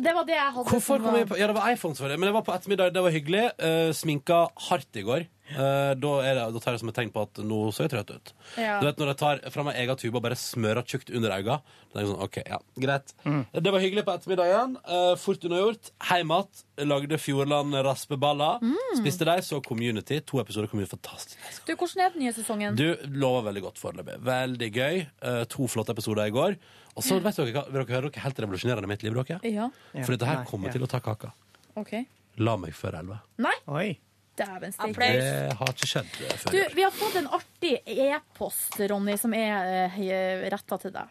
D: Det var det jeg hadde.
B: Hvorfor
D: som
B: kom
D: var-
B: jeg på Ja, det var iPhones for det, men det var på ettermiddag. Det var hyggelig. Eh, sminka hardt i går. Eh, da, er det, da tar jeg det som et tegn på at nå ser jeg trøtt ut.
O: Ja.
B: Du vet når jeg tar fra meg egen tube og bare smører tjukt under øynene. Da tenker jeg Sånn, ok, ja, greit.
D: Mm.
B: Det var hyggelig på ettermiddagen. Uh, fort unnagjort. Hjem igjen. Lagde Fjordland raspeballer.
D: Mm.
B: Spiste de, så Community. To episoder kom ut fantastisk.
D: Du, hvordan er den nye sesongen?
B: Du lover veldig godt foreløpig. Veldig gøy. Eh, to flotte episoder i går. Og så vet dere, hva- vil dere høre noe helt revolusjonerende i mitt liv, dere?
D: Ja.
B: For dette her
D: Nei,
B: kommer
D: ja.
B: til å ta kaka.
D: OK.
B: La meg før elleve.
D: Nei,
C: Oi.
D: dæven
B: Det
D: steike.
B: har ikke skjedd eh, før.
D: Du, vi har fått en artig e-post, Ronny, som er uh, retta til deg.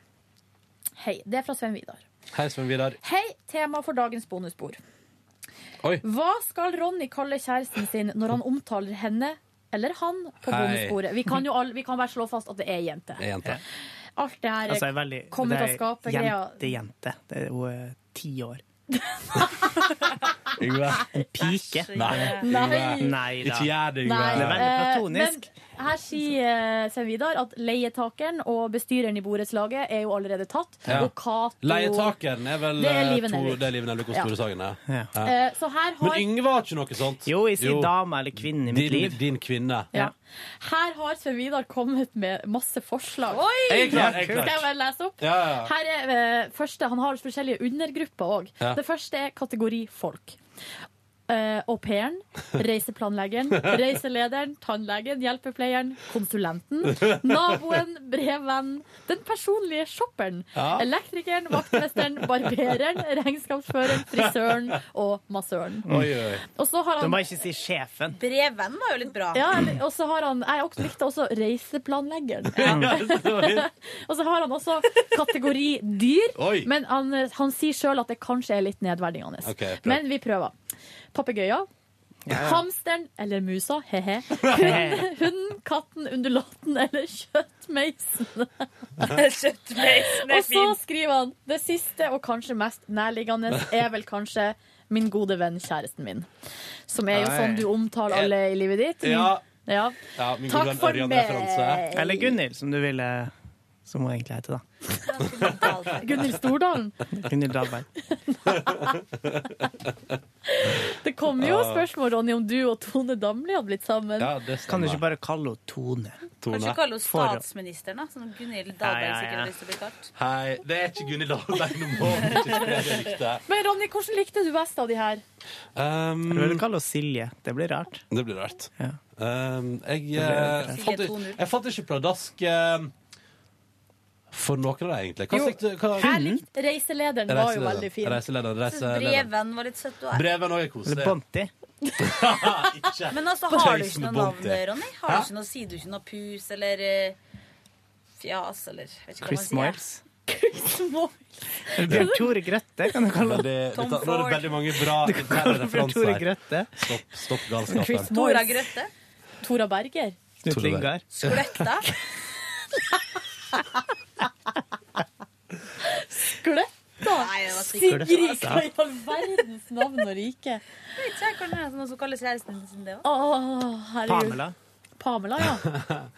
D: Hei. Det er fra Sven Vidar.
B: Hei, Svein Vidar.
D: Hei, tema for dagens bonusbord.
B: Oi.
D: Hva skal Ronny kalle kjæresten sin når han omtaler henne eller han på
C: Hei.
D: bonusbordet? Vi kan jo all, vi kan bare slå fast at det er jente. Alt det her
C: Altså, jeg er veldig,
D: kommer
C: det
D: til å
C: er
D: skape
C: jente,
D: greier.
C: jente. Det er jo eh, ti år.
B: Yngve.
C: En pike.
B: Nei.
C: Nei.
B: Yngve.
C: Nei da.
B: Ikke gjør det, Yngve.
C: Det er veldig
D: Eh,
C: platonisk.
D: Men Her sier eh, Svein Vidar at leietakeren og bestyreren i borettslaget er jo allerede tatt.
B: Ja.
D: Og Cato
B: Leietakeren er vel
D: Det er Liven
B: eh, to,
D: Nelvik.
B: det er Liven Nelvik og
D: Ja.
B: Store Sagen. ja. Ja.
D: Eh, Så her
B: Men
D: har
B: Yngve har ikke noe sånt.
C: Jo, jeg sier dame eller kvinne i mitt
B: din,
C: liv.
B: Din kvinne.
D: Ja. Her har Svein Vidar kommet med masse forslag.
B: Jeg er klar, jeg er klar.
D: Skal jeg bare lese opp?
B: Ja, ja, ja.
D: Her er eh, første, Han har forskjellige undergrupper òg.
B: Ja.
D: Det første er kategori folk. Uh, au pairen, reiseplanleggeren, reiselederen, tannlegen, hjelpepleieren, konsulenten, naboen, brevvennen, den personlige shopperen,
P: Ja.
D: elektrikeren, vaktmesteren, barbereren, regnskapsføreren, frisøren og massøren. Og så har
C: Du
D: han
C: må ikke si sjefen.
D: Brevvennen var jo litt bra. Ja, og så har han Jeg også likte også reiseplanleggeren. og så har han også kategori dyr,
P: Oi.
D: men han, han sier sjøl at det kanskje er litt nedverdigende.
P: Ok, bra.
D: men vi prøver. Papegøyer.
P: Ja, ja.
D: Hamsteren eller musa, he-he. Hunden, hunden, katten, undulaten eller kjøttmeisen.
L: Kjøttmeisen er
D: Og så
L: fin.
D: skriver han det siste og kanskje mest nærliggende er vel kanskje min gode venn, kjæresten min. Som er jo
C: Nei.
D: sånn du omtaler alle i livet ditt.
C: Ja.
D: Ja.
C: min
D: Takk gode venn for Ørjan meg. referanse.
C: Eller Gunhild, som du ville Som hun egentlig heter, da.
D: Gunhild Stordalen.
C: Gunhild Dahlberg.
D: Det kom jo
C: Ja.
D: spørsmål, Ronny, om du og Tone Damli hadde blitt sammen.
C: kan du ikke bare kalle henne Tone?
L: Kanskje kalle henne
C: For-
L: statsministeren, da. Som Gunhild
C: Ja,
L: Dahlberg
C: ja, ja.
L: sikkert har lyst til å bli kalt.
B: Hei, det er ikke Gunhild Dahlberg. Nå må vi ikke spre det ryktet.
D: Men Ronny, hvordan likte du best av de her?
B: Um,
C: Eller vil du kalle henne Silje? Det blir rart.
B: Det blir rart. Um, jeg,
C: Det blir
B: eh,
C: rart.
B: fant,
C: Silje
B: jeg fant ikke pladask eh, for noen av dem, egentlig. Hva
D: Jo,
B: likte hva-
D: jeg likte Reiselederen var jo veldig fin.
B: Reiselederen, reiselederen.
L: Breven var litt søtt. og-
B: Breven òg er koselig.
C: Bonti.
L: Men altså, har
B: Chase
L: du ikke
B: med
L: noe
B: Bonte.
L: navn, Ronny?
B: Hæ?
L: Har du ikke noe, Sier du ikke noe pus eller eh, fjas eller vet ikke hva
C: Chris
L: man sier?
C: Moyles.
L: Chris Moyles.
C: Eller Bjørn Tore Grøtte, kan du kalle
B: Det,
C: henne.
B: dette, nå er det veldig mange bra
C: Du kan
B: interne
C: kalle Bjørn Tore
B: referanser.
C: Grøtte.
B: Stopp, stopp
D: Chris
B: galskapen.
D: Moyles.
L: Tora Grøtte.
D: Tora Berger.
C: Knut Lyngard.
L: Gløtta.
D: Gløtta?
L: Nei, det var sikkert-
D: Sigrid, hva i all verdens navn og rike?
L: Vet ikke jeg, kan det være noe som kalles kjæresten sin, det òg?
D: Å, herregud. Pamela, ja.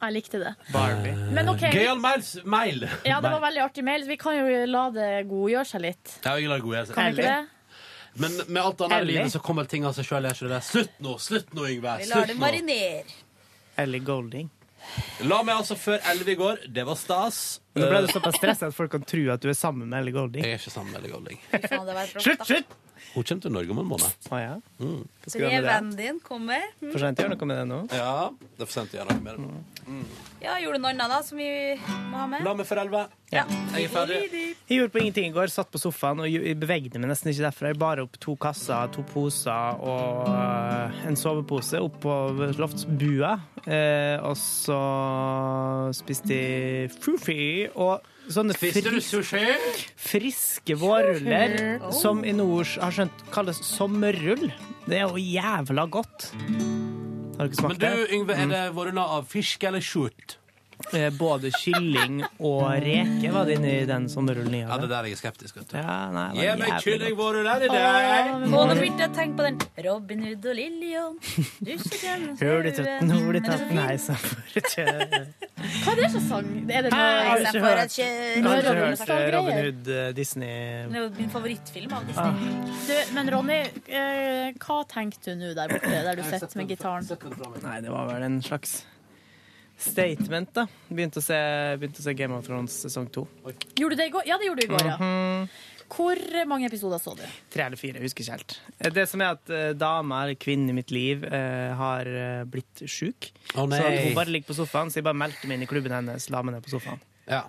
D: Jeg likte det.
B: Barbie.
D: Men ok, vi-
B: Gøyal Miles Mail.
D: Ja, det var veldig artig mail. så Vi kan jo la det godgjøre seg litt.
B: Ja, jeg er god, jeg.
D: Kan vi ikke det?
B: Men med alt annet i
D: Ellie.
B: livet så kommer ting av seg sjøl. Slutt nå, slutt nå, Yngve.
L: Vi lar
B: Slutt
L: det
B: nå.
L: marinere.
C: Ellie Golding.
B: La meg altså før elleve i går. Det var stas. Eh,
C: Men Nå ble du såpass stressa at folk kan tro at du er sammen med Ellie Golding.
B: Jeg er ikke sammen med Ellie Golding.
C: Slutt, slutt!
B: Hun kommer til Norge om en måned.
C: Å ja.
B: Mm.
C: Hva skal du gjøre med det?
L: Breven din kommer. Mm.
C: For sent å gjøre noe med det nå?
B: Ja, det er for sent å gjøre noe med det.
L: Ja, gjorde du noe annet da som vi må ha med?
B: La meg for elleve.
C: Ja.
B: Jeg er ferdig.
C: Jeg gjorde på ingenting i går. Satt på sofaen og jeg bevegde meg nesten ikke derfra. Jeg bar opp to kasser, to poser og øh, en sovepose opp på loftsbua. Eh, og så spiste jeg fufi og sånne
B: Spiste du
C: fris-
B: sushi?
C: friske vårruller
B: Oh.
C: som i nord har skjønt kalles sommerrull. Det er jo jævla godt. Har du ikke
B: Men
C: smakt
B: du,
C: det?
B: Yngve, er det vårruller av fisk eller skjort?
C: Eh, Både kylling og reke var det inni den sommerrullen jeg
B: Ja, det
C: hadde.
B: er der jeg er skeptisk. vet du.
C: Ja, nei, det var
B: Gi meg
C: jævlig
B: kylling,
C: godt.
B: vårruller i
L: Åh,
B: dag!
L: men nå begynte jeg å tenke på den Robin Hood og Lillian.
C: Hør de tøtten, hår de tøtten,
L: Nei,
C: nei, så for et kjør.
D: Hva er det for sang? Er det
C: Har du
D: noe
C: ikke
L: for
C: hørt,
L: et kjør.
C: har du ikke
L: Robin
C: hørt eh,
D: Hood-greier?
C: Robin Hood eh, Disney
L: Det er jo min favorittfilm av Disney.
C: Ah.
D: du, Men Ronny, eh, hva tenkte du nå der borte, der du sitter med gitaren?
C: Nei, det var vel en slags statement, da. Begynte å se, begynte å se Game of Thrones sesong to.
D: Gjorde du det i går? Ja, det gjorde du i går, ja.
C: Mhm.
D: Hvor mange episoder så du?
C: Tre eller fire, jeg husker ikke helt. Eh, Det som er at eh, dama, eller kvinnen i mitt liv, eh, har eh, blitt sjuk.
B: Å, nei.
C: så hun bare ligger på sofaen, så jeg bare meldte meg inn i klubben hennes, la meg ned på sofaen.
B: Ja.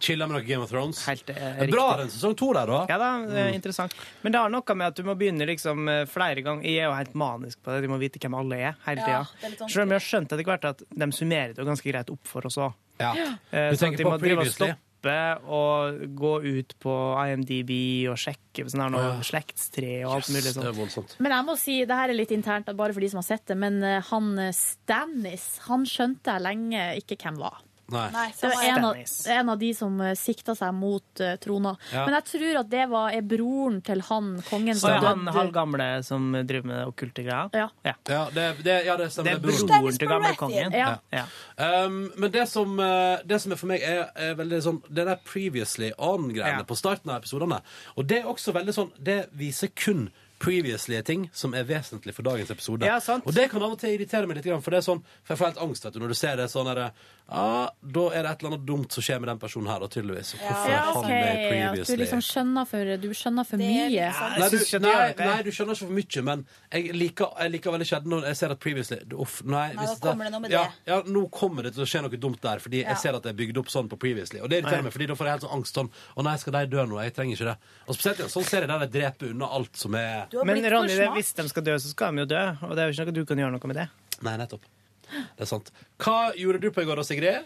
B: Chilla med noe Game of Thrones.
C: eh,
B: Bra
C: riktig.
B: den sesong to der, da.
C: Ja da, det
B: Mm.
C: er interessant. Men det har noe med at du må begynne liksom eh, flere ganger. Jeg er jo helt manisk på det, de må vite hvem alle er hele
B: Ja, det
C: tida.
B: er litt sånn vanskelig.
C: Selv om jeg har skjønt etter hvert at de summerer det jo ganske greit opp for oss òg.
B: Ja.
C: Eh,
B: Du
C: sånn
B: tenker
C: at de
B: på
C: må drive og
B: previously.
C: stoppe og gå ut på IMDb og sjekke sånn her noe slektstre og alt mulig sånn.
B: det er
C: sånt.
D: Men jeg må si, det her er litt internt, bare for de som har sett det, men eh, han eh, Stannis, han skjønte jeg lenge ikke hvem var.
B: Nei.
D: Det var en av, en av de som eh, sikta seg mot eh, trona.
C: Ja.
D: Men jeg tror at det var er broren til han kongen
C: Så
D: som
C: er han
D: døde.
C: halvgamle som driver med okkulte greier?
D: Ja.
B: Ja, det, det, ja, det stemmer.
C: Det er broren til gamle kongen.
B: Ja. Um, men det som, eh, det som er for meg, er, er veldig sånn Det der previously on-greiene på starten av episodene. Og det er også veldig sånn Det viser kun previously ting som er vesentlig for dagens episode.
C: Ja, sant.
B: Og det kan av og til irritere meg litt, grann, for det er sånn For jeg får helt angst vet du, når du ser det sånn her ah, Da er det et eller annet dumt som skjer med den personen her, da, tydeligvis. Og Hvorfor
D: Ja,
B: er han
D: ok,
B: med
D: at du
B: previously?
D: liksom skjønner for, du skjønner for mye.
C: liksom-
B: Nei du, nei, nei, du skjønner ikke for mye, men jeg liker, jeg liker veldig sjelden når jeg ser at previously Uff, nei.
L: Nei,
B: hvis
L: da kommer det noe med
B: ja,
L: det.
B: Ja, nå kommer det til å skje noe dumt der, fordi
L: Ja.
B: jeg ser at det er bygd opp sånn på previously. Og det irriterer
L: Nei.
B: meg, fordi da får jeg helt sånn angst sånn Å nei, skal de dø nå? Jeg trenger ikke det. Og spesielt i en sånn serie der de dreper unna alt som er
C: Men Ronny, det, hvis de skal dø, så skal de jo dø. Og det er jo ikke noe du kan gjøre noe med det.
B: Nei, nettopp. Det er sant. Hva gjorde du på i går da, Sigrid?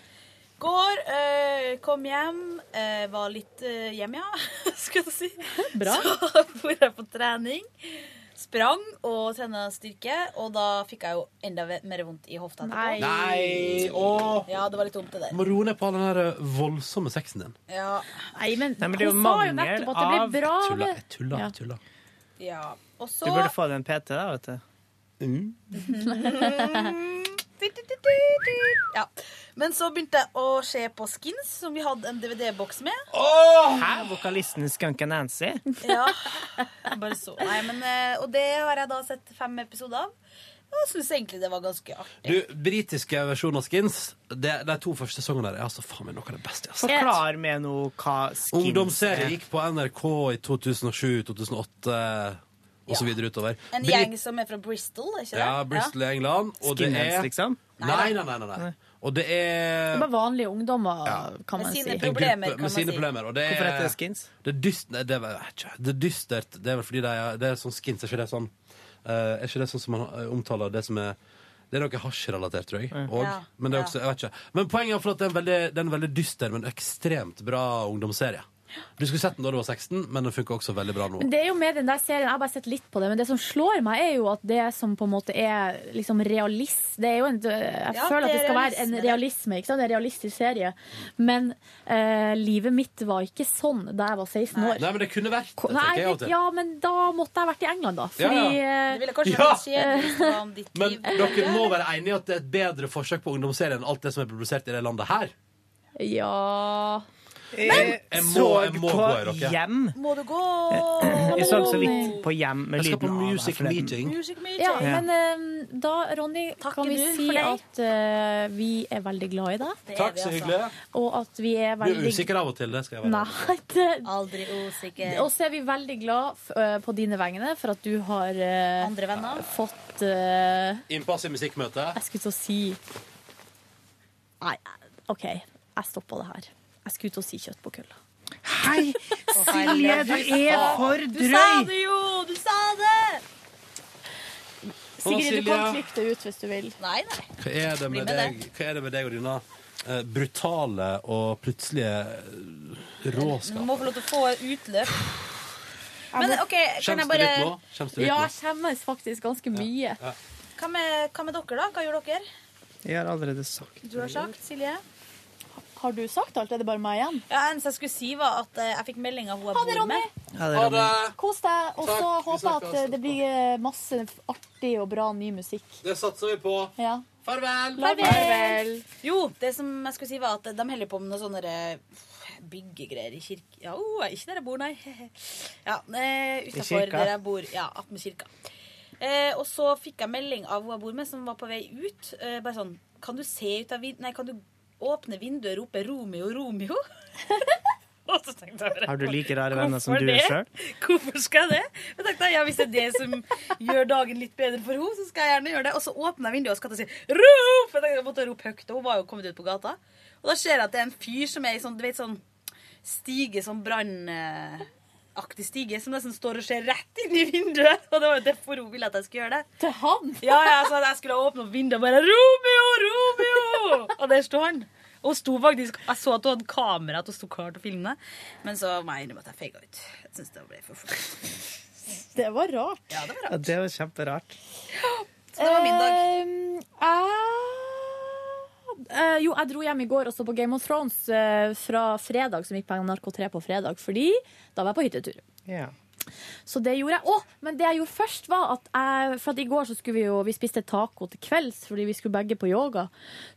L: Går, eh, kom hjem, eh, var litt eh, hjemme, ja, skal jeg si. Bra. Så var jeg på trening, sprang og trena styrke, og da fikk jeg jo enda ve- mer vondt i hofta. etterpå.
B: Nei, åh.
L: Ja, det var litt dumt det
B: Du
L: der.
B: må roe ned på all den der eh, voldsomme sexen din.
L: Ja.
D: Nei, men,
C: Nei, men det er jo hun sa jo mangel nettopp at det ble av- bra,
B: Jeg tuller, jeg
C: det.
B: tuller.
C: Ja.
B: Jeg tuller.
L: Ja. Og så
C: Du burde få deg en PT, da, vet du.
L: ja. Men så begynte jeg å se på Skins, som vi hadde en DVD-boks med.
C: Hæ? Vokalisten i Skunk Nancy?
L: Ja. Jeg Bare så. Nei, men, eh, og det har jeg da sett fem episoder av. Og jeg syns egentlig det var ganske artig.
B: Du, britiske versjoner av Skins, det, de to første sesongene der er altså faen meg noe av det beste. jeg har sett.
C: Forklar meg nå hva skins
B: Ungdomsserie gikk på NRK i 2007, 2008 og så videre utover.
L: En
B: Brit-
L: gjeng som er fra Bristol, er ikke det?
B: Ja, Bristol i England. Og det
C: Skinheads,
B: er...
C: liksom?
B: Nei, nei, nei. nei, nei. Og det er
D: Det er bare vanlige ungdommer, kan man
L: Med
D: si.
L: sine
B: en gruppe med sine problemer. Og det er,
C: Hvorfor heter det skins?
B: Det er dyst, nei, det vet jeg ikke. Det er dystert. Det er vel fordi det er, det er sånn skins. Er ikke det sånn eh, Er ikke det sånn som man eh, omtaler det som er det er noe hasjrelatert, tror jeg.
C: Mm.
B: Og,
L: Ja.
B: men, det er også, jeg vet ikke. men poenget er for at det er en veldig, det er en veldig dyster, men ekstremt bra ungdomsserie. Du skulle sett den da du var 16, men den funker også veldig bra nå.
D: Men det er jo med den der serien, Jeg har bare sett litt på det, men det som slår meg, er jo at det som på en måte er liksom realist det er jo en, Jeg
L: Ja,
D: føler at
L: det
D: det
L: er
D: skal være en
L: realisme, det.
D: realisme. ikke sant? Det er En realistisk serie. Men eh, livet mitt var ikke sånn da jeg var 16 år.
B: Nei, men det kunne vært. det
D: Nei,
B: tenker jeg av og til.
D: ja, men da måtte jeg vært i England, da.
B: Ja,
D: Fordi eh,
B: ja.
L: Det ville kanskje
B: Ja.
L: vært kjedelig hvis det var om ditt
B: Men
L: liv.
B: dere må være enige i at det er et bedre forsøk på ungdomsserie enn alt det som er publisert i det landet her.
D: Ja
B: Jeg må, jeg må gå i dere.
C: Hjem.
L: Må du gå?
C: Jeg så så vidt på hjem med
B: Jeg skal på
C: lyden av her
B: music
C: forleden.
L: Mm.
B: meeting.
D: Ja,
C: Ja.
D: men eh, da, Ronny, kan vi
L: du
D: si
L: for deg.
D: at eh, vi er veldig glad i deg.
B: Takk,
L: altså.
B: så hyggelig.
D: Og at vi
B: Du
D: er
B: er
D: veldig
B: usikker av og til, det skal jeg være.
D: Nei, det,
L: Aldri usikker.
D: Og så er vi veldig glad f øh, på dine vegne for at du har øh,
L: Andre venner?
D: fått øh,
B: Innpass i musikkmøte.
D: Jeg skulle til å si Nei, OK. Jeg stopper det her. Jeg skulle til å si kjøtt på kølla.
C: Hei, Silje, du er for
L: Du sa
C: drøy!
L: det jo! Du sa det!
D: Sigrid, du
B: Silje.
D: kan klippe det ut hvis du vil.
L: Nei, nei.
B: Hva er det
L: Bli
B: med
L: med
B: deg, hva er det med deg og dine eh, brutale og plutselige eh,
L: Du
B: råskap?
L: må få lov til å få utløp. Men OK, kan
B: Kjems
L: jeg
B: du
L: bare
B: litt nå? Kjems du litt
D: Ja,
B: nå?
D: jeg skjemmes faktisk ganske mye.
B: Ja.
L: Hva med, hva med dere, da? Hva gjør dere?
C: Jeg har allerede sagt
L: Du
B: Mm.
L: har sagt, Silje?
D: Har du sagt alt? Er det bare meg igjen?
L: Ja, eneste jeg skulle si, var at eh, jeg fikk melding av hun jeg bor med.
C: Ha det.
D: Kos deg, og så
B: Takk, vi
D: håper jeg
B: snakkes.
D: at øh, det blir øh, masse artig og bra ny musikk.
B: Det satser vi på.
D: Ja.
B: Farvel!
L: Jo, det som jeg skulle si, var at de holder på med noe sånne eh, byggegreier i kirke... Ja, oh, ikke der jeg bor, nei. Ja, eh,
D: I
L: Utafor
D: kirka.
L: der jeg bor. Ja, attmed kirka. Eh, og så fikk jeg melding av hun jeg bor med, som var på vei ut. Eh, bare sånn Kan du se ut av vinduet Nei, kan du åpne vinduet og rope 'Romeo, Romeo'? og så tenkte jeg bare
C: Har du like rare venner som
L: Hvorfor
C: du er
L: det?
C: sjøl?
L: Hvorfor skal jeg det? Jeg tenkte, ja, Hvis det er det som gjør dagen litt bedre for henne, så skal jeg gjerne gjøre det. Og så åpner jeg vinduet og skal til å si rop! Jeg tenkte jeg måtte rope høyt, og hun var jo kommet ut på gata. Og da ser jeg at det er en fyr som er i sånn, du vet, sånn stige, sånn brannaktig stige, som nesten står og ser rett inn i vinduet. Og det var jo derfor hun ville at jeg skulle gjøre det.
D: Til han?
L: Ja, ja, så jeg skulle åpne opp vinduet og bare Romeo, Romeo! Og der sto han. Og hun sto faktisk, Jeg så at hun hadde kamera, at hun sto klar til å filme. Men så må jeg innrømme at jeg feiga ut. Jeg synes det ble for fort.
D: Det var rart.
C: Ja, det var kjemperart.
L: Så det var min dag.
D: Ehm, jeg- eh, jo, jeg dro hjem i går og så på Game of Thrones eh, fra fredag, som gikk på NRK3 på fredag, fordi da var jeg på hyttetur. Så det gjorde jeg. Å, men det jeg gjorde først, var at jeg For at i går så skulle vi jo Vi spiste taco til kvelds fordi vi skulle begge på yoga.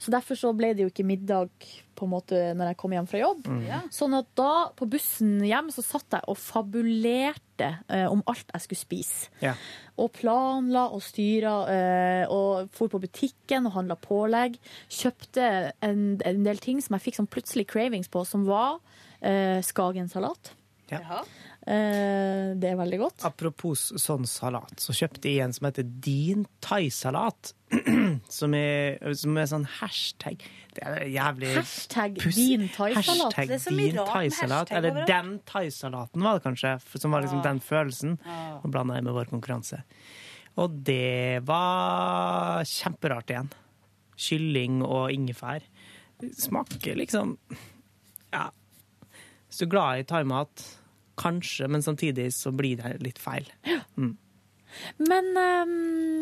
D: Så derfor så ble det jo ikke middag på en måte når jeg kom hjem fra jobb.
Q: Mm. Ja.
D: Sånn at da, på bussen hjem, så satt jeg og fabulerte eh, om alt jeg skulle spise.
Q: Ja.
D: Og planla og styra eh, og for på butikken og handla pålegg. Kjøpte en, en del ting som jeg fikk sånn plutselig cravings på, som var eh, Skagen-salat. Eh, det er veldig godt.
C: Apropos sånn salat, så kjøpte jeg en som heter Din thaisalat. Som er, som er sånn hashtag Det er jævlig
D: Hashtag
C: puss-
D: din thaisalat.
C: Hashtag
D: Det er så mye
C: din
D: rart med
C: thaisalat.
D: hashtag
C: Eller
D: overalt. Ah.
C: den thaisalaten, var det kanskje. for- Som var liksom
D: Ja.
C: den følelsen.
D: Ja.
C: Og blanda jeg med vår konkurranse. Og det var kjemperart igjen. Kylling og ingefær. Smaker liksom Ja. Hvis du er glad i thaimat, kanskje, men samtidig så blir det litt feil. Mm.
D: Men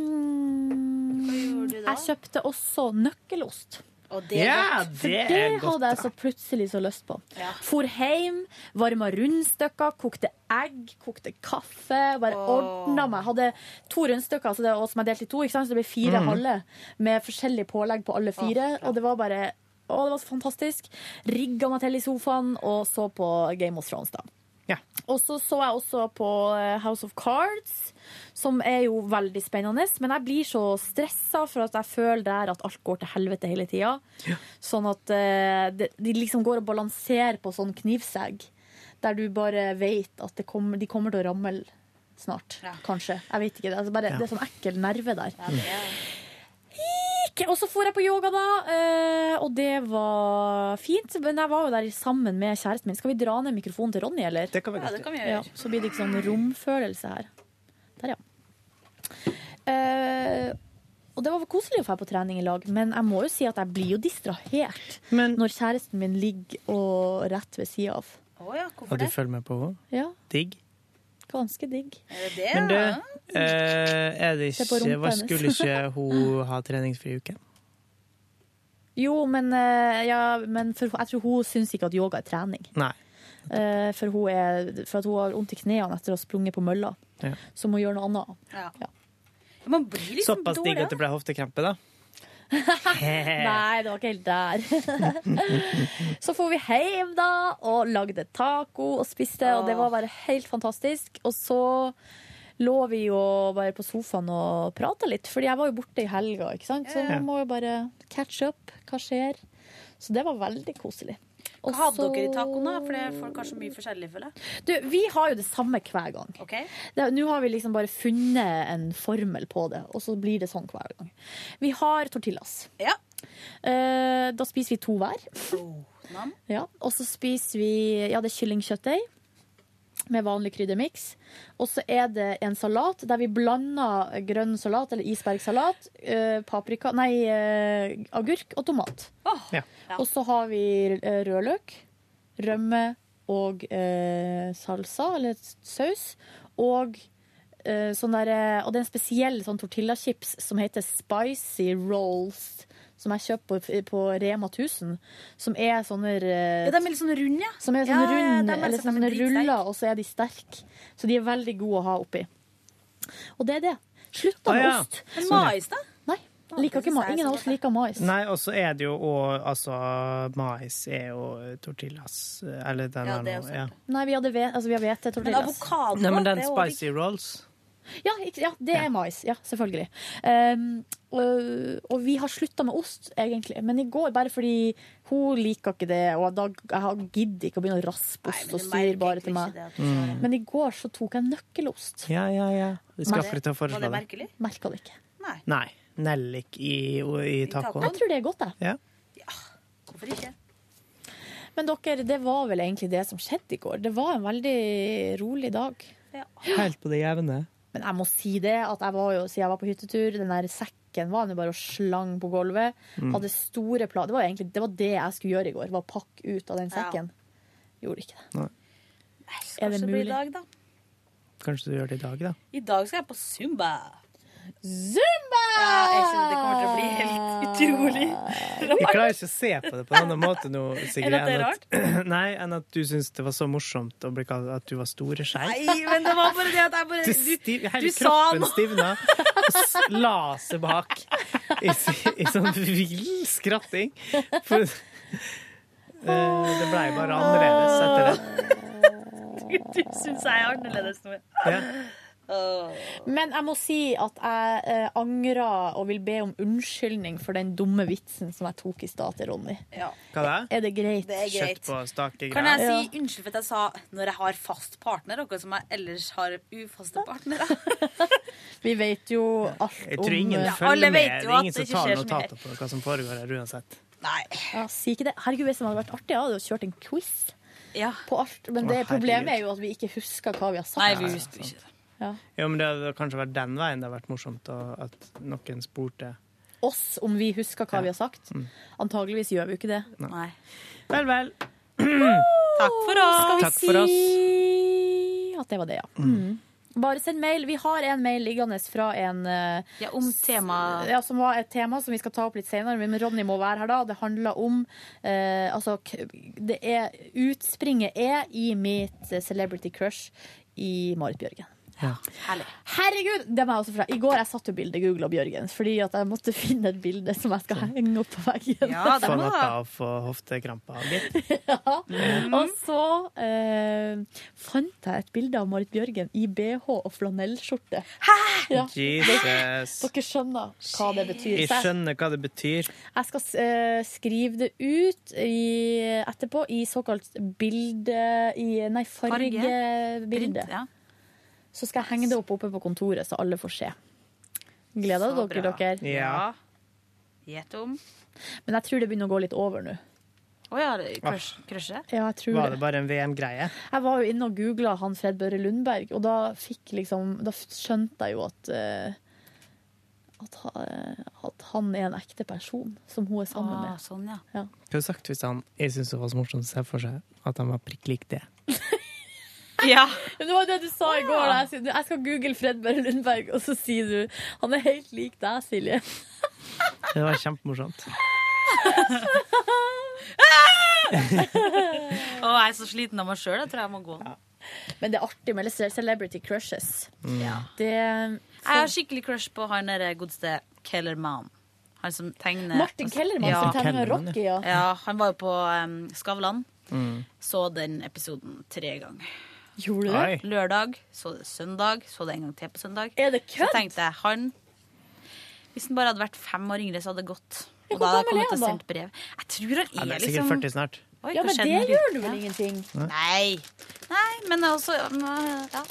D: ehm, jeg kjøpte også nøkkelost.
C: det er Ja, godt. det
D: For det
C: er godt,
D: hadde jeg så plutselig så lyst på. For hjem, varma rundstykker, kokte egg, kokte kaffe. Bare ordna meg. Hadde to rundstykker altså det, og som jeg delte i to, ikke sant? så det ble fire
Q: Mhm.
D: halve med forskjellig pålegg på alle fire. og det var bare å, det var så fantastisk. Rigga meg til i sofaen og så på Game of Thrones, da. Og så så jeg også på eh, House of Cards, som er jo veldig spennende. Men jeg blir så stressa for at jeg føler der at alt går til helvete hele tida. Sånn at eh, det- de liksom går og balanserer på sånn knivsegg, der du bare vet at det kommer, de kommer til å ramle snart. Kanskje. Jeg vet ikke. Det, altså bare,
Q: Ja.
D: det er sånn ekkel nerve der. Ikke- Og så for jeg på yoga, da, eh, og det var fint. Men jeg var jo der sammen med kjæresten min. Skal vi dra ned mikrofonen til Ronny, eller? Det
C: kan vi Ja, godt det gjøre. kan vi gjøre.
D: så blir det ikke sånn romfølelse her. Der, ja. Eh, og det var koselig å dra på trening i lag, men jeg må jo si at jeg blir jo distrahert når kjæresten min ligger og rett ved sida av.
C: Og du følger med på henne?
D: Ja,
C: Digg.
D: ganske digg.
C: Men du, eh, er det
D: Se på
C: ikke,
D: rumpa
C: hva
D: hennes.
C: skulle ikke hun ha treningsfri uke?
D: Jo, men, eh, ja, men for, jeg tror hun syns ikke at yoga er trening.
C: Nei.
D: Eh, for, hun er, for at hun har vondt i knærne etter å ha sprunget på mølla.
C: Ja.
D: Så må hun gjøre noe annet.
L: Man blir
C: Såpass digg at det ble hoftekrempe, da.
L: Eh.
D: Nei, det var ikke helt der. så for vi hjem, da, og lagde taco og spiste, og det var bare helt fantastisk. Og så lå vi jo bare på sofaen og prata litt, fordi jeg var jo borte i helga, ikke sant? så
L: Ja, ja.
D: man må jo bare catch up. Hva skjer? Så det var veldig koselig.
L: Hva hadde dere i tacoen, da? For det er folk har så mye forskjellig, føler jeg.
D: Du, vi har jo det samme hver gang. Det- Nå har vi liksom bare funnet en formel på det, og så blir det sånn hver gang. Vi har tortillas. Eh, da spiser vi to hver. ja, og så spiser vi ja, det er kyllingkjøttdeig med vanlig kryddermiks. Og så er det en salat der vi blander grønn salat, eller isbergsalat, eh, paprika, nei, eh, agurk og tomat. Og så har vi eh, rødløk, rømme og eh, salsa, eller saus, og eh, sånn der, eh, og det er en spesiell sånn tortillachips som heter spicy rolls, som jeg kjøper på, eh, på Rema 1000, som er sånne... eh,
L: Ja, de er litt sånn runde, ja.
D: Som er
L: Ja,
D: sånn
L: ja, ja,
D: rund,
L: de er
D: eller
L: sånn- de
D: sånne
L: er dritsterke.
D: ruller, og så er de sterke. Så de er veldig gode å ha oppi. Og det er det. Slutt
C: Å,
D: med
C: ja.
D: ost.
C: Men mais,
L: da?
D: Nei. Liker ikke ma Ingen av oss liker mais.
C: Nei, og så er det jo og, altså, mais er jo tortillas eh, Eller den
D: Ja,
C: er
D: det er
C: noe
D: sant.
C: ja.
D: Nei, vi hadde ve- altså, vi har hvete tortillas.
C: Nei, men den spicy rolls
D: Ja, ikke- ja, det er mais. Ja, selvfølgelig. Um, og, og vi har slutta med ost, egentlig. Men i går, bare fordi hun liker ikke det, og da jeg har- gidder ikke å begynne å raspe ost og styre bare til meg.
C: Mm.
D: Men i går så tok jeg nøkkelost.
C: Ja, ja, ja. Vi skal akkurat til å
D: Var det
C: foreslå det.
D: merkelig? Merka det ikke.
C: Nei. Nellik i, i tacoen.
D: Jeg tror det er godt, jeg.
C: Ja.
L: Hvorfor ikke?
D: Men dere, det var vel egentlig det som skjedde i går. Det var en veldig rolig dag.
C: Helt på det jevne.
D: Men jeg må si det, at jeg var jo, siden jeg var på hyttetur, den der sekken var jo bare og slang på gulvet.
Q: Mm.
D: Hadde store planer. Det var egentlig det, var det jeg skulle gjøre i går, var å pakke ut av den sekken. Gjorde ikke det. Er det
L: Kanskje det blir i
D: mulig?
L: dag, da.
C: Kanskje du gjør det i dag, da.
L: I dag skal jeg på Zumba.
D: Zumba!
L: Ja, jeg kjenner det kommer til å bli
D: Ah.
L: helt utrolig
C: Jeg
L: rart.
C: klarer ikke å se på det på en annen måte nå, Sigrid.
L: Er det at det er
C: enn at- Nei, enn at du syntes det var så morsomt å bli kalt at du var store skei.
L: Nei,
D: Ah.
L: men det var bare det at jeg bare
C: Du stiv, hele
L: du sa
C: kroppen
L: noe.
C: stivna og s- la seg bak i, s- i sånn vill skratting. For, Eh, det blei bare annerledes etter det.
D: Du syns jeg er annerledes nå. Men jeg må si at jeg eh, angrer og vil be om unnskyldning for den dumme vitsen som jeg tok i stad til Ronny.
C: Hva da?
D: Er det greit?
L: Det er greit.
C: Kjøtt på stake
L: Kan jeg
C: greier.
L: si unnskyld for at jeg sa 'når jeg har fast partner', noe som jeg ellers har ufaste partnere?
D: Vi vet jo alt om
C: Jeg tror ingen
D: eh,
C: følger med. Det er ingen som tar notater på hva som foregår her uansett.
D: Ja, si ikke det. Herregud, hvis det hadde vært artig, jeg hadde jo kjørt en quiz på alt. Men
C: Å,
D: det problemet
C: herregud.
D: er jo at vi ikke husker hva vi har sagt.
C: Nei, vi husker ikke
D: det. Ja.
C: Jo, men Det hadde kanskje vært den veien det hadde vært morsomt, og at noen spurte.
D: Oss, om vi husker hva vi har sagt.
C: Mm.
D: Antageligvis gjør vi jo ikke det.
C: Nei.
D: Vel, vel.
L: Takk for oss.
D: Skal vi
C: Takk for oss.
D: si at det var det, ja.
C: Mm.
D: Mm. Bare send mail. Vi har en mail liggende fra en eh, s- Ja, som var et tema som vi skal ta opp litt senere, men Ronny må være her da. Det handler om eh, Altså, k- det er Utspringet er i mitt eh, celebrity crush i Marit Bjørgen.
C: Ja.
D: Herregud! Det må jeg også fra. I går jeg satt jo bildet Google og Bjørgens, fordi at jeg måtte finne et bilde som jeg
L: Sånn.
D: skal henge opp på veggen.
C: Få natta og få hoftekrampa. gitt.
D: Og så eh, fant jeg et bilde av Marit Bjørgen i BH og flanellskjorte. Hæ?! Ja.
C: Jesus.
D: Dere skjønner hva det betyr.
C: Jeg
D: Så jeg,
C: skjønner hva det betyr.
D: jeg skal eh, skrive det ut i, etterpå i såkalt bilde i, Nei,
L: Farge.
D: fargebilde. Så skal jeg henge det opp oppe på kontoret, så alle får se. Gleder
L: Så
D: dere
L: bra.
D: dere?
L: Ja. Gjett om.
D: Men jeg tror det begynner å gå litt over nå.
L: Å ja, det- crush- crushet?
D: Ja, jeg tror
C: Var det bare en VM-greie?
D: Jeg var jo inne og googla han Fred Børre Lundberg, og da, fikk liksom, da skjønte jeg jo at eh, at, ha- at han er en ekte person som hun er sammen
L: Ah,
D: med.
L: Sånn, ja.
C: Hva hadde sagt hvis han Jeg syns det var så morsomt å se for seg at han var prikk lik det.
D: Ah. Men Det var det du sa i går. da. Jeg sier, Jeg skal google Fred Børre Lundberg, og så sier du han er helt lik deg, Silje.
C: Det var kjempemorsomt.
L: Å, jeg er så sliten av meg sjøl. Jeg tror jeg må gå.
D: Men det er artig med celebrity crushes. Det,
L: Jeg har skikkelig crush på han derre godeste Kellerman. Han som tegner
D: Martin Kellerman som tegner Kellerman, Rocky, ja.
L: ja. Han var jo på um, Skavlan. Så den episoden tre ganger.
D: Gjorde du det? Oi.
L: Lørdag, så det søndag, så det en gang til på søndag.
D: Er det
L: kødd? Så tenkte jeg, han Hvis han bare hadde vært fem år yngre, så hadde det gått. Og
D: Hvor
L: da hadde jeg
D: gammel er
L: kommet til å
D: han
L: sendt brev. Jeg tror han er,
C: Han er
L: liksom
C: sikkert 40 snart.
L: Oi,
D: ja,
L: hva
D: men
L: skjedde
D: det
L: med
D: gjør
L: gutten?
D: du vel ingenting?
L: Nei. Nei, men også mm, ja.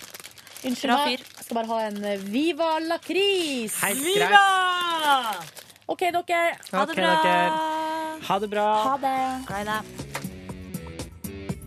D: Unnskyld
L: Bra
D: meg,
L: fyr.
D: jeg skal bare ha en eh, Viva lakris!
C: Helt greit.
D: OK, dere. Ha
C: Ok,
D: det bra.
C: dere. Ha det bra.
D: Ha det.